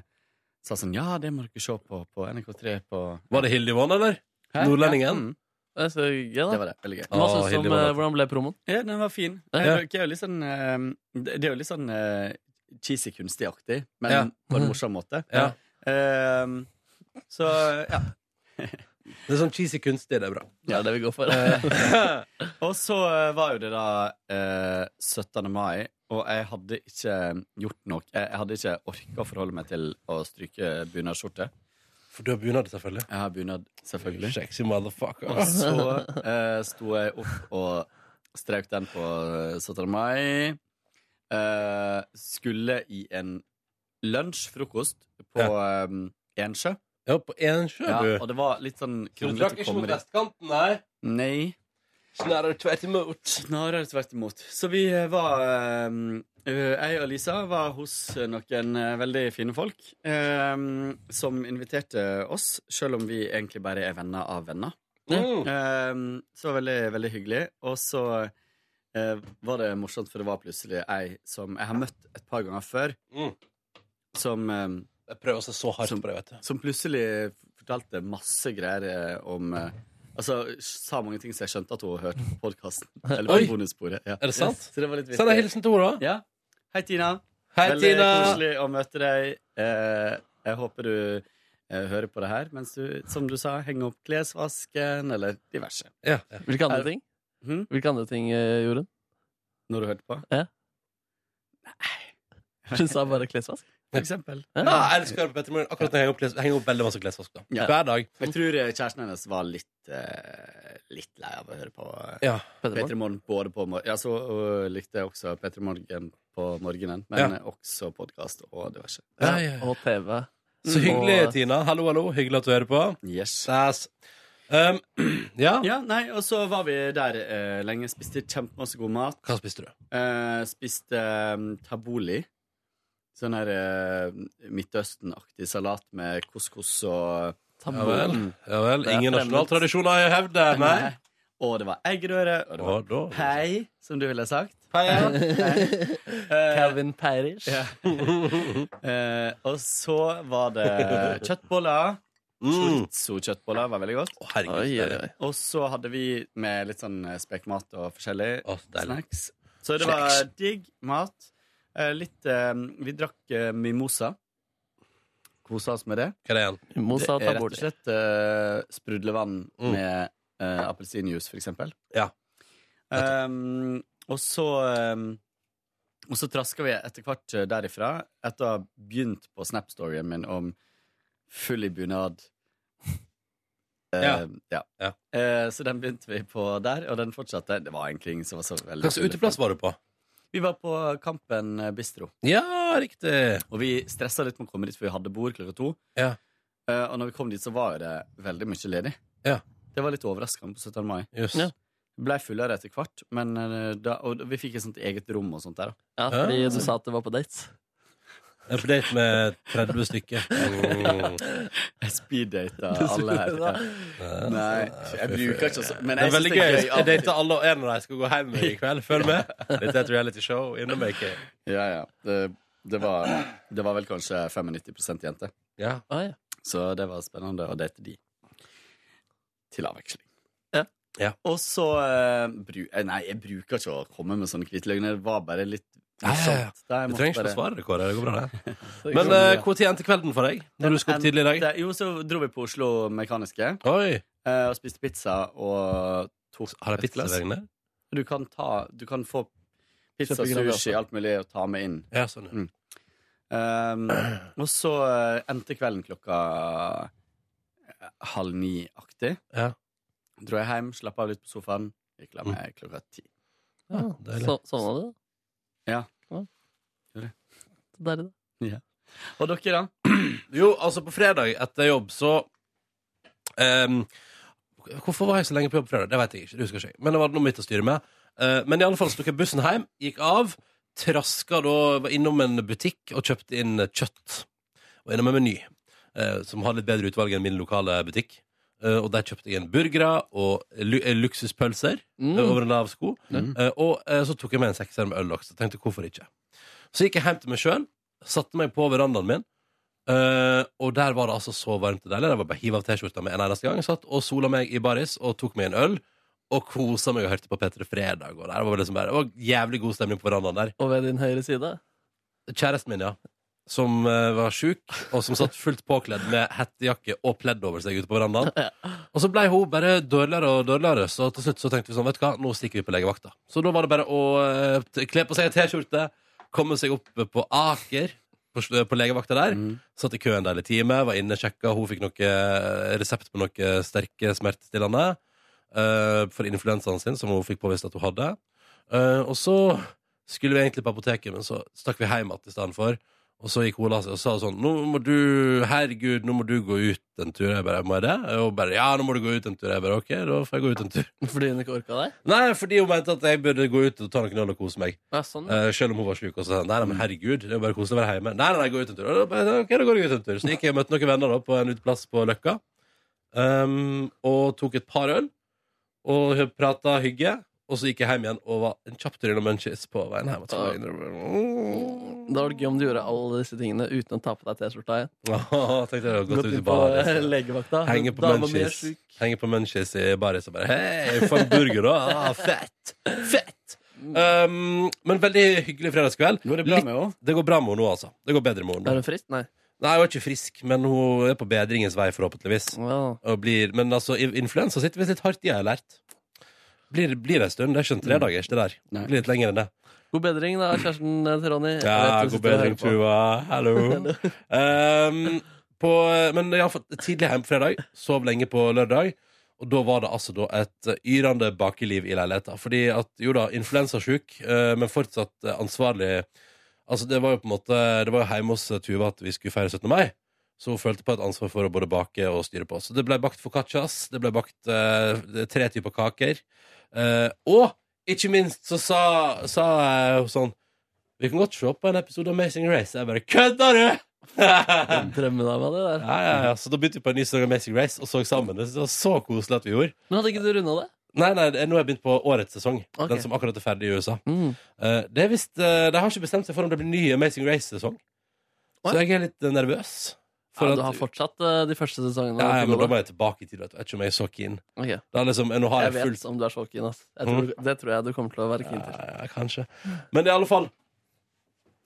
Speaker 13: sa sånn Ja, det må dere se på på NRK3 på
Speaker 2: Var det Hildivon, eller?
Speaker 13: Hæ? Ja,
Speaker 2: Nordlendingen?
Speaker 13: mm.
Speaker 3: Det er så gøy, da.
Speaker 13: Det var det. Veldig gøy.
Speaker 3: Hva synes du om eh, hvordan ble promoen?
Speaker 13: Ja, den var fin.
Speaker 3: Ja.
Speaker 13: Det er jo litt sånn eh, Det det er jo litt sånn eh, cheesy kunstig-aktig, men
Speaker 2: Ja. Mm.
Speaker 13: på en morsom måte.
Speaker 2: Ja.
Speaker 13: Eh, så ja.
Speaker 2: Det er sånn cheesy kunstig, det er bra.
Speaker 3: Ja, det vi går for.
Speaker 13: og så eh, var jo det da eh, 17. mai, og jeg hadde ikke gjort noe. Jeg, jeg hadde ikke orka å forholde meg til å stryke bunadsskjorte.
Speaker 2: For du har bunad, selvfølgelig.
Speaker 13: Jeg har bunad, selvfølgelig.
Speaker 2: Sexy motherfucker.
Speaker 13: Og så eh, sto jeg opp og strøk den på 17. mai. Eh, skulle i en lunsj-frokost på eh, Ensjø.
Speaker 2: Ja, på Ensjø,
Speaker 13: ja,
Speaker 2: du.
Speaker 13: Og det var litt sånn
Speaker 2: Så du trakk
Speaker 13: kronglete
Speaker 2: ikke mot
Speaker 13: kommer
Speaker 2: vestkanten, nei?
Speaker 13: Nei.
Speaker 2: Snarere tvert imot.
Speaker 13: Snarere tvert imot. Så vi eh, var ehm, eh, Jeg og Lisa var hos noen eh, veldig fine folk ehm, som inviterte oss, selv om vi egentlig bare er venner av venner.
Speaker 2: Mm.
Speaker 13: Ehm, så det var veldig, veldig hyggelig. Og så eh, var det morsomt, for det var plutselig ei som jeg har møtt et par ganger før,
Speaker 2: Mm.
Speaker 13: som ehm,
Speaker 2: Jeg prøver seg så hardt
Speaker 13: som,
Speaker 2: på det, vet du.
Speaker 13: Som plutselig fortalte masse greier eh, om eh, Altså, sa mange ting så jeg skjønte at hun hørte på podkasten. Eller på
Speaker 2: Oi!
Speaker 13: bonussporet. Ja.
Speaker 2: Er det sant?
Speaker 13: Så det var litt
Speaker 2: Send en hilsen til henne, da.
Speaker 13: Ja. Hei, Tina.
Speaker 2: Hei,
Speaker 13: Veldig
Speaker 2: Tina.
Speaker 13: koselig å møte deg. Eh, jeg håper du eh, hører på det her mens du, som du sa, henger opp klesvasken eller diverse.
Speaker 3: Hvilke andre
Speaker 13: Er-
Speaker 3: ting? Hvilke andre ting eh, gjorde hun?
Speaker 13: Når du hørte på?
Speaker 3: Ja. Nei Hun sa bare klesvask?
Speaker 13: For eksempel.
Speaker 2: Ja, jeg elsker å høre på Petter Morgen. Akkurat nå henger jeg opp, kles- henger opp veldig masse klesvask. da.
Speaker 13: Ja.
Speaker 2: Hver dag.
Speaker 13: Jeg tror eh, kjæresten hennes var litt, eh, litt lei av å høre på eh,
Speaker 2: Ja.
Speaker 13: Petter Morgen. både på morgen. Ja, så øh, likte jeg også Petter Morgen på morgenen, men
Speaker 2: Ja.
Speaker 13: eh, også podkast og diverse.
Speaker 2: Ja, ja,
Speaker 3: Og TV.
Speaker 2: Så hyggelig,
Speaker 13: Og-
Speaker 2: Tina. Hallo, hallo. Hyggelig at du hører på.
Speaker 13: Yes.
Speaker 2: Sass. Um, ja.
Speaker 13: Ja, nei, og så var vi der eh, lenge. Spiste kjempemasse god mat.
Speaker 2: Hva spiste du?
Speaker 13: Eh, spiste eh, taboli. Sånn her eh, Midtøsten-aktig salat med couscous og
Speaker 2: Ja vel. Ja vel. Ingen nasjonal tradisjon har jeg hevd det. Nei.
Speaker 13: Og det var eggerøre, og det var
Speaker 2: Og da
Speaker 13: pei, som du ville sagt. Eh,
Speaker 2: ja.
Speaker 3: Calvin Peirish.
Speaker 13: Ja. Eh, og så var det kjøttboller. Chorizo-kjøttboller var veldig godt.
Speaker 2: Mm.
Speaker 13: Eh,
Speaker 2: herregud, Oi, oi, oi.
Speaker 13: Og så hadde vi med litt sånn eh, spekmat og forskjellig. snacks. Så det var
Speaker 2: Snacks.
Speaker 13: digg mat. Eh, litt eh, Vi drakk eh, mimosa. Kosa oss med det.
Speaker 2: Hva er det igjen?
Speaker 13: det er rett og slett eh, sprudlevann
Speaker 2: Mm.
Speaker 13: med eh, appelsinjuice, for eksempel.
Speaker 2: Ja.
Speaker 13: Um, og så um, Og så traska vi etter hvert eh, derifra, etter å ha begynt på Snap-storyen min om full i bunad. Eh,
Speaker 2: Ja.
Speaker 13: ja. Eh, så den begynte vi på der, og den fortsatte. Det var egentlig ingen som var så veldig
Speaker 2: Hva slags
Speaker 13: full.
Speaker 2: uteplass var du på?
Speaker 13: Vi var på Kampen bistro.
Speaker 2: Ja, riktig.
Speaker 13: Og vi stressa litt med å komme dit, for vi hadde bord klokka to.
Speaker 2: Ja.
Speaker 13: Eh, og når vi kom dit, så var jo det veldig mye ledig.
Speaker 2: Ja.
Speaker 13: Det var litt overraskende på 17. mai.
Speaker 2: Yes.
Speaker 3: Ja.
Speaker 13: Blei fullere etter hvert, men eh, da, og vi fikk et sånt eget rom og sånt der. da.
Speaker 3: Ja, fordi du sa at det var på dates.
Speaker 2: Jeg er på date med 30 stykker. Mm.
Speaker 13: Jeg speeddata
Speaker 2: Du
Speaker 13: alle her.
Speaker 2: skulle
Speaker 13: Ja. Nei, jeg bruker ikke sånn. Men
Speaker 2: det er
Speaker 13: jeg synes
Speaker 2: veldig gøy.
Speaker 13: av og
Speaker 2: Jeg
Speaker 13: til.
Speaker 2: dater alle, og en av dem skal gå hjem i kveld. Følg med. Dette er et realityshow. In the making.
Speaker 13: Ja, ja. Det, det, var, det var vel kanskje 95 jenter.
Speaker 2: Ja.
Speaker 13: Så det var spennende å date de. Til avveksling. Og så eh, bru, eh, Nei, jeg bruker ikke å komme med sånne hvite løgner. Det var bare litt morsomt. Da jeg
Speaker 2: Du
Speaker 13: måtte
Speaker 2: trenger ikke
Speaker 13: bare-
Speaker 2: forsvare det, Kåre. Det går bra, det.
Speaker 13: Så jeg
Speaker 2: Men
Speaker 13: gjorde det.
Speaker 2: eh, hvor tid endte kvelden for deg? Når du skulle opp tidlig i dag?
Speaker 13: Jo, så dro vi på Oslo Mekaniske eh, og spiste pizza og tok
Speaker 2: Har de
Speaker 13: et glass.
Speaker 2: pizzaservering der?
Speaker 13: Du kan, ta, du kan få pizza,
Speaker 2: Kjøpe greier,
Speaker 13: sushi,
Speaker 2: altså.
Speaker 13: alt mulig å ta med inn.
Speaker 2: Ja, sånn,
Speaker 13: Mm. Um, og så eh, endte kvelden klokka eh, halv ni-aktig.
Speaker 2: Ja. Mm.
Speaker 13: Dro jeg hjem, slapp av litt på sofaen, gikk la meg klokka ti.
Speaker 2: Ah,
Speaker 3: Ja, så, sånn var det.
Speaker 13: Ja.
Speaker 3: Så deilig, da.
Speaker 13: Og dere,
Speaker 2: da? Jo, altså, på fredag etter jobb så ehm, Hvorfor var jeg så lenge på jobb på fredag? Det vet jeg ikke. det husker ikke jeg. Men det var noe mitt å styre med. Eh, men i alle fall så tok jeg bussen hjem, gikk av, traska da var innom en butikk og kjøpte inn kjøtt. Og innom en meny eh, som har litt bedre utvalg enn min lokale butikk. Eh, og der kjøpte jeg en burgere og lu eh, luksuspølser
Speaker 3: Mm.
Speaker 2: eh, over en lav sko.
Speaker 3: Mm.
Speaker 2: Eh, og eh, så tok jeg med en sekser med øl også. Tenkte hvorfor ikke. Så gikk jeg hjem til meg sjøl, satte meg på verandaen min, eh, og der var det altså så varmt og deilig. Det var bare å hive av T-skjorta med en eneste gang. Jeg satt og sola meg i baris og tok meg en øl. Og kosa meg og hørte på P3 Fredag. Og der var det, liksom bare, det var jævlig god stemning på verandaen der.
Speaker 3: Og ved din høyre side?
Speaker 2: Kjæresten min, ja. Som eh, var sjuk, og som satt fullt påkledd med hettejakke og pledd over seg ute på verandaen. Og så ble hun bare dårligere og dårligere, så til slutt så tenkte vi sånn, vet du hva, nå stikker vi på legevakta. Så da var det bare å eh, t- kle på seg en T-skjorte, komme seg opp på Aker, på, s- på legevakta der. Satt i kø en deilig time, var inne, sjekka, hun fikk noe eh, resept på noe sterke smertestillende eh, for influensaen sin, som hun fikk påvist at hun hadde. Eh, og så skulle vi egentlig på apoteket, men så stakk vi hjem igjen i stedet for. Og så gikk hun og la seg og sa sånn Nå må du, herregud, nå må du gå ut en tur. Jeg bare, må jeg det? Og hun bare, ja, nå må du gå ut en tur. Jeg bare, ok, da får jeg gå ut en tur.
Speaker 3: Fordi hun ikke orka deg?
Speaker 2: Nei, fordi hun mente at jeg burde gå ut og ta noen øl og kose meg.
Speaker 3: Ja, sånn, ja.
Speaker 2: Eh, selv om hun var syk. Og så sa hun nei, nei, men herregud, det er jo bare koselig å være hjemme. Nei, nei, nei, gå ut en tur. Og da bare, ok, da går jeg ut en tur. Så gikk jeg og møtte noen venner da, på en uteplass på Løkka. ehm, og tok et par øl. Og prata hygge. Og så gikk jeg hjem igjen og var en kjapp tur innom Munchies på veien hjem. Så var jeg
Speaker 3: Mm, Da var det gøy om du gjorde alle disse tingene uten å ta på deg T-skjorta igjen.
Speaker 2: Åh, tenkte jeg hadde gått
Speaker 3: Gått
Speaker 2: ut i
Speaker 3: inn på
Speaker 2: baris.
Speaker 3: eh, legevakta.
Speaker 2: Henge på
Speaker 3: Dama mi er
Speaker 2: munchies.
Speaker 3: syk.
Speaker 2: Henge på munchies i baris og bare Hei, få en burger, da! Ah, fett! Fett! Um, men veldig hyggelig fredagskveld. Går det, bra med henne? det går bra med henne nå, altså. Det går bedre med henne nå.
Speaker 3: Er hun frisk? Nei.
Speaker 2: Nei, hun er ikke frisk, men hun er på bedringens vei, forhåpentligvis. Og blir, men altså, i- influensa sitter visst litt hardt i, har jeg lært. Blir, blir det en stund. Det er ikke en tredagers, det der. Blir litt lenger enn det.
Speaker 3: God bedring, da, kjæresten eh, til Ronny. Jeg
Speaker 2: Ja,
Speaker 3: vet du
Speaker 2: god
Speaker 3: sitter og hører
Speaker 2: bedring,
Speaker 3: på.
Speaker 2: Tuva. Hallo. um, på, men iallfall tidlig hjemme på fredag. Sov lenge på lørdag. Og da var det altså da et eh, yrende bakeliv i leiligheta. Fordi at jo da, influensasjuk, eh, men fortsatt eh, ansvarlig. Altså Det var jo på en måte Det var jo hjemme hos eh, Tuva at vi skulle feire 17. mai. Så hun følte på et ansvar for å både bake og styre på. Så det ble bakt foccaccias, det ble bakt eh, tre typer kaker. Eh, og ikke minst så sa, sa eh, hun sånn vi kan godt se på en episode av Amazing Race. Jeg bare Kødder du?!
Speaker 3: Drømmedama, det der.
Speaker 2: Ja, ja, ja. Så da begynte vi på en ny sesong av Amazing Race og så sammen. Det var så koselig at vi gjorde.
Speaker 3: Men hadde ikke du runda det?
Speaker 2: Nei, nei, det- nå har jeg begynt på årets sesong.
Speaker 3: Ok.
Speaker 2: Den som akkurat er ferdig i USA.
Speaker 3: Mm.
Speaker 2: Eh, det er visst, eh, De har ikke bestemt seg for om det blir ny Amazing Race-sesong. Så jeg er litt eh, nervøs.
Speaker 3: Ja, du
Speaker 2: at-
Speaker 3: har fortsatt eh, de første sesongene.
Speaker 2: ja, ja,
Speaker 3: til
Speaker 2: men da
Speaker 3: gode.
Speaker 2: må jeg tilbake i tid. Vet du. Jeg vet ikke om jeg er så keen.
Speaker 3: Ok.
Speaker 2: Det er liksom, eh, nå har jeg,
Speaker 3: Jeg vet
Speaker 2: fullt- Mm.
Speaker 3: om du er så keen. ass. Jeg tror, Det tror jeg du kommer til å være keen til.
Speaker 2: Ja, kanskje. Men i alle fall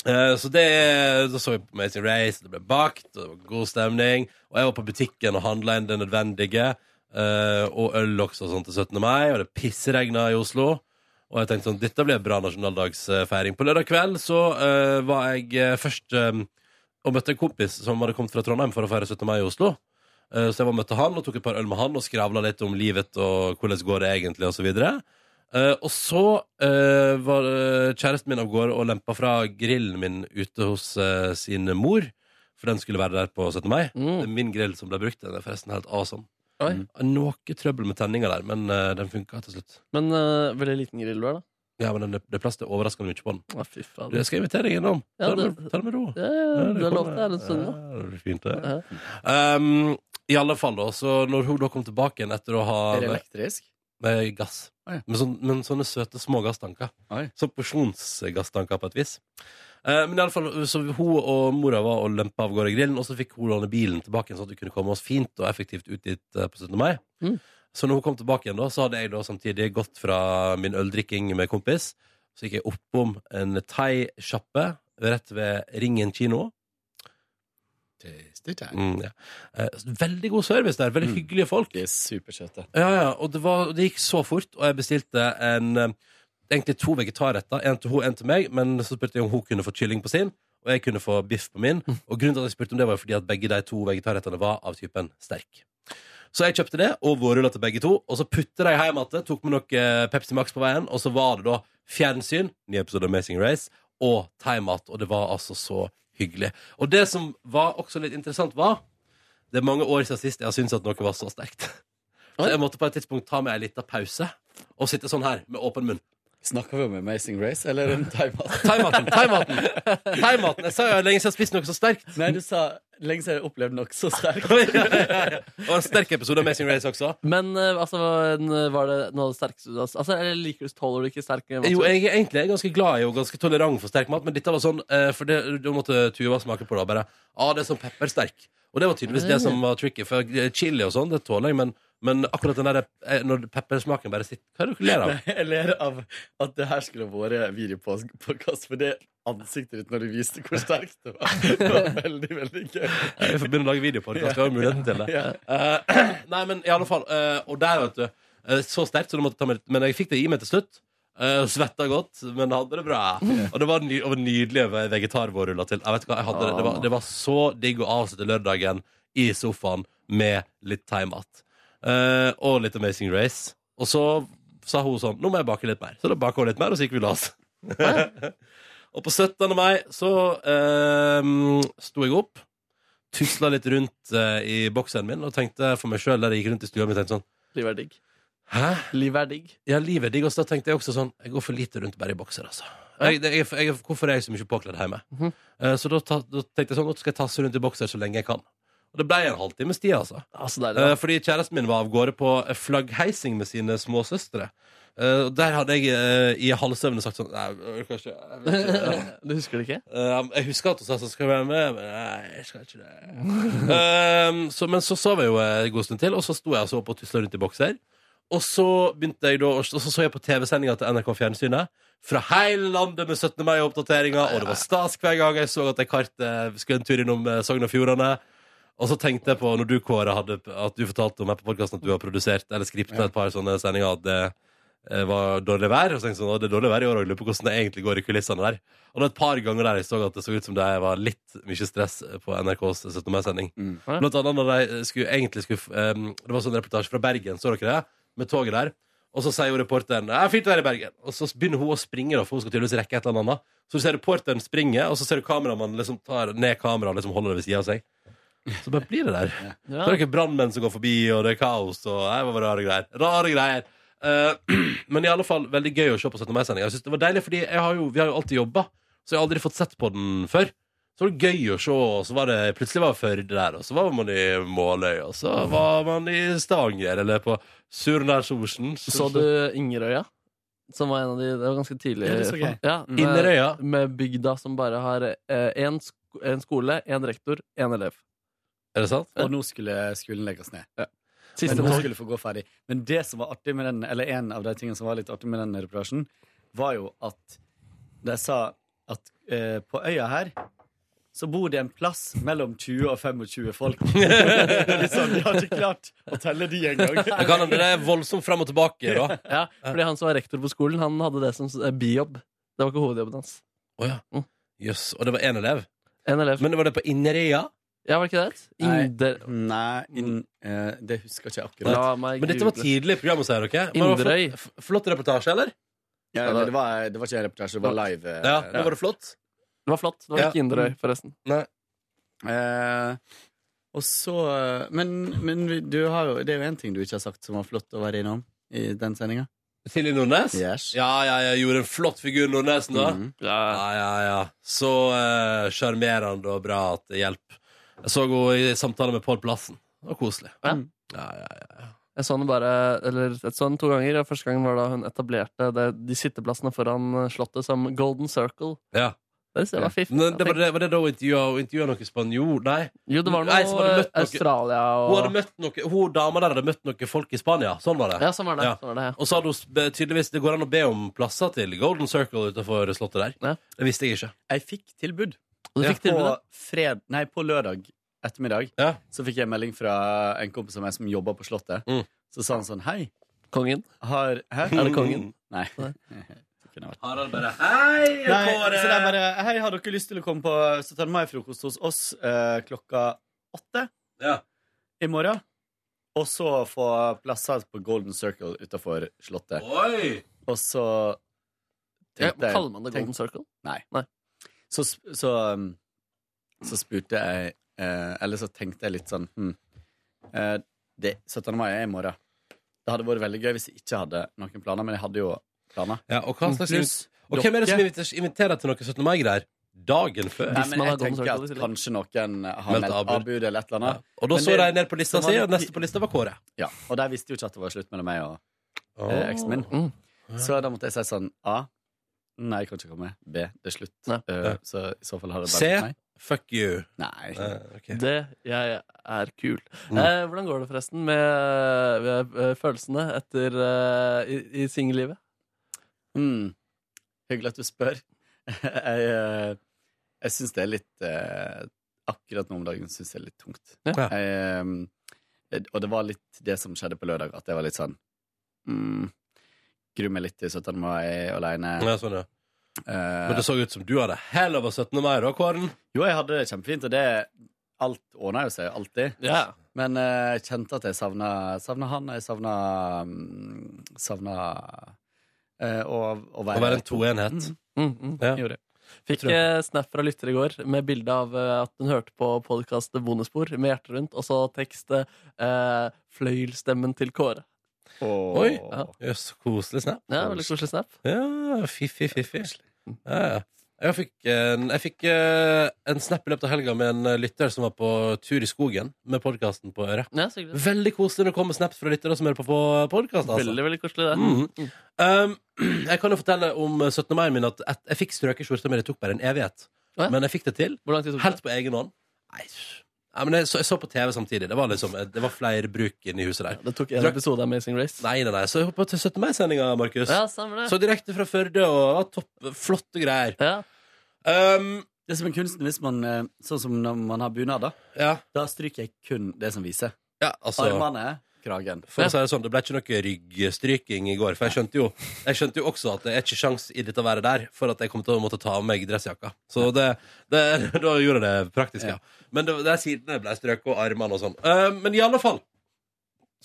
Speaker 2: eh, Så det Da så vi på Amazing Race, det ble bakt, og det var god stemning. Og jeg var på butikken og handla inn det nødvendige. eh, og øl også og sånn til 17. mai, og det pissregna i Oslo. Og jeg tenkte sånn, dette blir en bra nasjonaldagsfeiring. På lørdag kveld så eh, var jeg eh, først eh, og møtte en kompis som hadde kommet fra Trondheim for å feire 17. mai i Oslo. Eh, Så jeg var og møtte han og tok et par øl med han og skravla litt om livet og hvordan går det egentlig, osv. Og så, videre. Eh, og så eh, var eh, kjæresten min av gårde og lempa fra grillen min ute hos eh, sin mor. For den skulle være der på 17. mai. Det er min grill som ble brukt. Den er forresten helt awesome.
Speaker 3: Mm. Oi.
Speaker 2: Noe trøbbel med tenninga der, men eh, den funka til slutt.
Speaker 3: Men eh, veldig liten grill du er, da.
Speaker 2: Ja, men den, det er plass til overraskende mye på den.
Speaker 3: Å, fy faen.
Speaker 2: Du, jeg skal invitere deg innom.
Speaker 3: Ja,
Speaker 2: Ta det
Speaker 3: det-
Speaker 2: med- ta det med ro.
Speaker 3: Ja, ja,
Speaker 2: Ja, det
Speaker 3: du har
Speaker 2: kommer.
Speaker 3: lovt det her en stund, da.
Speaker 2: Ja, det blir fint, det. Um, I alle fall, da. Så når hun da kom tilbake igjen etter å ha
Speaker 13: Er det elektrisk?
Speaker 2: Med gass. Med sånn, men sånne søte små gasstanker. Sånn porsjonsgasstanker, på et vis. Eh, men i alle fall, så hun og mora var og lempa av gårde grillen, og så fikk hun låne bilen tilbake, igjen, sånn at vi kunne komme oss fint og effektivt ut dit eh, på 17. mai. Så når hun kom tilbake igjen, da, så hadde jeg da samtidig gått fra min øldrikking med kompis. Så gikk jeg oppom en thai-sjappe rett ved Ringen kino. Mm, ja. Eh, Veldig god service der. Veldig hyggelige folk.
Speaker 13: De er supersøte.
Speaker 2: Ja, ja, og det, var, det gikk så fort, og jeg bestilte en, eh, egentlig to vegetarretter. En til hun, en til meg, men så spurte jeg om hun kunne få kylling på sin, og jeg kunne få biff på min. Og grunnen til at jeg spurte om det, var jo fordi at begge de to vegetarrettene var av typen sterk. Så jeg kjøpte det, og vårruller til begge to, og så putta de hjem igjen, tok med noe eh, Pepsi Max på veien, og så var det da fjernsyn, ny episode av Amazing Race, og thaimat, og det var altså så hyggelig. Og det som var også litt interessant, var det er mange år siden sist jeg har syntes at noe var så sterkt. Så jeg måtte på et tidspunkt ta meg en liten pause og sitte sånn her med åpen munn.
Speaker 13: Snakker vi om Amazing Race eller om thaimat?
Speaker 2: Thaimaten! Thaimaten! Thaimaten. Jeg sa jo lenge siden jeg har spist noe så sterkt.
Speaker 13: Nei, du sa lenge siden jeg har opplevd noe så sterkt.
Speaker 2: Og en sterk episode av Amazing Race også.
Speaker 3: Men eh, altså, en- var det noe av det sterkeste du har Altså, eller liker du, tåler du ikke sterk mat?
Speaker 2: Jo, jeg er egentlig ganske glad i og ganske tolerant for sterk mat, men dette var sånn eh, For det, da måtte Tuva smake på det og bare ah, det er sånn peppersterk. Og det var tydeligvis det som var tricky, for chili og sånn, det tåler jeg, men, men akkurat den der eh, når peppersmaken bare sitter Hva er det du ler av?
Speaker 13: Nei, jeg ler av at det her skulle vært videopodkast, for det ansiktet ditt når du viste hvor sterkt det var, det var veldig, veldig gøy.
Speaker 2: Vi får begynne å lage videopodkast. Vi har jo muligheten til det.
Speaker 13: Ja.
Speaker 2: Eh, nei, men i alle fall eh, Og der, vet du. eh, så sterkt, så du måtte ta med litt. Men jeg fikk det i meg til slutt. Uh, svetta godt, men hadde det bra. Og det var, ny, og nydelige vegetarvårruller til. Jeg vet hva, jeg hadde det. Det, var, det var så digg å avslutte lørdagen i sofaen med litt thaimat. Uh, og litt Amazing Race. Og så sa hun sånn Nå må jeg bake litt mer. Så da baker hun litt mer, og så gikk vi og la oss. Og på 17. mai så ehm, sto jeg opp, tusla litt rundt eh, i boksen min og tenkte for meg sjøl der jeg gikk rundt i stua mi, tenkte sånn
Speaker 3: Livet er digg.
Speaker 2: Hæ?
Speaker 3: Livet er digg.
Speaker 2: Ja, livet er digg. Og så da tenkte jeg også sånn Jeg går for lite rundt bare i bokser, altså. Jeg, det- jeg, jeg, hvorfor er jeg så mye påkledd hjemme?
Speaker 3: Mhm.
Speaker 2: Eh, så da, ta, da tenkte jeg sånn Nå skal jeg tasse rundt i bokser så lenge jeg kan. Og det ble en halvtimes tid, altså.
Speaker 3: Altså, deilig, da.
Speaker 2: Eh, Fordi kjæresten min var av gårde på eh, flaggheising med sine småsøstre. Eh, og Der hadde jeg eh, i halvsøvne sagt sånn Nei, jeg orker ikke. Jeg vil ikke.
Speaker 3: Du husker det ikke?
Speaker 2: Eh, jeg husker at hun sa sånn Skal jeg være med? Men nei, jeg skal ikke det. Eh, så, men så sov jeg jo eh, en god stund til, og så sto jeg og så på og tusla rundt i bokser. Og så begynte jeg da Og så så jeg på TV-sendinga til NRK Fjernsynet fra hele landet med 17. mai-oppdateringer, og det var stas hver gang jeg så at jeg kart eh, skulle en tur innom eh, Sogn og Fjordane. Og så tenkte jeg på, når du Kåre hadde, at du fortalte om her på podcasten at du har produsert eller skriptet et par sånne sendinger, at det eh, var dårlig vær. Og så tenkte jeg sånn, «Å, det er dårlig vær i år, og jeg lurer på hvordan det egentlig går i kulissene der. Og det var et par ganger der jeg så at det så ut som det var litt mye stress på NRKs 17. mai-sending. Blant annet når de skulle, egentlig skulle eh, Det var sånn reportasje fra Bergen, så dere det? Med toget der. Og så sier jo reporteren «Ja, fint å være i Bergen. Og så begynner hun å springe, da, for hun skal tydeligvis rekke et eller annet. Så du ser reporteren springe, og så ser du kameramannen liksom tar ned kameraet og liksom holder det ved siden av seg. Så bare blir det der. Så er det ikke brannmenn som går forbi, og det er kaos, og det var bare rare greier. Rare greier. Eh, men i alle fall veldig gøy å se på 17. mai-sendinga. Jeg synes det var deilig, fordi jeg har jo, vi har jo alltid jobba, så jeg har aldri fått sett på den før. Så var det gøy å se, og så var det plutselig var Førde der, og så var man i Måløy, og så var man i Stavanger, eller på Surnadalsosen.
Speaker 3: Så du Ingerøya? Som var en av de Det var ganske tidlig.
Speaker 2: Ja, det så jeg.
Speaker 3: Ja, med,
Speaker 2: Inderøya.
Speaker 3: Med bygda som bare har én sk en skole, én rektor, én elev.
Speaker 2: Er det sant?
Speaker 13: Og nå skulle skolen legges ned.
Speaker 3: Siste
Speaker 13: men nå
Speaker 3: tog.
Speaker 13: skulle få gå ferdig. Men det som var artig med den, eller en av de tingene som var litt artig med den reportasjen, var jo at de sa at eh, på øya her så bor det en plass mellom 20 og 25 folk. Det er litt sånn, De har ikke klart å telle de engang.
Speaker 2: Det kan hende det er voldsomt fram og tilbake, da.
Speaker 3: Ja, fordi han som var rektor på skolen, han hadde det som s- eh, bijobb. Det var ikke hovedjobben hans.
Speaker 2: Å ja. Jøss. Og det var én elev?
Speaker 3: En elev.
Speaker 2: Men var det på Inderøya?
Speaker 3: Ja, var det ikke det?
Speaker 13: Nei.
Speaker 3: Inder...
Speaker 13: Nei, inn- eh, det husker ikke jeg akkurat.
Speaker 3: La meg
Speaker 2: Men dette var
Speaker 13: google.
Speaker 2: tidlig i programmet, sier dere? Men det var
Speaker 13: Inderøy.
Speaker 2: flott- f- Flott reportasje, eller?
Speaker 13: Ja, eller det, var, det var ikke en reportasje, det var live. eh,
Speaker 2: Ja, nå var det flott.
Speaker 3: Det var flott. Det var ikke Inderøy, forresten.
Speaker 2: Nei.
Speaker 13: Eh, og så Men, men vi- du har jo, det er jo én ting du ikke har sagt som var flott å være innom i den sendinga.
Speaker 2: Silje Nordnes?
Speaker 13: Yes.
Speaker 2: Ja, ja, jeg gjorde en flott figur Nordnesen da.
Speaker 13: Mhm.
Speaker 2: ja. ja, ja, Så eh, sjarmerende og bra at det hjelper. Jeg så henne i samtale med Pål Plassen. Det var koselig. Ja, ja, ja.
Speaker 3: Jeg så henne bare eller jeg så henne to ganger. og Første gangen var da hun etablerte det, de sitteplassene foran eh, Slottet som Golden Circle.
Speaker 2: Ja.
Speaker 3: Det synes jeg var fiff.
Speaker 2: Men det var, det, var det da hun intervjua- hun intervjua noen spanjol? Nei.
Speaker 3: Jo, det var noe
Speaker 2: Nei, så hadde møtt
Speaker 3: Australia og-
Speaker 2: Hun, hadde møtt noe, hun dama der hadde møtt noen folk i Spania. Sånn var det.
Speaker 3: Ja, sånn var det, sånn var det, ja.
Speaker 2: Og så hadde hun s- be- tydeligvis Det går an å be om plasser til Golden Circle utenfor slottet der. Det visste jeg ikke.
Speaker 13: Jeg fikk tilbud.
Speaker 2: Du fikk tilbud, ja.
Speaker 13: på, fred, nei, på lørdag ettermiddag så fikk jeg melding fra en kompis av meg som jobba på Slottet. Så sa han sånn Hei.
Speaker 3: Kongen?
Speaker 13: Har, hæ?
Speaker 3: Er det kongen?
Speaker 13: Nei.
Speaker 2: Harald bare Hei,
Speaker 13: Nei,
Speaker 2: Kåre!
Speaker 13: så det er bare Hei, har dere lyst til å komme på Så tar mai-frokost hos oss eh, klokka åtte i morgen? Og så få plasser på Golden Circle utafor Slottet.
Speaker 2: Oi!
Speaker 13: Og så
Speaker 3: Ja,
Speaker 13: tenkte jeg-
Speaker 3: kaller man det Golden
Speaker 13: tenk-
Speaker 3: Circle?
Speaker 13: Nei. Så, sp- så, um, så spurte jeg eh, Eller så tenkte jeg litt sånn hm, eh, det, 17. mai er i morgen. Det hadde vært veldig gøy hvis jeg ikke hadde noen planer, men jeg hadde jo planer.
Speaker 2: Ja, og hva slags
Speaker 13: Pluss
Speaker 2: Og hvem er det som
Speaker 13: dere-
Speaker 2: inviter- inviterer til noe 17. mai-greier? Dagen før?
Speaker 13: Nei, men jeg tenker at kanskje noen har
Speaker 2: Meldt
Speaker 13: meldt
Speaker 2: avbud.
Speaker 13: avbud eller et eller annet.
Speaker 2: Og da
Speaker 13: Men
Speaker 2: så
Speaker 13: det-
Speaker 2: de ned på lista
Speaker 13: så var
Speaker 2: si,
Speaker 13: det-
Speaker 2: og neste på lista var Kåre.
Speaker 13: Ja, og de visste jo ikke at det var slutt mellom meg og
Speaker 2: Åh.
Speaker 13: eh, eksen min.
Speaker 2: Mm.
Speaker 13: Så da måtte jeg si sånn A. Nei, jeg kan ikke komme. B. Det er slutt. Eh, så i så fall har det bare
Speaker 2: Se, Eh.
Speaker 13: vært meg.
Speaker 2: fuck you.
Speaker 13: Nei.
Speaker 3: Det jeg er kul. Eh, hvordan går det forresten med, med eh, følelsene etter eh, i, i singellivet?
Speaker 13: Mm. Hyggelig at du spør. jeg eh, jeg syns det er litt eh, Akkurat nå om dagen syns jeg det er litt tungt.
Speaker 2: Ja.
Speaker 13: Jeg, eh, og det var litt det som skjedde på lørdag, at jeg var litt sånn mm, Gruer meg litt til 17. mai aleine.
Speaker 2: Ja, sånn, ja. Men det så ut som du hadde hell over 17. mai, da, Kåren.
Speaker 13: Jo, jeg hadde det kjempefint, og det Alt ordna jo seg alltid. Men eh, jeg kjente at jeg savna, savna han, jeg savna mm, Savna eh, å, å være
Speaker 2: Å være en toenhet.
Speaker 3: Mm, mm.
Speaker 2: Ja.
Speaker 13: Gjorde jeg.
Speaker 3: Fikk
Speaker 13: Tror jeg.
Speaker 3: eh, snap fra lytter i går med bilde av eh, at hun hørte på podkast Bonusspor med hjertet rundt, og så tekst eh, 'Fløyelstemmen til Kåre'.
Speaker 2: Oi! Jøss, koselig snap.
Speaker 3: Ja, veldig koselig snap.
Speaker 2: Ja, fiffig, fiffig. Ja, ja. Jeg fikk, en, jeg fikk eh, en snap i løpet av helga med en eh, lytter som var på tur i skogen med podkasten på øret.
Speaker 3: Ja, så hyggelig.
Speaker 2: Veldig koselig når det kommer snaps fra lyttere som hører på på podkast. Altså.
Speaker 3: Veldig, veldig koselig, det.
Speaker 2: Mhm. Um, jeg kan jo fortelle om 17. mai min at et, jeg fikk strøket skjorta mi. Det tok bare en evighet. Men jeg fikk det til. Helt på egen hånd. Nei, Nei, men jeg så, jeg så på TV samtidig. Det var liksom, det var flerbruk inne i huset der.
Speaker 3: Det tok en episode av Amazing Race.
Speaker 2: Nei, nei, nei. Så jeg hoppa til 17. mai-sendinga, Markus.
Speaker 3: Ja, stemmer det.
Speaker 2: så direkte fra Førde, og det var topp, flotte greier. Um,
Speaker 13: det som er kunsten hvis man eh, Sånn som når man har bunad, da. Da stryker jeg kun det som viser.
Speaker 2: altså-
Speaker 13: Armene, kragen.
Speaker 2: For å si det sånn, Det ble ikke noe ryggstryking i går. For jeg skjønte jo, jeg skjønte jo også at det er ikke sjans i dette været der for at jeg kom til å måtte ta av meg dressjakka. Så det, det, da gjorde jeg det praktisk, ja. Men det, det er sidene ble strøket, og armene og sånn. Eh, men i alle fall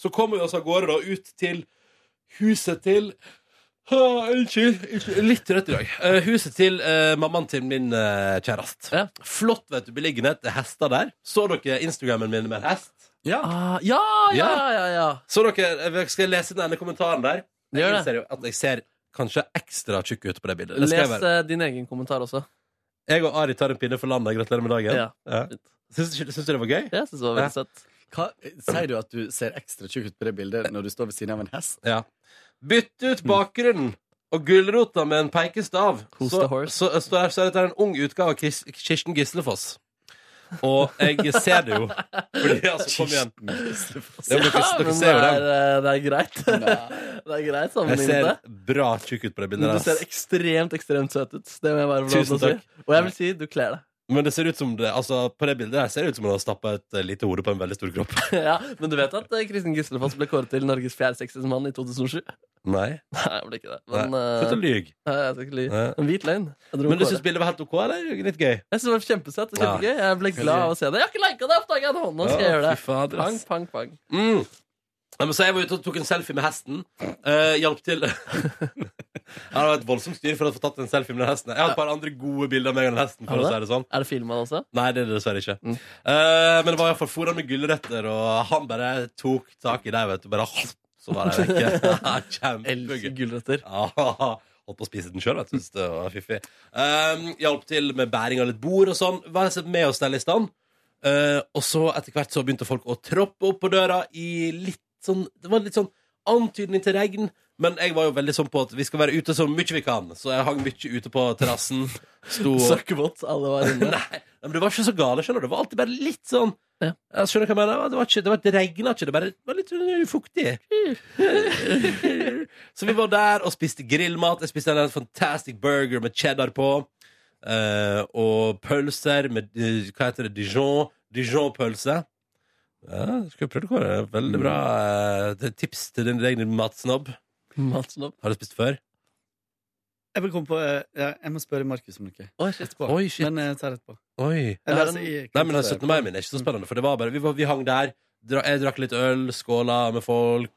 Speaker 2: så kommer vi oss av gårde da ut til huset til Ah, Unnskyld. unnskyld, Litt trøtt i dag. Eh, huset til eh, mammaen til min uh, kjæreste. Flott vet du, beliggenhet. Det er hester der. Så dere Instagrammen min med en hest?
Speaker 13: Ja.
Speaker 3: ja, ja, ja, ja.
Speaker 2: Så dere, jeg skal lese den ene kommentaren der. Jeg
Speaker 3: Gjør det.
Speaker 2: innser jo at jeg ser kanskje ekstra tjukk ut på det bildet. Det skal jeg
Speaker 3: Les
Speaker 2: være.
Speaker 3: eh, din egen kommentar også.
Speaker 2: Jeg og Ari tar en pinne for landet. Gratulerer med dagen.
Speaker 3: Ja.
Speaker 2: Syns, syns du det var gøy?
Speaker 3: Ja, jeg syns det var
Speaker 2: Ja.
Speaker 3: veldig søtt.
Speaker 13: Hva, sier du at du ser ekstra tjukk ut på det bildet når du står ved siden av en hest?
Speaker 2: Ja. Bytt ut bakgrunnen og gulrota med en peikestav. Så, så, så, er- så er dette en ung utgave av Kis- Kirsten Gislefoss. Og jeg ser det jo. Fordi, altså, kom igjen. Ja, men dere,
Speaker 3: Ja,
Speaker 2: dere
Speaker 3: men
Speaker 2: ser jo
Speaker 3: det
Speaker 2: den.
Speaker 3: er, eh, det er greit. det er greit
Speaker 2: Jeg
Speaker 3: sammenlignet
Speaker 2: ser
Speaker 3: det.
Speaker 2: bra tjukk ut på det bildet.
Speaker 3: Men
Speaker 2: der,
Speaker 3: du ser
Speaker 2: ass.
Speaker 3: ekstremt, ekstremt søt ut. Det må jeg bare få lov til
Speaker 2: Tusen
Speaker 3: å si.
Speaker 2: takk.
Speaker 3: Og jeg vil si du kler deg.
Speaker 2: Men det ser ut som det, altså, på det bildet der ser det ut som hun har stappa et eh, lite hode på en veldig stor kropp.
Speaker 3: ja, men du vet at eh, Kristin Gislefoss ble kåret til Norges fjerde sexieste mann i 2007?
Speaker 2: Nei.
Speaker 3: Nei, jeg ble ikke det. Men,
Speaker 2: Nei,
Speaker 3: eh,
Speaker 2: slutt å lyge.
Speaker 3: Nei, jeg skal ikke lyge.
Speaker 2: Nei.
Speaker 3: En hvit løgn. Jeg dro
Speaker 2: Men du
Speaker 3: Kåre.
Speaker 2: syns bildet var helt OK, eller? Litt gøy?
Speaker 3: Jeg synes det var kjempesøtt og
Speaker 2: Ja.
Speaker 3: kjempegøy. Jeg ble glad av å se det. Jeg har ikke lika det! oppdaget jeg det. Nå skal jeg
Speaker 2: Ja,
Speaker 3: gjøre det.
Speaker 2: fy fader,
Speaker 3: pang,
Speaker 2: ass.
Speaker 3: pang, pang.
Speaker 2: Mm. Nei, men så jeg var ute og tok en selfie med hesten. Uh, hjalp til. Ja, det var et voldsomt styr for å få tatt en selfie med den hesten. Jeg har et par andre gode bilder av meg og den hesten. For
Speaker 3: Har du
Speaker 2: å
Speaker 3: det?
Speaker 2: si det sånn
Speaker 3: Er det filma også?
Speaker 2: Nei, det er det dessverre ikke. Eh, men det var iallfall fôra med gulrøtter, og han bare tok tak i deg, vet du. Bare så var det vekke. Kjempegøy.
Speaker 3: Gulrøtter.
Speaker 2: Holdt på å spise den sjøl, vet du. Synes det var fiffig. Um, hjalp til med bæring av litt bord og sånn. Var sett med å stelle i stand. Eh, og så etter hvert så begynte folk å troppe opp på døra i litt sånn Det var litt sånn antydning til regn. Men jeg var jo veldig sånn på at vi skal være ute så mye vi kan. Så jeg hang mye ute på terrassen. Sto
Speaker 3: Søkkebåt, alle var inne.
Speaker 2: Nei, men det var ikke så gale, skjønner du. Det var alltid bare litt sånn Jeg skjønner hva jeg mener. Det, var ikke, det, var, det regna ikke, det bare var litt uh, fuktig. så vi var der og spiste grillmat. Jeg spiste en fantastic burger med cheddar på. eh, og pølser med eh, Hva heter det? Dijon. Dijon-pølse. Ja, skal vi prøve det? Kåre? Veldig bra eh, det er tips til din egen matsnobb.
Speaker 3: Matsnobb.
Speaker 2: Har du spist før?
Speaker 13: Jeg, vil komme på, eh, ja, jeg må spørre Markus om noe.
Speaker 3: Oi,
Speaker 2: Oi, shit.
Speaker 13: Men jeg tar etterpå.
Speaker 2: Oi.
Speaker 13: Eller, altså, jeg-
Speaker 2: Nei, men den 17. mai min er ikke så spennende, for det var bare Vi, var, vi hang der, dra, jeg drakk litt øl, skåla med folk.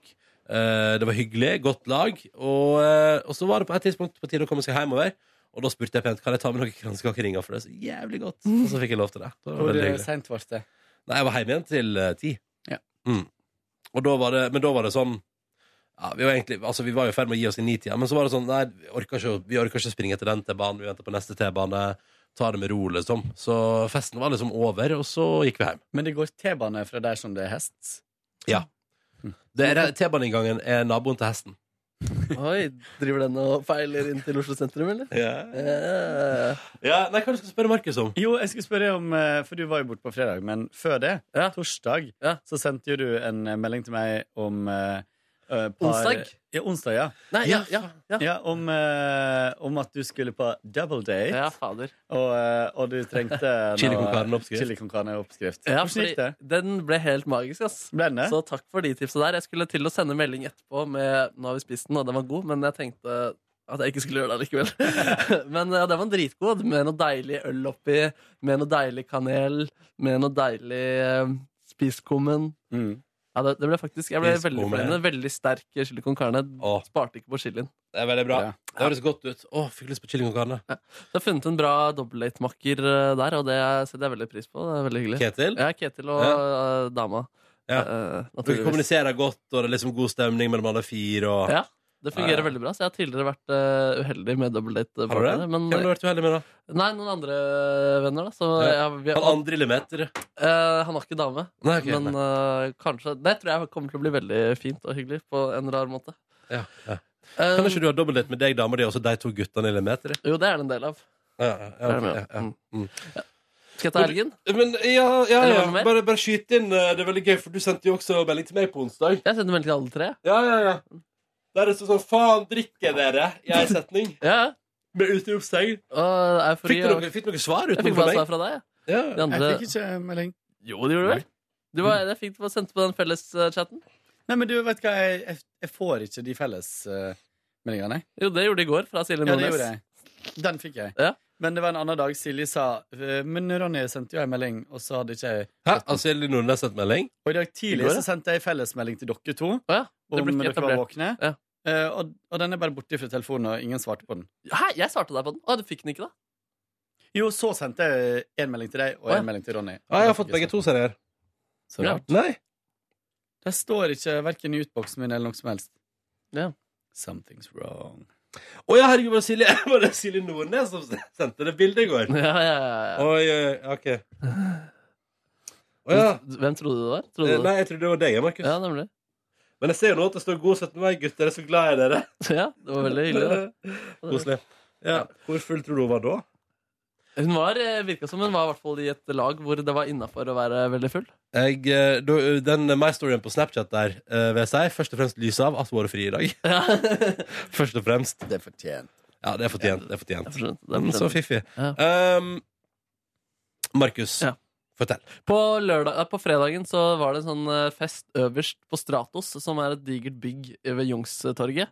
Speaker 2: eh, det var hyggelig, godt lag. Og, eh, og så var det på et tidspunkt på tide å komme seg hjemover. Og da spurte jeg pent kan jeg ta med noen kransekakeringer, for det er så jævlig godt. Og så fikk jeg lov til det. det var
Speaker 13: Hvor
Speaker 2: veldig
Speaker 13: eh,
Speaker 2: hyggelig.
Speaker 13: sent ble det?
Speaker 2: Nei, jeg var hjemme igjen til eh, ti. Mm. Og da var det, men da var det sånn ja, vi, var egentlig, altså, vi var jo i ferd med å gi oss i nitida, men så var det sånn Nei, vi orker ikke, å- vi orker ikke å springe etter den T-banen. Vi venter på neste T-bane. Ta det med ro, liksom. Så festen var liksom over, og så gikk vi hjem.
Speaker 13: Men det går T-bane fra der som det er hest?
Speaker 2: Ja. Det er- T-baneinngangen er naboen til hesten.
Speaker 3: Oi, driver den og feiler inn til Oslo sentrum, eller? Eh.
Speaker 2: Ja, nei, hva skal du spørre Markus om?
Speaker 13: Jo, jeg skulle spørre om, eh, for du var jo borte på fredag, men før det, torsdag, så sendte jo du en eh, melding til meg om eh, eh, par,
Speaker 3: Onsdag?
Speaker 13: Ja, onsdag, ja.
Speaker 3: Nei, ja, ja, ja.
Speaker 13: om, eh, om at du skulle på double date.
Speaker 3: Ja, fader.
Speaker 13: Og, eh, og du trengte
Speaker 3: Chili con carne-oppskrift.
Speaker 13: Chili con carne-oppskrift.
Speaker 3: Ja,
Speaker 13: Hvordan
Speaker 3: fordi
Speaker 13: gikk det?
Speaker 3: Den ble helt magisk. ass Så takk for de tipsa der. Jeg skulle til å sende melding etterpå med 'Nå har vi spist den, og den var god', men jeg tenkte at jeg ikke skulle gjøre det likevel. men ja, den var dritgod, med noe deilig øl oppi, med noe deilig kanel, med noe deilig eh, spiskummen.
Speaker 13: Mm.
Speaker 3: Ja, det, det ble faktisk, Jeg ble veldig
Speaker 2: Spiskummen.
Speaker 3: fornøyd. med det. Veldig sterk chili con carne. Sparte ikke på chilien.
Speaker 2: Det er veldig bra. Det høres godt ut. Å, fikk lyst på chili con carne.
Speaker 3: Så jeg har funnet en bra dobbeltdatemakker eh, der, og det setter jeg veldig pris på. Det er veldig hyggelig.
Speaker 2: Ketil?
Speaker 3: Ja, Ketil og eh, dama.
Speaker 2: Ja.
Speaker 3: Eh,
Speaker 2: Dere
Speaker 3: naturligvis.
Speaker 2: kommuniserer godt, og det er liksom god stemning mellom alle fire. Og...
Speaker 3: Ja, det fungerer
Speaker 2: Ja, ja.
Speaker 3: veldig bra. Så jeg har tidligere vært eh, uheldig med double date.
Speaker 2: Har du det? Hvem har du vært uheldig med, da?
Speaker 3: Nei, noen andre venner, da. Så
Speaker 2: Ja.
Speaker 3: jeg, vi,
Speaker 2: Han andre i Lemeter.
Speaker 3: Eh, han har ikke dame.
Speaker 2: Nei, ok,
Speaker 3: men eh, kanskje Det tror jeg kommer til å bli veldig fint og hyggelig på en rar måte. Eh,
Speaker 2: Ja, ja. Kan ikke du ha dobbeltdate med deg, dama di, og så de to guttene i Lemeter?
Speaker 3: Jo, det er det en del av.
Speaker 2: Ja, ja, ja, ok, ja, ja. Mm.
Speaker 3: Skal jeg ta helgen?
Speaker 2: Men, ja, ja,
Speaker 3: Eller
Speaker 2: ja.
Speaker 3: var det mer?
Speaker 2: Bare, bare skyt inn. eh, Det er veldig gøy, for du sendte jo også melding til meg på onsdag.
Speaker 3: Jeg sendte melding til alle tre.
Speaker 2: Ja, ja, ja. Der det står sånn 'Faen, drikker dere?' i ei setning.
Speaker 3: ja. eh,
Speaker 2: Med utropstegn. Fikk du noe- fikk du noe svar
Speaker 3: Jeg
Speaker 2: utenfor
Speaker 3: fikk bare
Speaker 2: meg?
Speaker 3: svar fra deg.
Speaker 2: Ja.
Speaker 3: De andre-
Speaker 13: Jeg fikk ikke eh, melding.
Speaker 3: Jo, det gjorde du vel? Du var, jeg fikk, var sendt på den felles eh, chatten.
Speaker 13: Nei, men du vet hva, jeg, jeg, jeg får ikke de felles eh, meldingene.
Speaker 3: Jo, det gjorde de i går, fra Silje
Speaker 13: Ja, det
Speaker 3: Nordnes.
Speaker 13: gjorde jeg. Den fikk jeg. Men det var en annen dag Silje sa eh, Men Ronny sendte jo en melding, og så hadde ikke jeg
Speaker 2: Hæ? Altså, Silje Nordnes sendte melding?
Speaker 13: Og i dag
Speaker 2: I
Speaker 13: tidlig
Speaker 2: går, ja.
Speaker 13: så sendte jeg fellesmelding til dere to
Speaker 3: det ble
Speaker 13: om
Speaker 3: ikke
Speaker 13: dere var
Speaker 3: etablert.
Speaker 13: våkne. Eh, og, og den er bare borte fra telefonen, og ingen svarte på den.
Speaker 3: Hæ, jeg svarte deg på den. Å, du fikk den ikke, da?
Speaker 13: Jo, så sendte jeg en melding til deg og
Speaker 3: Å,
Speaker 13: en
Speaker 3: ja.
Speaker 13: melding til Ronny.
Speaker 2: Ja, jeg har fått begge to, ser jeg her.
Speaker 13: Så
Speaker 2: Ja.
Speaker 13: rart.
Speaker 2: Nei.
Speaker 13: Det står ikke verken i utboksen min eller noe som helst.
Speaker 3: Ja.
Speaker 13: Something's wrong.
Speaker 2: Å ja, herregud, var det Silje, var det Silje Nordnes som sendte det bildet i går?
Speaker 3: Ja, ja, ja, ja.
Speaker 2: Oi, oi, ok. Å ja.
Speaker 3: Hvem trodde du det var? Trodde
Speaker 2: Eh,
Speaker 3: du-
Speaker 2: Nei, jeg trodde det var deg, Markus.
Speaker 3: Ja, nemlig.
Speaker 2: Men jeg ser jo nå at det står 'God 17. mai, gutter'. Jeg er så glad i dere.
Speaker 3: Ja, det var veldig hyggelig. Da.
Speaker 2: Koselig. Ja. Hvor full tror du hun var da?
Speaker 3: Hun var, eh, virka som hun var i hvert fall i et lag hvor det var innafor å være veldig full.
Speaker 2: Jeg, eh, da- den eh, My Storyen på Snapchat der eh, vil jeg si først og fremst lyset av at hun har fri i dag. først og fremst.
Speaker 13: Det er fortjent.
Speaker 2: Ja, det er fortjent. Det er fortjent.
Speaker 3: det er
Speaker 2: Mm, så
Speaker 3: fortjent.
Speaker 2: fiffig. Um, Markus, fortell.
Speaker 3: På, lørdag, eh, på fredagen så var det en sånn eh, fest øverst på Stratos, som er et digert bygg ved Jungstorget.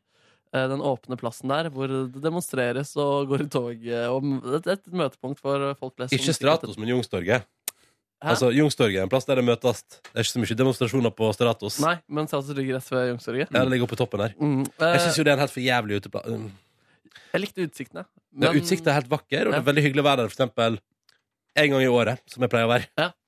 Speaker 3: Eh, Den åpne plassen der hvor det demonstreres og går i tog. eh, Og m- et, et møtepunkt for folk flest. som
Speaker 2: Ikke
Speaker 3: sikkert-
Speaker 2: Stratos, men Jungstorget. Altså, Jungstorget er en plass der det møtes. Det er ikke så mye demonstrasjoner på Stratos.
Speaker 3: Nei, men Stratos ligger rett ved Jungstorget.
Speaker 2: Ja, det ligger oppe på toppen her.
Speaker 3: Mm, eh,
Speaker 2: Jeg syns jo det er en helt for jævlig uteplass. Mm.
Speaker 3: Jeg likte utsiktene.
Speaker 2: Ja,
Speaker 3: men-
Speaker 2: Utsikten er helt vakker, og det
Speaker 3: Ja.
Speaker 2: er veldig hyggelig å være der for eksempel en gang i året, som jeg pleier å være.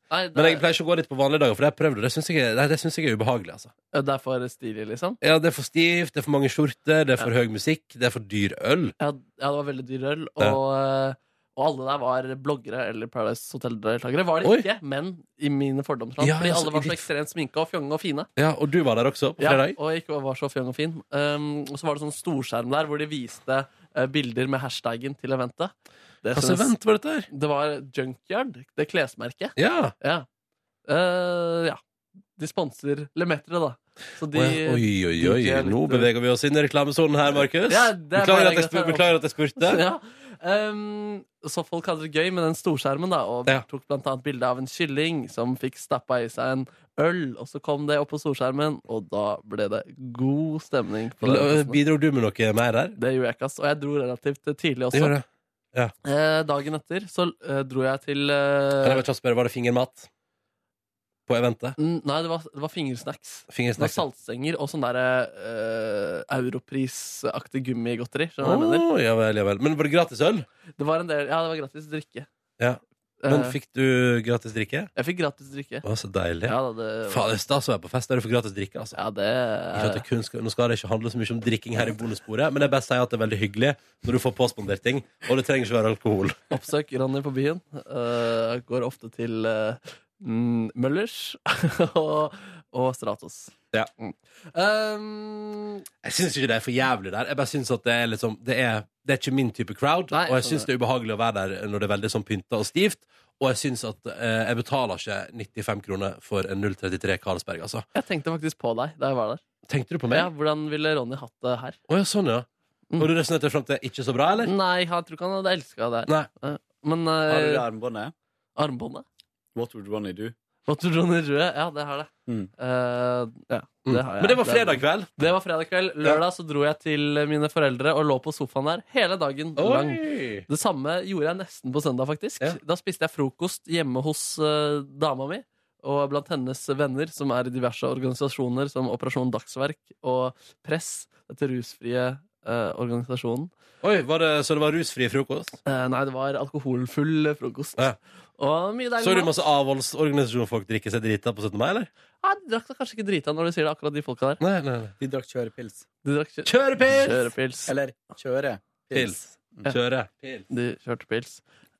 Speaker 3: Nei, det,
Speaker 2: Men jeg pleier ikke å gå dit på vanlige dager, for det har jeg prøvd, og det syns jeg, er- det- det synes jeg er ubehagelig. altså.
Speaker 3: Ja, det er for stilig, liksom?
Speaker 2: Ja, Det er for stivt, det er for mange skjorter, det er for høy musikk, det er for dyr øl.
Speaker 3: Ja, ja, det var veldig dyr øl.
Speaker 2: Ja.
Speaker 3: Og, eh, Og alle der var bloggere eller Paradise Hotel-deltakere. Var de
Speaker 2: Oi.
Speaker 3: ikke, men i mine fordomsland.
Speaker 2: Ja,
Speaker 3: fordi
Speaker 2: altså,
Speaker 3: alle var
Speaker 2: i
Speaker 3: så
Speaker 2: ditt-
Speaker 3: ekstremt sminka og fjonge og fine.
Speaker 2: Ja, Og du var der også på
Speaker 3: Ja,
Speaker 2: fredag?
Speaker 3: og jeg ikke var så fjong og fin. Um, og så var det sånn storskjerm der hvor de viste eh, bilder med hashtaggen til eventet. Det
Speaker 2: Hva slags
Speaker 3: synes-
Speaker 2: event Altså, var dette her?
Speaker 3: Det var Junkyard, det klesmerket.
Speaker 2: Ja.
Speaker 3: Ja. Eh, ja. De sponser Lemetre, da. Så de
Speaker 2: Å, ja. Oi, oi, oi.
Speaker 3: de er litt-
Speaker 2: Nå beveger vi oss inn i reklamesonen her, Markus.
Speaker 3: Ja, det er
Speaker 2: beklager,
Speaker 3: bare
Speaker 2: at jeg
Speaker 3: greit,
Speaker 2: spur,
Speaker 3: det er
Speaker 2: beklager at jeg spurte.
Speaker 3: Ja. Um, så folk hadde det gøy med den storskjermen, da, og tok blant annet bilde av en kylling som fikk stappa i seg en øl, og så kom det opp på storskjermen, og da ble det god stemning. på den festen.
Speaker 2: Bidro du med noe mer der?
Speaker 3: Det gjorde jeg ikke, ass. Og jeg dro relativt tidlig
Speaker 2: Det
Speaker 3: også.
Speaker 2: gjør det. Ja.
Speaker 3: Eh, dagen etter så eh, dro jeg til eh,
Speaker 2: Kan jeg bare kjapt spørre, var det fingermat på eventet?
Speaker 3: n- Nei, det var, det var fingersnacks.
Speaker 2: Fingersnacks,
Speaker 3: Det var saltstenger og sånn derre eh, europrisaktig gummigodteri. Skjønner du hva jeg
Speaker 2: Å,
Speaker 3: mener?
Speaker 2: ja vel, ja vel. Men var det gratis øl?
Speaker 3: Det var en del, ja, det var gratis drikke.
Speaker 2: Ja. Men
Speaker 3: Eh.
Speaker 2: fikk du gratis drikke?
Speaker 3: Jeg fikk gratis drikke.
Speaker 2: Å, så deilig.
Speaker 3: Ja, da, det-
Speaker 2: Faen, det er stas å være på fest der du får gratis drikke, altså. Ikke at det kun skal, nå skal det ikke handle så mye om drikking her i bonussporet, men jeg bare sier at det er veldig hyggelig når du får påspandert ting, og det trenger ikke være alkohol.
Speaker 3: Oppsøk Ronny på byen. Eh, går ofte til eh, mm, Møllers og, og Stratos. Mm.
Speaker 2: Ja.
Speaker 3: Um,
Speaker 2: Jeg syns ikke det er for jævlig der. Jeg bare synes at Det er liksom Det er, det er ikke min type crowd. og jeg syns det sånn er ubehagelig å være der når det er veldig sånn pynta og stivt. Og jeg syns at eh, jeg betaler ikke 95 kroner for en 033 Carlsberg, altså.
Speaker 3: Jeg tenkte faktisk på deg da jeg var der.
Speaker 2: Tenkte du på meg?
Speaker 3: Ja, Hvordan ville Ronny hatt det her?
Speaker 2: Å ja, sånn, ja. Og du resonnerte fram til ikke så bra, eller?
Speaker 3: Nei, jeg tror ikke han hadde elska det her.
Speaker 2: Nei.
Speaker 3: Eh, Men eh,
Speaker 13: Har du det armbåndet?
Speaker 3: Armbåndet?
Speaker 13: What would Ronny do?
Speaker 3: What would Ronny do? Ja, det har det.
Speaker 13: Mm.
Speaker 3: Eh, ja,
Speaker 13: Mm.
Speaker 3: det har jeg.
Speaker 13: Men det var fredag
Speaker 2: kveld?
Speaker 3: Det var fredag kveld. Lørdag så dro jeg til mine foreldre og lå på sofaen der hele dagen
Speaker 2: Oi!
Speaker 3: lang. Det samme gjorde jeg nesten på søndag, faktisk. Da spiste jeg frokost hjemme hos eh, dama mi. Og blant hennes venner, som er i diverse organisasjoner som Operasjon Dagsverk og Press, dette rusfrie eh, organisasjonen. Eh,
Speaker 2: Oi, var det, Så det var rusfri frokost?
Speaker 3: nei, det var alkoholfull frokost. Og mye deilig
Speaker 2: Så du
Speaker 3: mat.
Speaker 2: masse avholdsorganisasjonfolk drikke seg drita på 17. mai, eller?
Speaker 3: Ja, de drakk da kanskje ikke drita når du sier det, akkurat de folka der.
Speaker 2: Nei, nei, nei.
Speaker 13: De drakk kjørepils.
Speaker 3: De drakk kjø-
Speaker 2: Kjørepils!
Speaker 3: Kjørepils.
Speaker 13: Eller kjøre.
Speaker 2: Pils. Kjøre. Pils.
Speaker 3: De kjørte pils.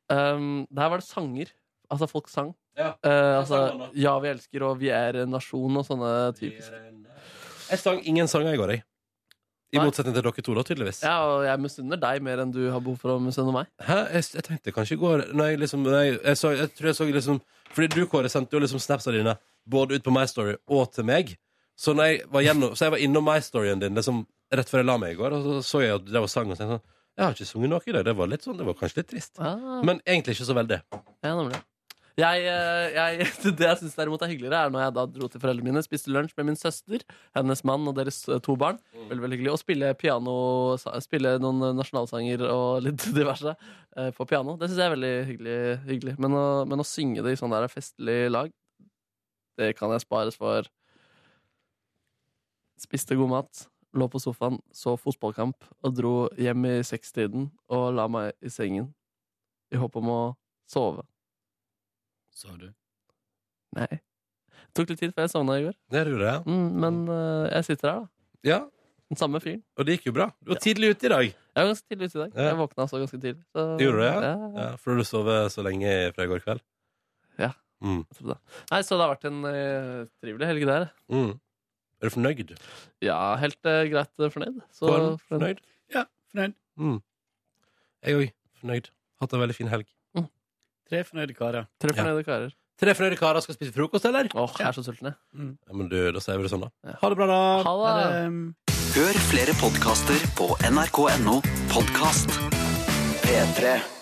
Speaker 3: Um, der var det sanger. Altså, folk sang.
Speaker 2: Ja,
Speaker 3: Eh, altså, ja vi elsker, og vi er en nasjon, og sånne typiske.
Speaker 2: eh, Jeg sang ingen sanger i går, jeg. I motsetning til dere to, da, tydeligvis.
Speaker 3: Ja, og jeg misunner deg mer enn du har behov for å misunne meg.
Speaker 2: Hæ? Jeg, jeg tenkte kanskje i går når jeg, liksom, når jeg, jeg, så, jeg tror jeg så liksom Fordi du, Kåre, sendte jo liksom snapsa dine både ut på My Story og til meg. Så, når jeg var gjennom, så jeg var innom My Storyen din liksom, rett før jeg la meg i går, og så så jeg at det var sang. Og så tenkte jeg sånn, jeg har ikke sunget noe i dag. Det var litt sånn, det var kanskje litt trist.
Speaker 3: Ah.
Speaker 2: Men egentlig ikke så veldig.
Speaker 3: Ja, nemlig. Jeg, eh, jeg, det jeg syns derimot er hyggeligere, er når jeg da dro til foreldrene mine, spiste lunsj med min søster, hennes mann og deres eh, to barn. Veldig, veldig hyggelig. Og spille piano, sa- spille noen eh, nasjonalsanger og litt diverse eh, på piano. Det syns jeg er veldig hyggelig. hyggelig. Men, å, men å synge det i sånn der festlig lag, det kan jeg spares for. Spiste god mat, lå på sofaen, så fotballkamp og dro hjem i sekstiden og la meg i sengen i håp om å sove.
Speaker 13: Sa du?
Speaker 3: Nei. Det tok litt tid før jeg sovna i går.
Speaker 2: Det gjorde jeg.
Speaker 3: Mm, men eh, jeg sitter her, da.
Speaker 2: Ja.
Speaker 3: Den samme fyren.
Speaker 2: Og det gikk jo bra. Du var tidlig ute i dag.
Speaker 3: Jeg var ganske tidlig ute i dag.
Speaker 2: Ja.
Speaker 3: Jeg våkna også ganske tidlig. Så,
Speaker 2: Gjorde du det? Ja?
Speaker 3: Ja.
Speaker 2: Ja, for du sov så lenge fra i går kveld?
Speaker 3: Ja.
Speaker 2: Mm.
Speaker 3: Nei, så det har vært en eh, trivelig helg der.
Speaker 2: Mm. Er du fornøyd?
Speaker 3: Ja, helt eh, greit eh, fornøyd. Så
Speaker 2: Kåren, fornøyd?
Speaker 13: Ja, fornøyd.
Speaker 2: Mm. Jeg òg. Fornøyd. Hatt en veldig fin helg.
Speaker 13: Tre fornøyde karer.
Speaker 3: Tre fornøyde karer.
Speaker 2: Tre fornøyde karer skal spise frokost, eller?
Speaker 3: Åh, jeg er så sulten, jeg.
Speaker 2: Ja, men du, da sier vi det sånn, da. Ha det bra, da.
Speaker 5: Hør flere podkaster på nrk.no podkast. P3.